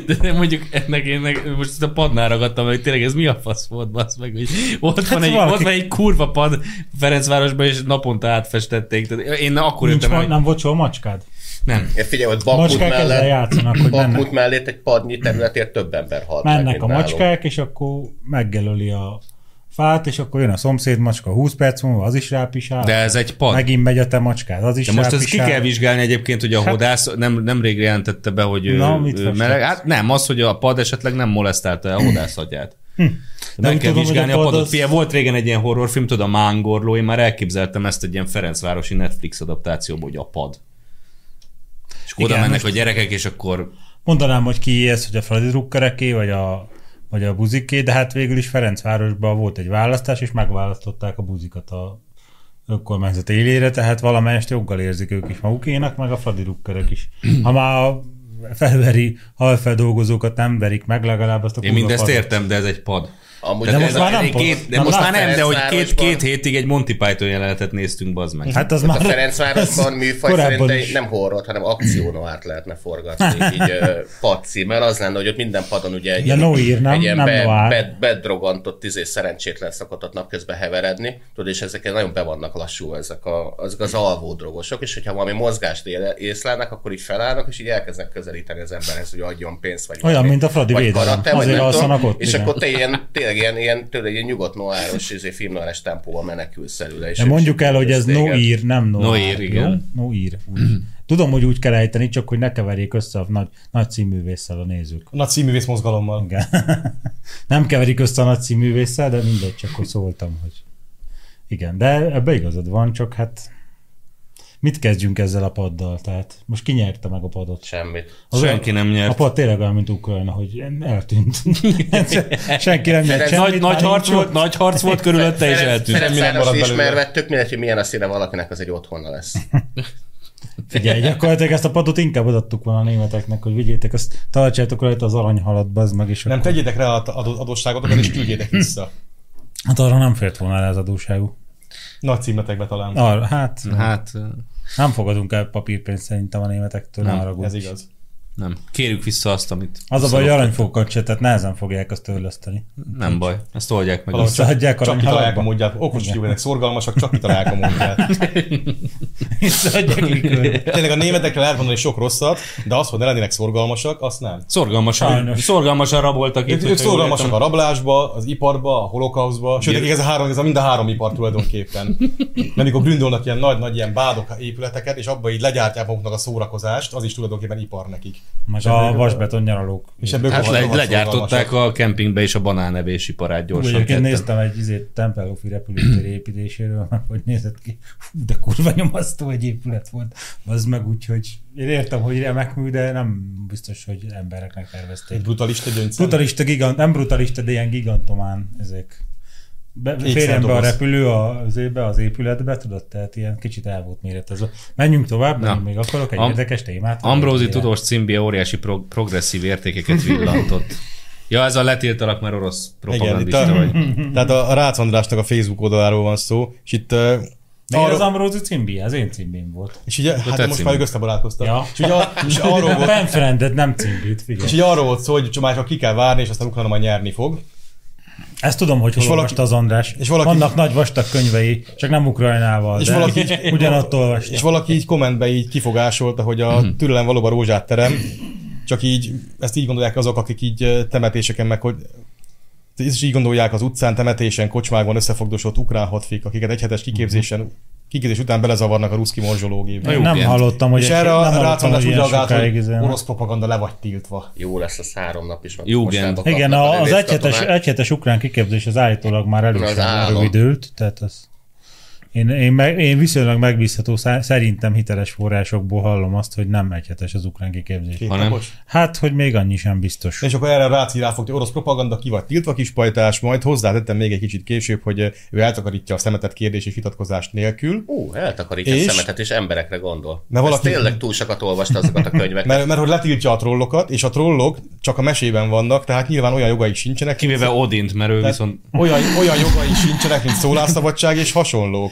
De nem mondjuk ennek én meg, most itt a padnál ragadtam, hogy tényleg ez mi a fasz volt, basz meg, hogy ott van, egy, Hát valaki- ott van egy kurva pad Ferencvárosban, és naponta átfestették. Tehát én akkor Nincs, jöttem rá, ma, hogy nem volt soha macskád? nem. Ja, figyelj, ott Bakmut Macskák ezzel mellett, játszanak, hogy mennek. Bakmut mellett egy padnyi területért több ember halt. meg, Mennek mint a nálunk. macskák, és akkor meggelöli a fát, és akkor jön a szomszéd macska 20 perc múlva, az is rápisál. De ez egy pad. Megint megy a te macskád, az is De most ezt ki rápisál. kell vizsgálni egyébként, hogy a Hát- hodász nem, nemrég jelentette be, hogy ő- Na, mit ő festetsz? meleg. Hát nem, az, hogy a pad esetleg nem molesztálta el a hodász agyát. Hm. Nem Meg kell tudom, hogy vizsgálni a a pad padot. az- Figyelj, volt régen egy ilyen horrorfilm, tudod, a Mángorló, én már elképzeltem ezt egy ilyen Ferencvárosi Netflix adaptációból, hogy a pad. És akkor oda Igen, mennek a gyerekek, és akkor Mondanám, hogy ki ez, hogy a Fradi drukkereké, vagy a, vagy a buziké, de hát végül is Ferencvárosban volt egy választás, és megválasztották a buzikat a önkormányzat élére, tehát valamelyest joggal érzik ők is magukénak, meg a Fradi drukkerek is. Ha már a felveri halfeldolgozókat nem verik meg, legalább azt a Én kurva mindezt padot. értem, de ez egy pad. Amúgy Tehát de ez most már egy- nem egy pad. két, de Na, most már lát, nem, de hogy két, Ferencvárosban- két hétig egy Monty Python jelenetet néztünk, bazd meg. Hát az A már... Ferencvárosban műfaj korábban szerint egy- is. nem horror, hanem akciónoárt lehetne forgatni, így ö, pad címmel. Az lenne, hogy ott minden padon ugye egy, De Noir, nem? egy ilyen Nem be, noir. be, bedrogantott, izé, szerencsétlen szokott napközben heveredni, tudod, és ezek nagyon be vannak lassú ezek a, azok az alvó drogosok, és hogyha valami mozgást éle- észlelnek, akkor így felállnak, és így elkezdenek közelíteni az emberhez, hogy adjon pénzt, vagy Olyan, valami- mint a Fradi vagy védelem. karate, vagy Azért nem tudom. alszanak ott, És igen. akkor te ilyen, tényleg ilyen, ilyen, tőle, ilyen nyugodt noáros, izé, filmnoáros tempóban menekülsz előle. és De ők mondjuk sem el, hogy ez téged. noir, nem noir. Noir, igen. Noir, úgy. Tudom, hogy úgy kell ejteni, csak hogy ne keverjék össze a nagy, nagy címművésszel a nézők. A nagy színművész mozgalommal. Igen. Nem keverik össze a nagy címművésszel, de mindegy, csak hogy szóltam, hogy... Igen, de ebbe igazad van, csak hát mit kezdjünk ezzel a paddal? Tehát most ki nyerte meg a padot? Semmit. Az Senki nem olyan, a nyert. pad tényleg olyan, mint Ukrajna, hogy eltűnt. Senki nem nyert Nagy, Nagy- semmit. már nagy harc nincs volt, nagy harc volt körülötte, és Ferenc- eltűnt. Ferencváros marad belőle. ismerve, tök mindegy, hogy milyen a színe valakinek, az egy otthonna lesz. Figyelj, gyakorlatilag ezt a padot inkább odaadtuk volna a németeknek, hogy vigyétek, azt tartsátok rajta az aranyhalat, bazd meg, és Nem akkor... tegyétek rá az adó- adósságotokat, és küldjétek vissza. Hát arra nem fért volna el az adóságú. Nagy címletekbe talán. Arra, hát, hát, Hát, nem fogadunk el papírpénzt szerintem a németektől, nem, Nem, arra Ez igaz. nem. Kérjük vissza azt, amit... Az a baj, hogy szalott. aranyfókat se, tehát nehezen fogják azt törleszteni. Nem baj, ezt oldják meg. Valahogy Visszaadják csak, csak kitalálják a aranyhalatba. módját. Okos Igen. fiúk, szorgalmasak, csak kitalálják a módját. Visszaadják likőrbe. Tényleg a németekre lehet mondani sok rosszat, de az, hogy ne lennének szorgalmasak, azt nem. Szorgalmasan, Sajnos. szorgalmasan raboltak Ők, itt. ők hogyha jól szorgalmasak értem. a rablásba, az iparba, a holokauszba, sőt, nekik ez a három, ez a mind a három ipar tulajdonképpen. Mert Amikor bründolnak ilyen nagy-nagy ilyen bádok épületeket, és abba így legyártják maguknak a szórakozást, az is tulajdonképpen ipar nekik. Most a vasbeton nyaralók. És ebből Hát komoly- le, komoly legyártották szorgalmasak. a kempingbe is a banánevési parát Úgy gyorsan. egyébként tettem. néztem egy izét Tempelhofi repülőtér építéséről, meg hogy nézett ki. Fú, de kurva nyomasztó egy épület volt. Az meg úgy, hogy én értem, hogy remekmű, de nem biztos, hogy embereknek tervezték. Egy brutalista gyöngyszem. Brutalista gigant, nem brutalista, de ilyen gigantomán ezek. Be, Kék férjen be a szándoboz. repülő a- az, ébe, az épületbe, tudod, tehát ilyen kicsit el volt méret ez. a- Menjünk tovább, Na. Na. még akarok egy Am- érdekes témát. Ambrózi Ilyen. tudós címbia óriási prog- progresszív értékeket villantott. Ja, ez a letiltalak, mert orosz Igen, itt propagandista a, vagy. tehát a Rácz Andrásnak a Facebook oldaláról van szó, és itt uh, Miért az arról, Ambrózi címbi? Az én címbim volt. és ugye, hát tetszik. most már ők összebarátkoztak. Ja. És, ugye, és arról A volt, penfrendet nem címbít, figyelj. és így arról volt szó, hogy csak már csak ki kell várni, és aztán Ukrajna majd nyerni fog. Ezt tudom, hogy hol valaki- olvasta az András. és valaki- Vannak nagy vastag könyvei, csak nem Ukrajnával, És de valaki- ugyanott olvasta. És valaki így kommentbe így kifogásolta, hogy a türelem valóban rózsát terem, csak így ezt így gondolják azok, akik így eh, temetéseken meg, hogy ezt is így gondolják az utcán, temetésen, kocsmákban összefogdosott ukrán hatfik, akiket egy hetes kiképzésen, kiképzés után belezavarnak a ruszki morzsológébe. Na jó, nem igen. hallottam, hogy és erre nem a hallottam, rácondás hogy úgy ilyen reagált, sokáig hogy izé- orosz propaganda le vagy tiltva. Jó lesz az három nap is. meg Jó, most igen. nem kapnak Igen, a a, az lövész egyhetes, katonák. egyhetes ukrán kiképzés az állítólag már Az elősen állam. rövidült, tehát az... Én, én, meg, én viszonylag megbízható, szá- szerintem hiteles forrásokból hallom azt, hogy nem egyhetes az ukrán kiképzés. Két Hanem- napos. Hát, hogy még annyi sem biztos. És akkor erre ráci ráfogta, orosz propaganda, ki vagy tiltva kispajtás, majd hozzátettem még egy kicsit később, hogy eh, ő eltakarítja a szemetet kérdés és vitatkozás nélkül. Ú, eltakarítja és? És? a szemetet, és emberekre gondol. Na, Na, valaki- valaki... tényleg túl sokat olvasta azokat a könyveket. Mert, mert hogy letiltja a trollokat, és a trollok csak a mesében vannak, tehát nyilván olyan jogaik sincsenek. Kivéve Odint, mert ő viszont... Olyan, olyan jogai sincsenek, mint szólásszabadság és hasonlók.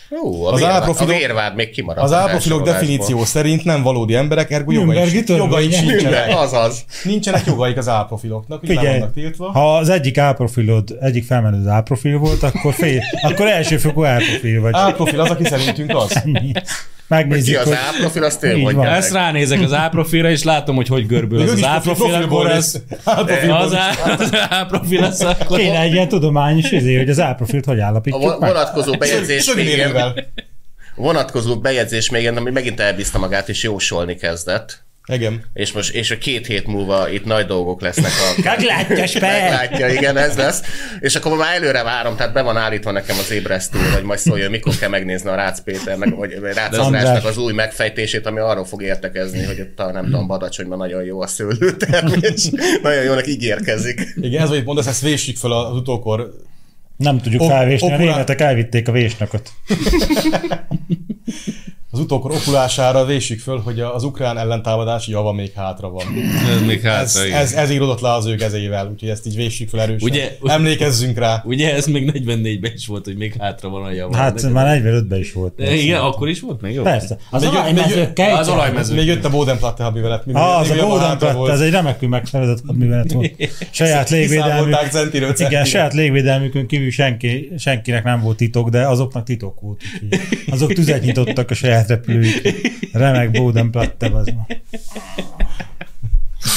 Jó, a, Az az vérvád, áprofilok- a vérvád még kimaradt. Az ápofilok felsorolásból. definíció szerint nem valódi emberek, ergo Nürnbergi jogai, törvény. jogai Minden, sincsenek. azaz. Nincsenek jogaik az áprofiloknak, így le Figyelj, vannak tiltva. ha az egyik áprofilod, egyik felmenőd áprofil volt, akkor, fél, akkor elsőfokú áprofil vagy. Áprofil az, aki szerintünk az. Ennyi. Ki Megnézzük, az hogy... áprofil, azt ő Így mondja van. meg. Ezt ránézek az áprofilra, és látom, hogy hogy görbül Még az, ők az is profi- áprofil, akkor profilból ez... is- áprofilból Az is. á- az áprofil, az akkor... Kéne egy ilyen tudományos izé, hogy az áprofilt hogy A állapítjuk vo- meg. vonatkozó bejegyzés végén, Sögmérővel. vonatkozó bejegyzés végén, ami megint elbízta magát, és jósolni kezdett. Igen. És most, és a két hét múlva itt nagy dolgok lesznek a Meglátja, Sper! Meglátja, igen, ez lesz. És akkor már előre várom, tehát be van állítva nekem az ébresztő, hogy majd szóljon, mikor kell megnézni a Rácz Péternek, vagy Rácz Andrásnak az új megfejtését, ami arról fog értekezni, hogy ott a nem tudom, badacsonyban nagyon jó a szőlőtermés, nagyon jónak ígérkezik. Igen, ez, hogy mondasz, ezt véssük fel az utókor Nem tudjuk Op- felvésni, a opulá- németek elvitték a vésnakot. az utókor okulására véssük föl, hogy az ukrán ellentámadás java még hátra van. Ez még Ez, hátra, igen. ez, ez íródott le az ő kezével, úgyhogy ezt így véssük fel erősen. Ugye- Emlékezzünk rá. Ugye ez még 44-ben is volt, hogy még hátra van a javar. Hát De- már 45-ben is volt. De Igen, akkor is volt még jó? Persze. Az Még- olajmezőkkel? Az olajmező. Még jött a Bodenplatte hadművelet. minden- Ah, az a minden jobban Golden hátra Platt, volt. ez egy remekül megszervezett hadművelet volt. Saját légvédelmük. Kiszámolták centiről Igen, centire. saját légvédelmükön kívül senki, senkinek nem volt titok, de azoknak titok volt. úgyhogy Azok tüzet nyitottak a saját repülőjükre. Remek Bóden Platte, az ma.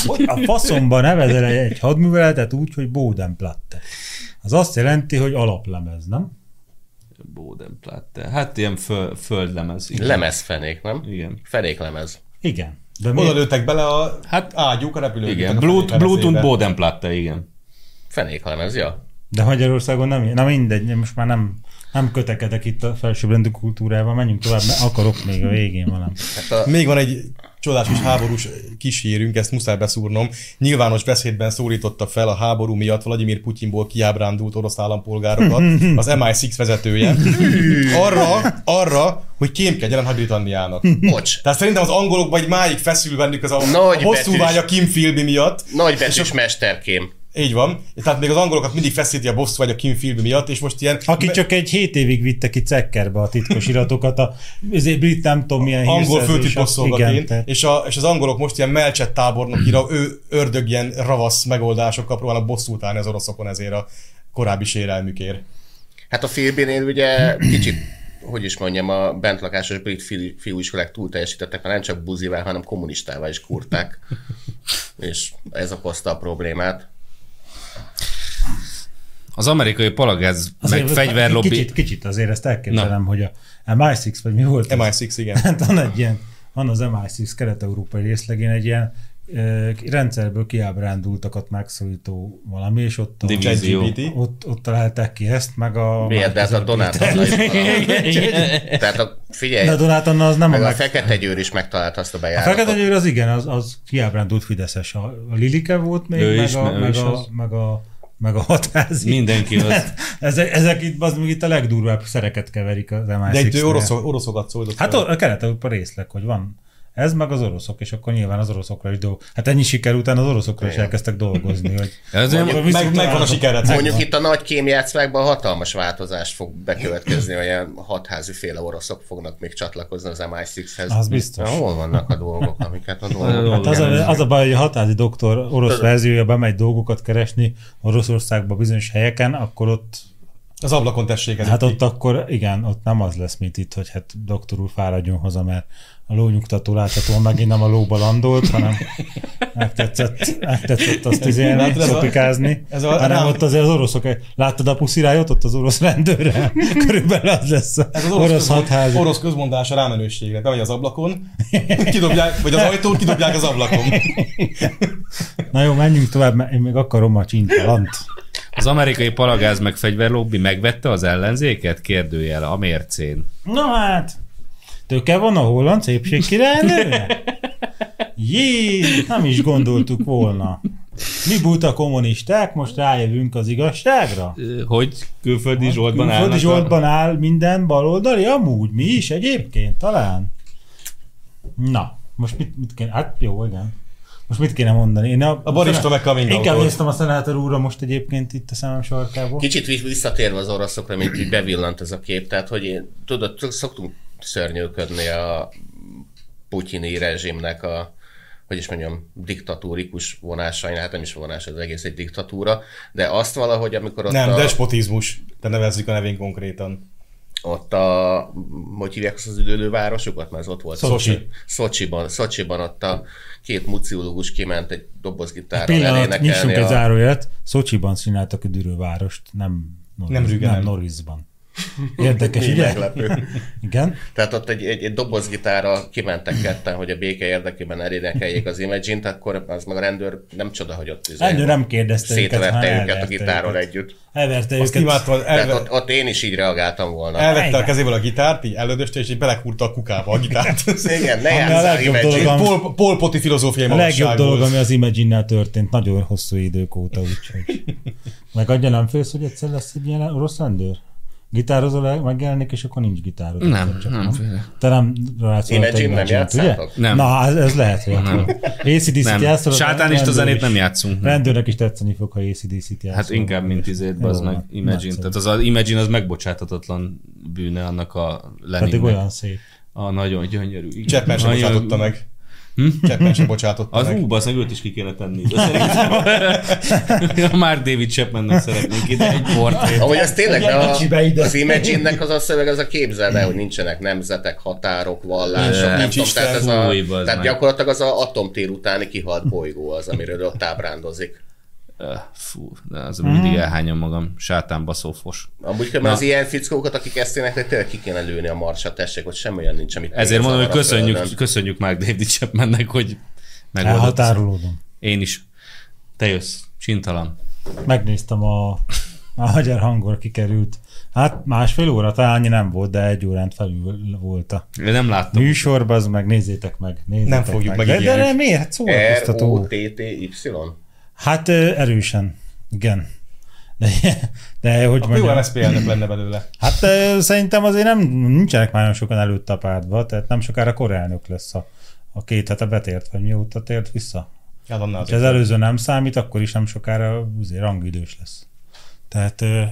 Hogy a faszomban nevezel egy- egy hadműveletet úgy, hogy Bóden Platte? Az azt jelenti, hogy alaplemez, nem? Bodenplatte. Hát ilyen föl, földlemez. Igen. Lemezfenék, nem? Igen. Fenéklemez. Igen. De Oda miért? lőttek bele a hát, ágyúk a repülők. Igen, Blut- Bluetooth Bodenplatte, igen. Fenék halmezja. De Magyarországon nem, na mindegy, most már nem, nem kötekedek itt a felsőbbrendű kultúrával, menjünk tovább, mert akarok még a végén valamit. Hát a, Még van egy csodás és háborús kis hírünk, ezt muszáj beszúrnom. Nyilvános beszédben szólította fel a háború miatt Vladimir Putyinból kiábrándult orosz állampolgárokat, az MI6 vezetője, arra, arra hogy kémkedjen a Britanniának. bocs, Tehát szerintem az angolok vagy máig feszül bennük ez a, a Nagy hosszú betűs. vágy a Kim Philby miatt. nagybetűs mesterkém. Így van. Tehát még az angolokat mindig feszíti a bosszú vagy a Kim Philby miatt, és most ilyen Aki csak egy hét évig vitte ki cekkerbe a titkos iratokat, a ezért brit nem tudom milyen angol hírszerzés, igen, főtitkosszolgatén, tehát- és, a, és az angolok most ilyen melcsett tábornokira, ő ördög ilyen ravasz megoldásokkal próbálnak bosszút állni az oroszokon ezért a korábbi sérelmükért. Hát a Philbinél ugye kicsit, hogy is mondjam, a bentlakásos brit fi- fiúiskolák túl teljesítettek, mert nem csak buzivá, hanem kommunistává is kurták. És ez okozta a problémát. Az amerikai palagáz meg Azért fegyverlobbi... Kicsit, kicsit azért ezt elképzelem, Na. hogy a MI6, vagy mi volt? ez? MI6, igen. Hát van egy ilyen, van az MI6 kelet-európai részlegén egy ilyen ö, rendszerből kiábrándultakat megszólító valami, és ott a, Divi- ChatGPT. ott, ott találták ki ezt, meg a... Miért? De ez a Donát Anna is valami. Tehát a, De a figyelj, Donát Anna az nem a meg a meg... Fekete Győr is megtalálta azt a A Fekete bejáratot. Győr az igen, az, az kiábrándult Fideszes. A, a Lilike volt még, Ő meg, is, a, ő meg, is a, az. meg, a, meg a hatházi. Mindenki az. ezek, ezek itt az, még itt a legdurvább szereket keverik az MI6-nél. De itt ő oroszok, oroszokat szólított. Hát fel. a kelet-európa részleg, hogy van ez meg az oroszok, és akkor nyilván az oroszokra is dolgozik. Hát ennyi siker után az oroszokra is elkezdtek dolgozni. Hogy Ez olyan- Akkor meg, viszont megvan a sikerrecept. Mondjuk itt a nagy kémjátszmákban hatalmas változás fog bekövetkezni, olyan hatházi féle oroszok fognak még csatlakozni az MI6-hez. Az biztos. Na, Hol vannak a dolgok, amiket a dolgok. dolgok? Hát az, a, az a baj, hogy a hatázi doktor orosz verziója bemegy dolgokat keresni Oroszországba bizonyos helyeken, akkor ott, Az ablakon tessék ez. hát ott akkor igen, ott nem az lesz, mint itt, hogy hát doktor úr fáradjon haza, mert a lónyugtató láthatóan megint nem a lóba landolt, hanem megtetszett, megtetszett azt izélni, Hát ez a- szopikázni. ez Ez a- a, hanem rám- ott azért az oroszok, láttad a puszirályot, ott az orosz rendőre? Körülbelül az lesz a Ez az orosz, orosz, orosz hatházi. közmond, orosz közmondás a rámenőségre. Bemegy az ablakon, kidobják, vagy az ajtón, kidobják az ablakon. Na jó, menjünk tovább, mert én még akarom a csintalant. Az amerikai palagáz meg fegyverlobbi megvette az ellenzéket? Kérdőjel a mércén. Na hát, töke van a holland szépség királynőre? Jé, nem is gondoltuk volna. Mi buta kommunisták, most rájövünk az igazságra? Ö, Hogy külföldi zsoltban Hát, Külföldi állnak? zsoltban áll minden baloldali, amúgy mi is egyébként talán. Na, most mit, mit kéne, hát jó, igen. Most mit kéne mondani? Én a, A barista meg coming Inkább out-ot. néztem a szenátor úrra most egyébként itt a szemem sarkából. Kicsit vi- visszatérve az oroszokra, mint így bevillant ez a kép, tehát hogy én, tudod, csak szoktunk szörnyűködni a putyini rezsimnek a hogy is mondjam, diktatúrikus vonásain, hát nem is vonás, az egész egy diktatúra, de azt valahogy, amikor ott Nem, a, despotizmus. Te nevezzük a nevén konkrétan. ott a, hogy hívják azt az üdülővárosokat, mert az ott volt. Szocsi. Szocsiban, Szocsiban ott a két muciológus kiment egy dobozgitárral Pillanat, nyissunk elénekelni. egy A... zárójelet. Szocsiban csináltak a dűrővárost, nem, Norviz, Nem Rügen, nem nem. Norrisban. Érdekes, Mi ugye? meglepő. Igen. Tehát ott egy, egy, egy dobozgitárral kimentek ketten, hogy a béke érdekében elénekeljék az Imagine-t, akkor az meg a rendőr nem csoda, hogy ott izé- Rendőr nem kérdezte őket, hanem szétverte őket a elverte gitáron őket. együtt. Elverte Azt őket. imádtam, Tehát elve, ott, ott, én is így reagáltam volna. elvette a Igen. kezéből a gitárt, így elődöste, és így belekúrta a kukába a gitárt. Igen, ne Ami a játsszál legjobb Imagine-t. dolog, ami- Pol, polpoti filozófiai A legjobb magasság dolog, volt. ami az Imagine-nel történt, nagyon hosszú idők óta, úgyhogy. Meg adja nem félsz, hogy egyszer lesz egy ilyen orosz rendőr? Gitározol el, megjelenik, és akkor nincs gitárod. Nem, egyszer csak, nem félek. Te nem rászoltál Imagine nem Imagine-t, játszátok? ugye? Nem. Na, hát ez, ez lehet, hogy Nem. ACDC-t Nem. játszol. Sátánista zenét nem játszunk. nem. Rendőrnek is tetszeni fog, ha ACDC-t játszol. Hát inkább, mint izét, Jó, hát az van. meg Imagine. Nagyszerű. Tehát az, az Imagine az megbocsáthatatlan bűne annak a Pedig Leninnek. Hát, olyan szép. A nagyon gyönyörű. igen. Cseppen sem Nagyon- bocsátotta meg. Cseppen sem bocsátotta Az meg. ú, az meg őt is ki kéne tenni. De szerintem már David Chapmannek szeretnénk ide egy portrét. Ahogy az tényleg Egy a, kicsibe ide. az Imagine-nek az a szöveg, az a képzeld el, hogy nincsenek nemzetek, határok, vallások, nem Nincs tudom, Isten, tehát, ez a, új, bazd tehát meg. gyakorlatilag az a atomtér utáni kihalt bolygó az, amiről ott ábrándozik. Öh, Fú, de az mm. mindig elhányom magam. Sátán baszófos. Amúgy különben az ilyen fickókat, akik ezt énekelnek, tényleg ki kéne lőni a marsat, tessék, hogy semmi olyan nincs, amit Ezért mondom, hogy zavar a földön. köszönjük, köszönjük Mark David Chapmannek, hogy megoldott. Elhatárolódom. Én is. Te jössz. Csintalan. Megnéztem a, a magyar hangor kikerült. Hát másfél óra talán annyi nem volt, de egy órán felül volt a Én nem láttam. műsorban, az meg nézzétek meg. Nézzétek Nem fogjuk meg. De, de, megígérni. de miért? Hát szórakoztató. R-O-T-T-Y. Hát ö, erősen, igen. De, de hogy Jó, mondjam, MSZP-elnök lenne belőle. hát ö, szerintem azért nem, nincsenek már nagyon sokan előtt a pártba, tehát nem sokára korelnök lesz a, a két hete betért, vagy mióta tért vissza. Hát annál Ha az azért. előző nem számít, akkor is nem sokára azért rangidős lesz. Tehát ö,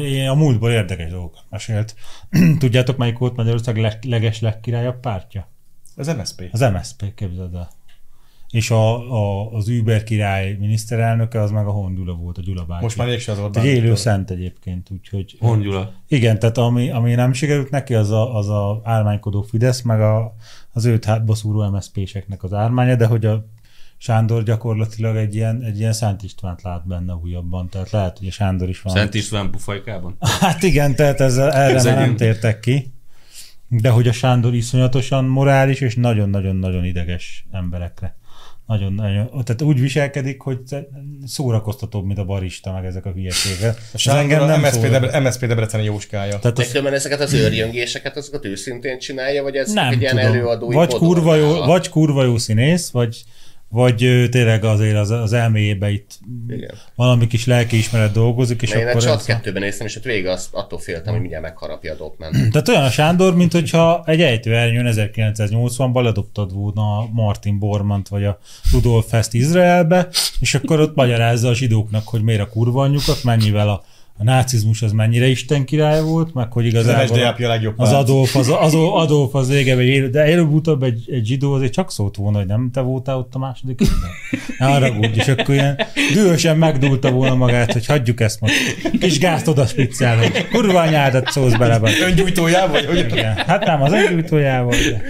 én a múltból érdekes dolgokat mesélt. Tudjátok, melyik volt Magyarország leg, leges legkirályabb pártja? Az MSZP. Az MSZP, képzeld el. És a, a, az Uber király miniszterelnöke, az meg a Hondula volt, a Gyula bácsi. Most már mégse az egy Orbán. élő Viktor. szent egyébként, úgyhogy... Hongyula. Igen, tehát ami, ami nem sikerült neki, az a, az a álmánykodó Fidesz, meg a, az őt hátba szúró MSZP-seknek az ármánya, de hogy a Sándor gyakorlatilag egy ilyen, egy ilyen Szent Istvánt lát benne újabban, tehát lehet, hogy a Sándor is van. Szent István pufajkában? Hát igen, tehát ez, erre Ez már egy- nem tértek ki. De hogy a Sándor iszonyatosan morális, és nagyon-nagyon-nagyon ideges emberekre. Nagyon, nagyon, tehát úgy viselkedik, hogy szórakoztatóbb, mint a barista, meg ezek a hülyeségek. A Ez Sándor a MSZP, szórakoztat. Debre- MSZP Debreceni Jóskája. Tehát De az, különben ezeket az őrjöngéseket, azokat őszintén csinálja, vagy ez nem egy ilyen tudom. előadói vagy, bodog? kurva jó, Ah, vagy kurva jó színész, vagy, vagy ö, tényleg azért az, az elméjébe itt Igen. valami kis lelkiismeret dolgozik, és Mert én a akkor Csat ez a... kettőben néztem, és ott vége azt, attól féltem, hogy mindjárt megharapja a Dopman. Tehát olyan a Sándor, mint hogyha egy ejtőernyőn 1980-ban ledobtad volna a Martin Bormant vagy a Rudolf Fest Izraelbe, és akkor ott magyarázza a zsidóknak, hogy miért a kurva anyjukat, mennyivel a, a nácizmus az mennyire Isten király volt, meg hogy Az igazából MSZDAP a legjobb az párt. Adolf az, az Adolf az régebb egy élő, de előbb-utóbb egy, egy zsidó azért csak szólt volna, hogy nem te voltál ott a második évben. Ne haragudj, és akkor ilyen dühösen megdúlta volna magát, hogy hagyjuk ezt most. Kis gázt oda spiccálni. Kurva anyádat szólsz bele. be. Öngyújtójában, vagy hogy Igen. Hát nem az egyújtójával. De.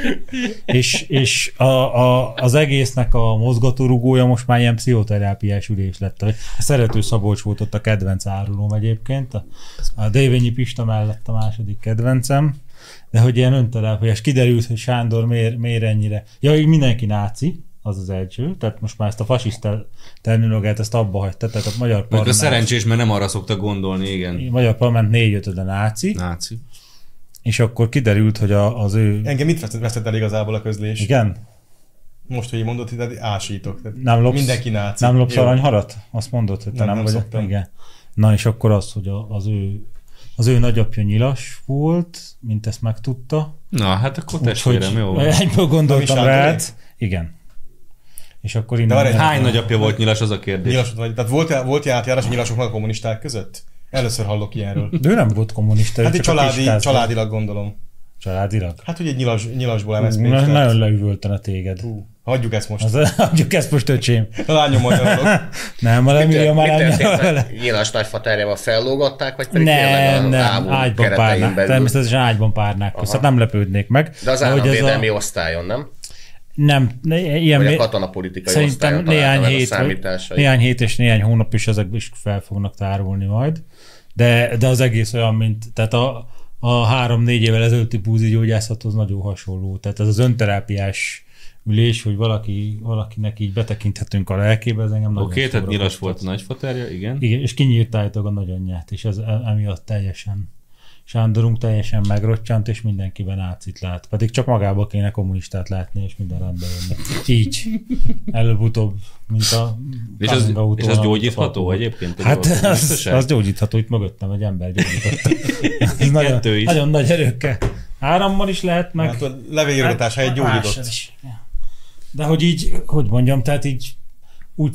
És, és a, a, az egésznek a mozgatórugója most már ilyen pszichoterápiás ülés lett. A Szerető Szabolcs volt ott a kedvenc árulóm egyébként, a, a Dévényi Pista mellett a második kedvencem, de hogy ilyen önterápiás. Kiderült, hogy Sándor miért, miért ennyire. Ja, így mindenki náci, az az első, tehát most már ezt a fasiszta terminológiát ezt abba hagyta, tehát a magyar Mondjuk a parlament, szerencsés, mert nem arra szokta gondolni, igen. magyar parlament négyötöde náci, Náci. és akkor kiderült, hogy a, az ő... Engem mit vesztett- vesztett el igazából a közlés? Igen, Most, hogy így mondod, hogy ásítok. Tehát Nem lopsz, Mindenki náci. Nem lopsz Jó. aranyharat? Azt mondod, hogy te nem, Nem, nem, nem vagy. szoktam. Igen. Na és akkor az, hogy a- az ő, az ő nagyapja nyilas volt, mint ezt megtudta. Na, hát akkor testvérem, Úgyhogy jó. egyből gondoltam Sándoré? rád. Igen. És akkor innen... Hát, várj, Hány nagyapja volt nyilas az a kérdés? Nyilasod vagy. Tehát volt, volt ilyen átjárás a nyilasok meg a kommunisták között? Először hallok ilyenről. De ő nem volt kommunista, Hát ő egy csak a családi, kiskáz volt. családilag gondolom. Családilag. Hát, hogy egy nyilas, nyilasból MSZP. Na, nagyon leüvöltene téged. Hagyjuk ezt most. Az, adjuk ezt most, öcsém. Talán nyomolja dolog. Nem, a Emilia már nem nyar vele. történt? Nyilas nagyfaterjával fellógatták, vagy pedig Nem, tényleg a nem, háború ágyban keretein párnák. belül? Természetesen ágyban párnák közt, hát nem lepődnék meg. De az Ahogy ez a- államvédelmi osztályon, nem? Nem, ne, ilyen Vagy a mi- katonapolitikai szerintem osztályon néhány találtam el a hét, vagy, számításait. néhány hét és néhány hónap is ezek is fel fognak tárulni majd. De, de az egész olyan, mint tehát a, a három-négy évvel ezelőtti búzigyógyászathoz nagyon hasonló. Tehát ez az önterápiás ülés, hogy valaki, valakinek így betekinthetünk a lelkébe, ez engem nagyon Oké, okay, tehát szórakoztat. hát nyilas volt a nagyfaterja, igen. Igen, és kinyírtájátok a nagyanyját, és ez e- emiatt teljesen Sándorunk teljesen megrottyant, és mindenkiben ácit lát. Pedig csak magába kéne kommunistát látni, és minden rendben jönne. Így. Előbb-utóbb, mint a És az, Kazinga és úton az a- gyógyítható a- egyébként? Hát Egy az, biztosan? az gyógyítható, itt mögöttem egy ember gyógyította. Ez nagyon, Kettő is. nagyon nagy erőkkel. Árammal is lehet, meg Hát, a levélírtás helyett mással gyógyított. Hát, is. De hogy így, hogy mondjam, tehát így úgy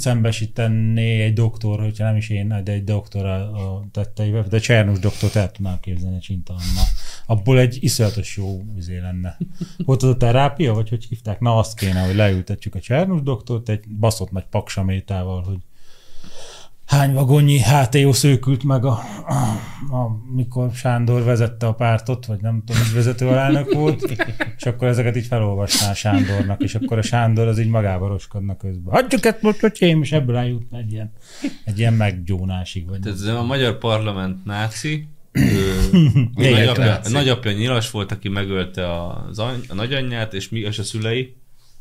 szembesítené egy doktor, hogyha nem is én, de egy doktor a, a tetteivel, de Csernus doktort el tudnám képzelni a csintalannal. Abból egy iszonyatos jó izé lenne. Volt az a terápia, vagy hogy hívták? Na azt kéne, hogy leültetjük a Csernus doktort egy baszott nagy paksamétával, hogy hány vagonnyi HTO szőkült meg, a, a, a, mikor Sándor vezette a pártot, vagy nem tudom, hogy vezető alelnök volt, és akkor ezeket így felolvasná a Sándornak, és akkor a Sándor az így magába roskadna közben. Hagyjuk ezt most, öcsém, és ebből eljutna egy ilyen, egy ilyen meggyónásig. Vagy Tehát ez a magyar parlament náci, ő, nagyapja, náci. nagyapja nyilas volt, aki megölte az any, a nagyanyját, és, mi, és a szülei,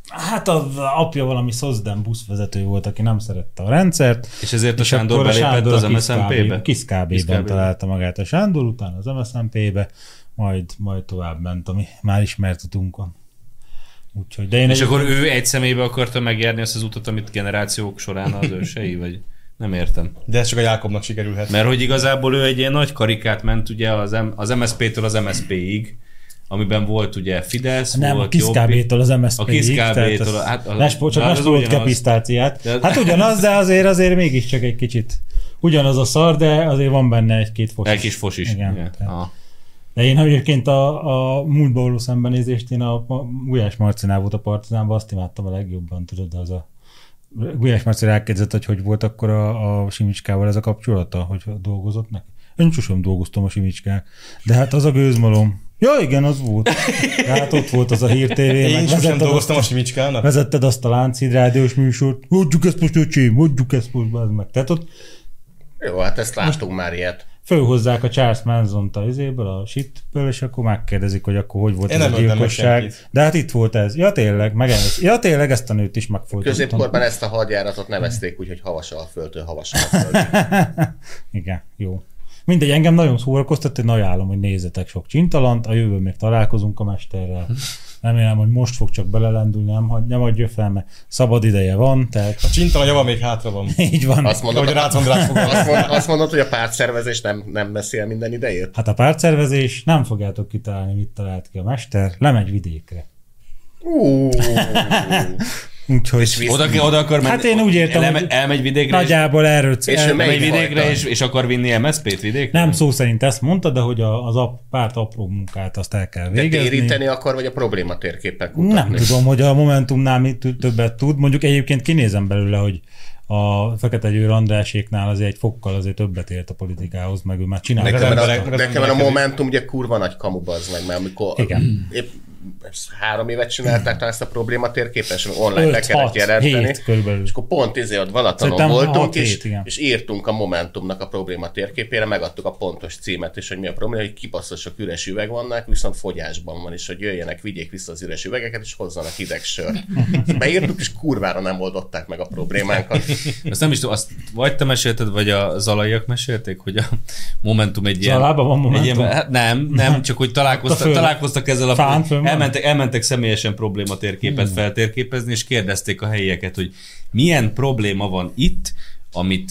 Hát az apja valami szozden buszvezető volt, aki nem szerette a rendszert, és ezért a És Sándor akkor a belépett Sándor az a kis KB MSZNP-be. Kis Kis KB-ben KB-ben. találta magát a Sándor, utána az MSZNP-be, majd, majd tovább ment, ami már ismert utunkon. Úgyhogy, de én És egy- akkor ő egy személybe akarta megjárni azt az utat, amit generációk során az ősei, vagy nem értem. De ez csak a Jákobnak sikerülhet. Mert hogy igazából ő egy ilyen nagy karikát ment ugye az, M- az MSZP-től az MSZP-ig, amiben volt ugye Fidesz, nem, a volt kis Jobbik. KB-tól az MSZP A Kis KB-tól, hát, hát a, a- Lespo, csak de az Lespo volt ugyanaz. kepisztáciát. De- Hát ugyanaz, de azért azért mégiscsak egy kicsit. Ugyanaz a szar, de azért van benne egy-két focis. Egy kis fos is. Igen. Igen. Ah. igen. Tehát, Aha. De én egyébként a, a múltba való szembenézést, én a, a Gulyás Marcinál volt a Partizánban, azt imádtam a legjobban, tudod, az a Gulyás Marci rákérdezett, hogy hogy volt akkor a, a Simicskával ez a kapcsolata, hogy dolgozott neki. Én sosem dolgoztam a Simicskával, de hát az a gőzmalom. Ja, igen, az volt. De hát ott volt az a Hír TV, Én meg sosem vezetted dolgoztam a azt, Simicskának. vezetted azt a Lánchíd rádiós műsort. Mondjuk ezt most, öcsém, mondjuk ezt most, bazd meg. Tehát ott Jó, hát ezt láttunk már ilyet. fölhozzák a Charles Manson-t a izéből, a shitből, és akkor megkérdezik, hogy akkor hogy volt Én ez nem a öltem meg gyilkosság. senkit. De hát itt volt ez. Ja tényleg, meg ez. Ja tényleg, ezt a nőt is megfordítottam. Középkorban ezt a hadjáratot nevezték úgy, hogy Havasalföldtől Havasalföld. Igen, jó. Mindegy, engem nagyon szórakoztat, én ajánlom, hogy nézzetek sok csintalant, a jövőn még találkozunk a mesterrel. Remélem, hogy most fog csak belelendülni, nem, hagy- nem adja fel, mert szabad ideje van, tehát A csintalan java még hátra van. így van. Azt mondod, Hogy Rácz András fog azt, mond, azt mondod, hogy a pártszervezés nem, nem beszél minden idejét? Hát a pártszervezés, nem fogjátok kitalálni, mit talált ki a mester, lemegy vidékre. Ú, Úgyhogy... Oda, oda akar menni, Hát én úgy értem, elme, hogy elmegy vidékre, Nagyjából erről ő erről- és, elmegy Melyik vidékre fajta? és, és, akar vinni MSZP-t vidékre? Nem szó szerint ezt mondta, de hogy a- az ap, párt apró munkát azt el kell de végezni. téríteni akar, vagy a probléma térképpel kutatni? Nem tudom, hogy a Momentumnál mit tud- többet tud. Mondjuk egyébként kinézem belőle, hogy a Fekete Győr Andráséknál azért egy fokkal azért többet ért a politikához, meg ő már csinál. Nekem Nekem, az a, emberek- meg az nekem a emberek- Momentum ugye kurva nagy kamu az meg, mert amikor Igen. épp ezt három évet csinálták talán ezt a probléma térképen, és online Öt, be kellett hat, jelenteni. hét körülbelül. És akkor pont izé ott Balatonon Szerintem hat, voltunk, és, hét, igen. és írtunk a Momentumnak a probléma térképére, megadtuk a pontos címet, és hogy mi a probléma, hogy kibaszosok üres üveg vannak, viszont fogyásban van, és hogy jöjjenek, vigyék vissza az üres üvegeket, és hozzanak hideg sört. És Beírtuk, és kurvára nem oldották meg a problémánkat. Azt nem is tudom, azt vagy te mesélted, vagy a zalaiak mesélték, hogy a Momentum egy ilyen... Zalában van Momentum? Egy ilyen, hát nem, nem, csak hogy Ott a találkoztak, föld. találkoztak ezzel a... Fán fönn van? elmentek, elmentek személyesen probléma térképet feltérképezni, és kérdezték a helyieket, hogy milyen probléma van itt, amit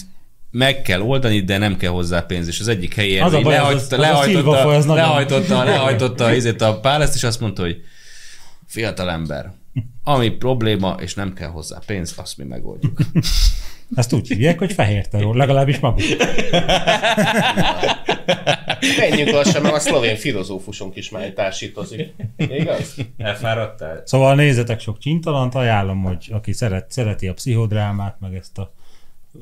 meg kell oldani, de nem kell hozzá pénz. És az egyik helyi Az a erői baj, az- lehajtotta, az a lehajtotta, szilvafa, ez nagyon- lehajtotta, lehajtotta izét a páleszt, és azt mondta, hogy fiatal ember, ami probléma, és nem kell hozzá pénz, azt mi megoldjuk. Ezt úgy hívják, hogy fehér terror, legalábbis maguk. Menjünk lassan, mert a szlovén filozófusunk is már társítozik. Igaz? Elfáradtál? Szóval nézzetek sok csintalant, ajánlom, hogy aki szeret, szereti a pszichodrámát, meg ezt a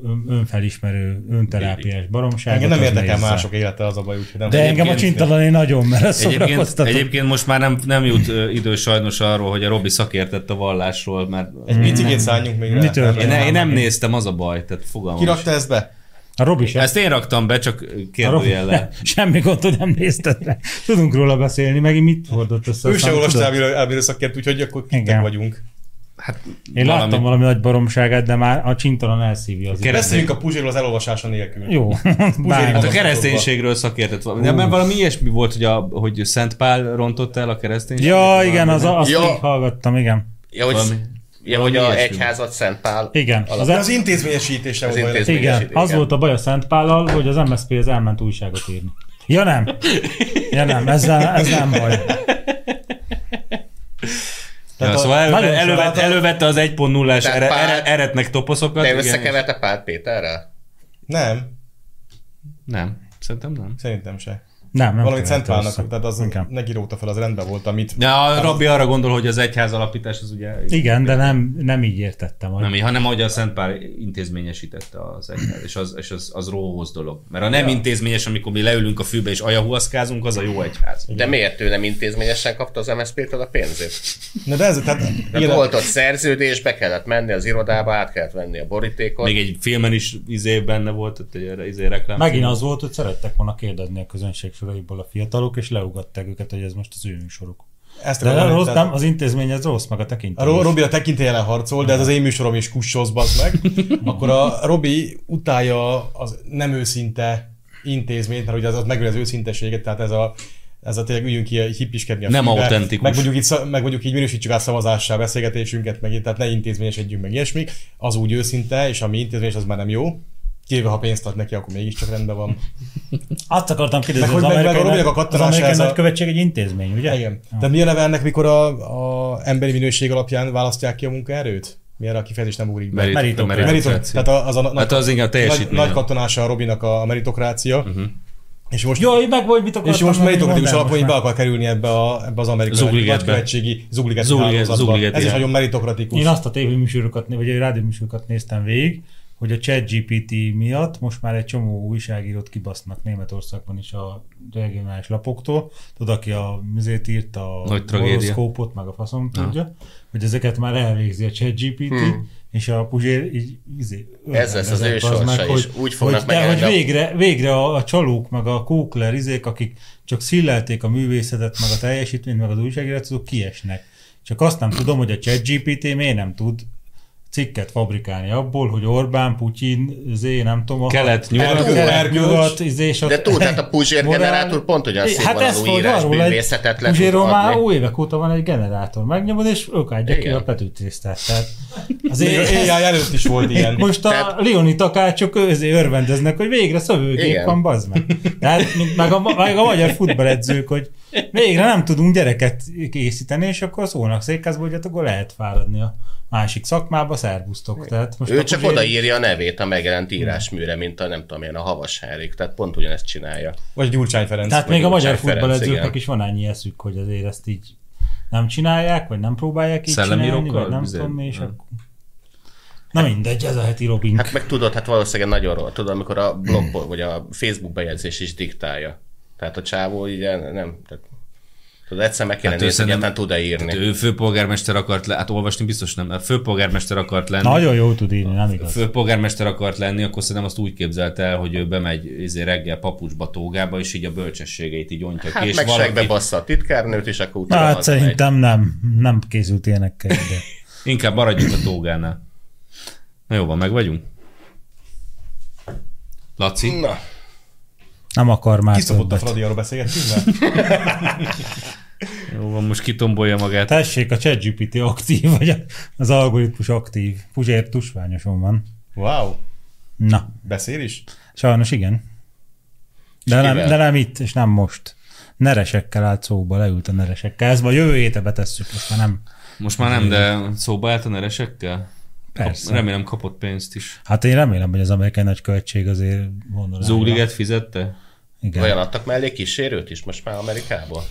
ön- önfelismerő, önterápiás baromságot. Engem nem az érdekel nézze. mások élete, az a baj, úgyhogy nem. De engem a csintalan én nagyon, mert ez Egyébként, szórakoztató. egyébként most már nem, nem jut ö, idő sajnos arról, hogy a Robi szakértett a vallásról, mert Egy Mm. picikét szálljunk még Mi rá. történt? én, én nem néztem, az a baj, tehát fogalmam Ki Kirak... rakta ezt be? A Robi sem. Ezt én raktam be, csak Arról- kérdőjellel. Semmi gond, hogy nem nézted rá. Tudunk róla beszélni, megint mit hordott össze. Ő azt se nem olvasta tudod. elbíró- elbírószakért, úgyhogy akkor kittek Igen. vagyunk. Hát, Én valami. láttam valami nagy baromságát, de már a csintalan elszívja az Keres- időt. Beszéljünk a Puzséről az elolvasása nélkül. Jó. Hát Bár, a magasokba. kereszténységről szakértett valami. Nem, mert valami ilyesmi volt, hogy, a, hogy Szent Pál rontott el a kereszténységet. ja, valami, igen, az, nem? azt Ja. ja. hallgattam, igen. Ja, hogy, Valami- ja, hogy a valami ilyesmi. egyházat Szent Pál. Igen. Az, De az az intézményesítése Az volt. baj. intézmény- igen. igen. az volt a baj a Szent Pállal, hogy az MSZP az elment újságot írni. Ja nem. Ja nem, ez, ez nem baj. Ja, a- szóval nagyon előve, elővet, sokat- elővette az 1.0-as Tehát ere, Pál- ere, eretnek toposzokat. Te Hát igen, és- összekeverte Pál Péterrel? Nem, Nem, szerintem nem. szerintem se. Nem, nem valami kellett centrálnak, hosszú. tehát az Inkább. neki róta fel, az rendben volt, amit Ja, a Robi arra gondol, hogy az egyház alapítás az ugye... Igen, de nem, nem így értettem. Hogy... Nem, így, hanem ahogy a Szent Pál intézményesítette az egyház, és az, és az, az róhoz dolog. Mert a nem ja. intézményes, amikor mi leülünk a fűbe és ajahuaszkázunk, az a jó egyház. De miért ő nem intézményesen kapta az MSZP-től a pénzét? Na de ez, tehát Tehát igen, volt ott szerződés, be kellett menni az irodába, át kellett venni a borítékot. Még egy filmen is izé benne volt, ott egy erre izé reklám. Hát Megint az volt, hogy szerettek volna kérdezni a közönség soraiból a fiatalok, és leugatták őket, hogy ez most az ő műsoruk. ezt De akarom nem, mondani, rossz, tehát- nem, az intézmény ez rossz, meg a A tekintély. Ro- is. Robi a tekintélyelen harcol, de ez az én műsorom is kussolsz, bazd meg. Akkor a Robi utálja az nem őszinte intézményt, mert ugye az, az megöl az őszinteséget, tehát ez a ez a tényleg üljünk ki hippiskedni a Nem fűbe, autentikus. Meg mondjuk, itt, szá- meg mondjuk így minősítsük át szavazással beszélgetésünket, meg így, tehát ne intézményesedjünk meg ilyesmi. Az úgy őszinte, és ami intézményes, az már nem jó. Kivéve, ha pénzt ad neki, akkor mégiscsak rendben van. Azt akartam kérdezni, Meg az hogy meg- meg a amerikai, robinak a az kattanása amerikai ez a- nagykövetség egy intézmény, ugye? Igen. De mi a neve ennek, mikor a, a emberi minőség alapján választják ki a munkaerőt? Milyen a kifejezés nem ugrik be? Merit- Meritokrácia. meritokrácia. Meritok, tehát a- az a na- Hát az inkább nagy, teljesítmény. nagy katonása a Robinak a, a meritokrácia. Uh-huh. És most, Jaj, meg volt, mit akartam. és most mondani, meritokratikus mondd el alapon így most be már. akar kerülni ebbe, a, ebbe az amerikai Zugligetbe. nagykövetségi zugliget Zugliget- hálózatba. Zugliget, Ez is igen. nagyon meritokratikus. Én azt a tévéműsorokat, né- vagy a rádióműsorokat néztem végig, hogy a ChatGPT miatt most már egy csomó újságírót kibasznak Németországban is a regionális lapoktól. Tudod, aki a műzét írt a Nagy tragédia. horoszkópot, meg a faszom tudja, hogy ezeket már elvégzi a ChatGPT, Hmm. és a Puzsér így izé, Ez lesz az ő örvendezett, bazd sorsa is. Úgy fognak hogy, de, megjelenni hogy a- végre, végre a, a csalók, meg a kókler izék, akik csak szillelték a művészetet, meg a teljesítményt, meg az újságírót, azok kiesnek. Csak azt nem tudom, hogy a ChatGPT miért nem tud cikket fabrikálni abból, hogy Orbán, Putyin, Zé, nem tudom. a- Kelet, nyugat. Kelet, Tud. kelet, nyugat, izé, De tud, hát a Puzsér Morál- generátor pont olyan szép van az új hogy írás, Hát arról egy- művészetet le tud Puzsérról már adni. ó évek óta van egy generátor, megnyomod, és ők adják ki Igen. a petűtisztát. Tehát Még az ez- AI előtt is volt ilyen. most a Tehát- Leoni takácsok őzé örvendeznek, hogy végre szövőgép Igen. van, bazd meg. Tehát, mint meg, a, meg a magyar futballedzők, hogy végre nem tudunk gyereket készíteni, és akkor szólnak székházból, hogy hát akkor lehet fáradni a másik szakmába, szerbusztok. Tehát most Ő akkor csak végre- odaírja a nevét a megjelent írásműre, mint a nem tudom én, a Havas Henrik, tehát pont ugyanezt csinálja. Vagy Gyurcsány Ferenc. Tehát vagy még a magyar Gyurcsány Ferenc, futballedzőknek igen. is van annyi eszük, hogy azért ezt így nem csinálják, vagy nem próbálják így csinálni, Szellemírókkal? vagy nem Bizony. tudom mi, és akkor... Na mindegy, ez a heti Robin. Hát meg tudod, hát valószínűleg nagyon jól tudod, amikor a blogból, vagy a Facebook bejegyzés is diktálja. Tehát a csávó ugye nem, tehát, tudod, egyszer meg Hát kellene hát ő nézni, hogy szerintem- egyáltalán tud-e írni. Hát ő főpolgármester akart lenni, hát olvasni biztos nem, mert főpolgármester akart lenni. Nagyon jól tud írni, nem igaz? főpolgármester akart lenni, akkor szerintem azt úgy képzelte el, hogy ő bemegy izé reggel papucsba, tógába, és így a bölcsességeit így ontja Hát ki, meg és segbe valaki, bassza a titkárnőt, és akkor utána Hát hazamegy. szerintem nem, nem készült ilyenekkel ide. inkább maradjunk a tógánál. Na jó van, meg vagyunk? Laci? Na, Nem akar már Kiszopott a többet. Fradi, arról beszélgettünk, mert Jó van, most kitombolja magát. Tessék, a ChatGPT aktív, vagy a- az algoritmus aktív. Puzsér tusványoson van. Wow, Na, beszél is? sajnos igen. De nem, kivel? de nem itt, és nem most. Neresekkel állt szóba, leült a neresekkel. Ez majd jövő héten betesszük, most már nem. Most már nem, de szóba állt a neresekkel? Persze. Remélem kapott pénzt is. Hát én remélem, hogy az amerikai nagykövetség azért gondolja. Zugliget fizette? Igen. olyan adtak mellé kísérőt is most már Amerikából?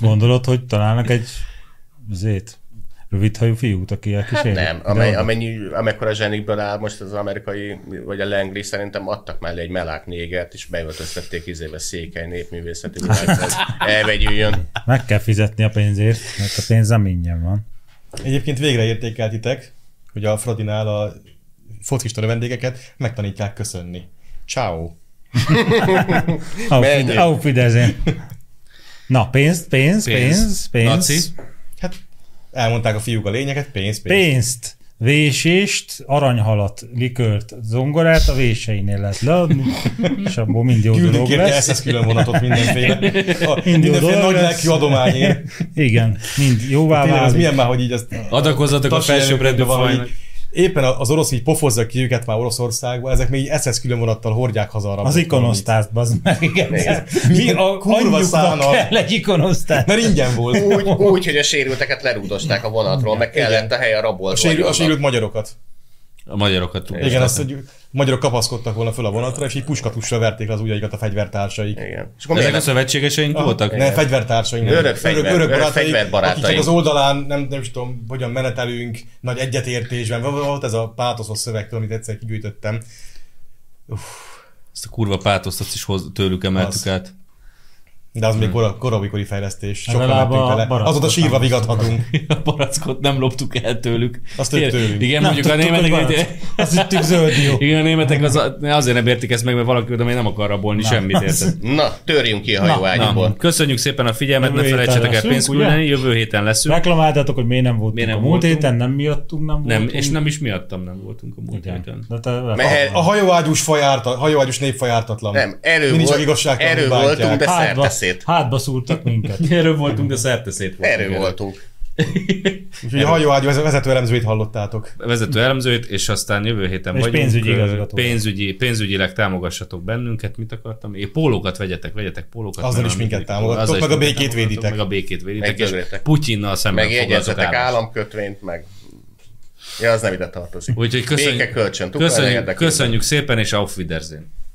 Gondolod, hogy találnak egy zét, rövidhajú fiút, aki a Hát kísérlet? nem, amely, amennyi, amekkora zsenikből áll most az amerikai, vagy a lengri, szerintem adtak mellé egy melák négert, és beöltöztették izébe székely népművészeti világot, hogy elvegyüljön. Meg kell fizetni a pénzért, mert a pénz nem ingyen van. Egyébként végre értékeltitek, hogy a Fradinál a focista vendégeket megtanítják köszönni. Ciao. Auf, Menjünk. auf Wiedersehen. Na, pénzt, pénz, pénz, pénz, Laci? pénz, Hát elmondták a fiúk a lényeket, pénz, pénz. pénzt, vésést, aranyhalat, likört, zongorát a véseinél lehet leadni, és abból mind jó Küldünk dolog érte lesz. SS külön vonatot mindenféle. A, dolog mindenféle nagy lesz. lelkű adományért. Igen, mind jóvá Tényleg, ez válik. milyen már, hogy így azt... Adakozzatok a tasi felsőbbrendű előkbe van, fajnak. hogy Éppen az orosz így pofozza ki őket már Oroszországba, ezek még így SS külön vonattal hordják haza a Az rabokat. ikonosztázt, bazd meg, igen. Mi Milyen a kurva kurva szánal. kell egy ikonosztázt. Mert ingyen volt. Úgy, úgy, hogy a sérülteket lerúdosták a vonatról, meg kellett a hely a rabolt A sérült, a vagyonnak. sérült magyarokat. A magyarokat tudod. Igen, azt, hogy magyarok kapaszkodtak volna föl a vonatra, és így puskatussal verték le az ujjaikat a fegyvertársaik. Igen. És De ezek akkor miért a nem, szövetségeseink voltak? Ne, fegyvertársaink. Örök fegyver- örök fegyverbarátaink. Akik csak az oldalán, nem, nem is tudom, hogyan menetelünk, nagy egyetértésben. Volt ez a pátoszos szövegtől, amit egyszer kigyűjtöttem. Ezt a kurva pátoszt azt is hoz, tőlük emeltük Az. át. De az még Hmm. kora, korabikori fejlesztés. Sokan Hát Legalább mentünk a vele. barackot Azóta sírva nem vigadhatunk. A barackot nem loptuk el tőlük. Azt ők Igen, tőlünk. Igen, Nem mondjuk a tudtuk, hogy németek... barack. Azt hittük zöld dió. Igen, a németek az, azért nem értik ezt meg, mert valaki oda még nem akar rabolni semmit, érted? na, törjünk ki a Na, hajóágyból. köszönjük szépen a figyelmet, Jövő ne héten felejtsetek el leszünk, pénzt ugye? küldeni, jövő héten leszünk. Reklamáltátok, hogy miért nem voltunk Miért nem a múlt voltunk. héten, nem miattunk nem Nem, voltunk. és nem is miattam nem voltunk a múlt héten. De te, Mehet- A hajóágyús, fajárta, hajóágyús nép fajártatlan. Nem, elő, Mindig csak volt, igazságtalanul erő bántják. voltunk, de hátba, szerteszét. hát- hátba szúrtak minket. Erről voltunk, de szerteszét voltunk. Erő voltunk. Úgyhogy a hajóágyú vezető elemzőit hallottátok. vezető elemzőt, és aztán jövő héten És vagyunk. pénzügyi igazgató. Pénzügyi, pénzügyileg támogassatok bennünket, mit akartam? É, pólókat vegyetek, vegyetek pólókat. Azzal mert nem is minket mindig- támogattok, azzal is meg a minket békét támogattok, véditek. Meg a békét véditek, és Megdögrétek. Putyinnal szemben foglaltok Megjegyezzetek állást. államkötvényt, meg... Ja, az nem ide tartozik. Úgyhogy Béke köszönjük, kölcsön. Tukaj köszönjük, érdekében. köszönjük szépen, és auf Wiedersehen.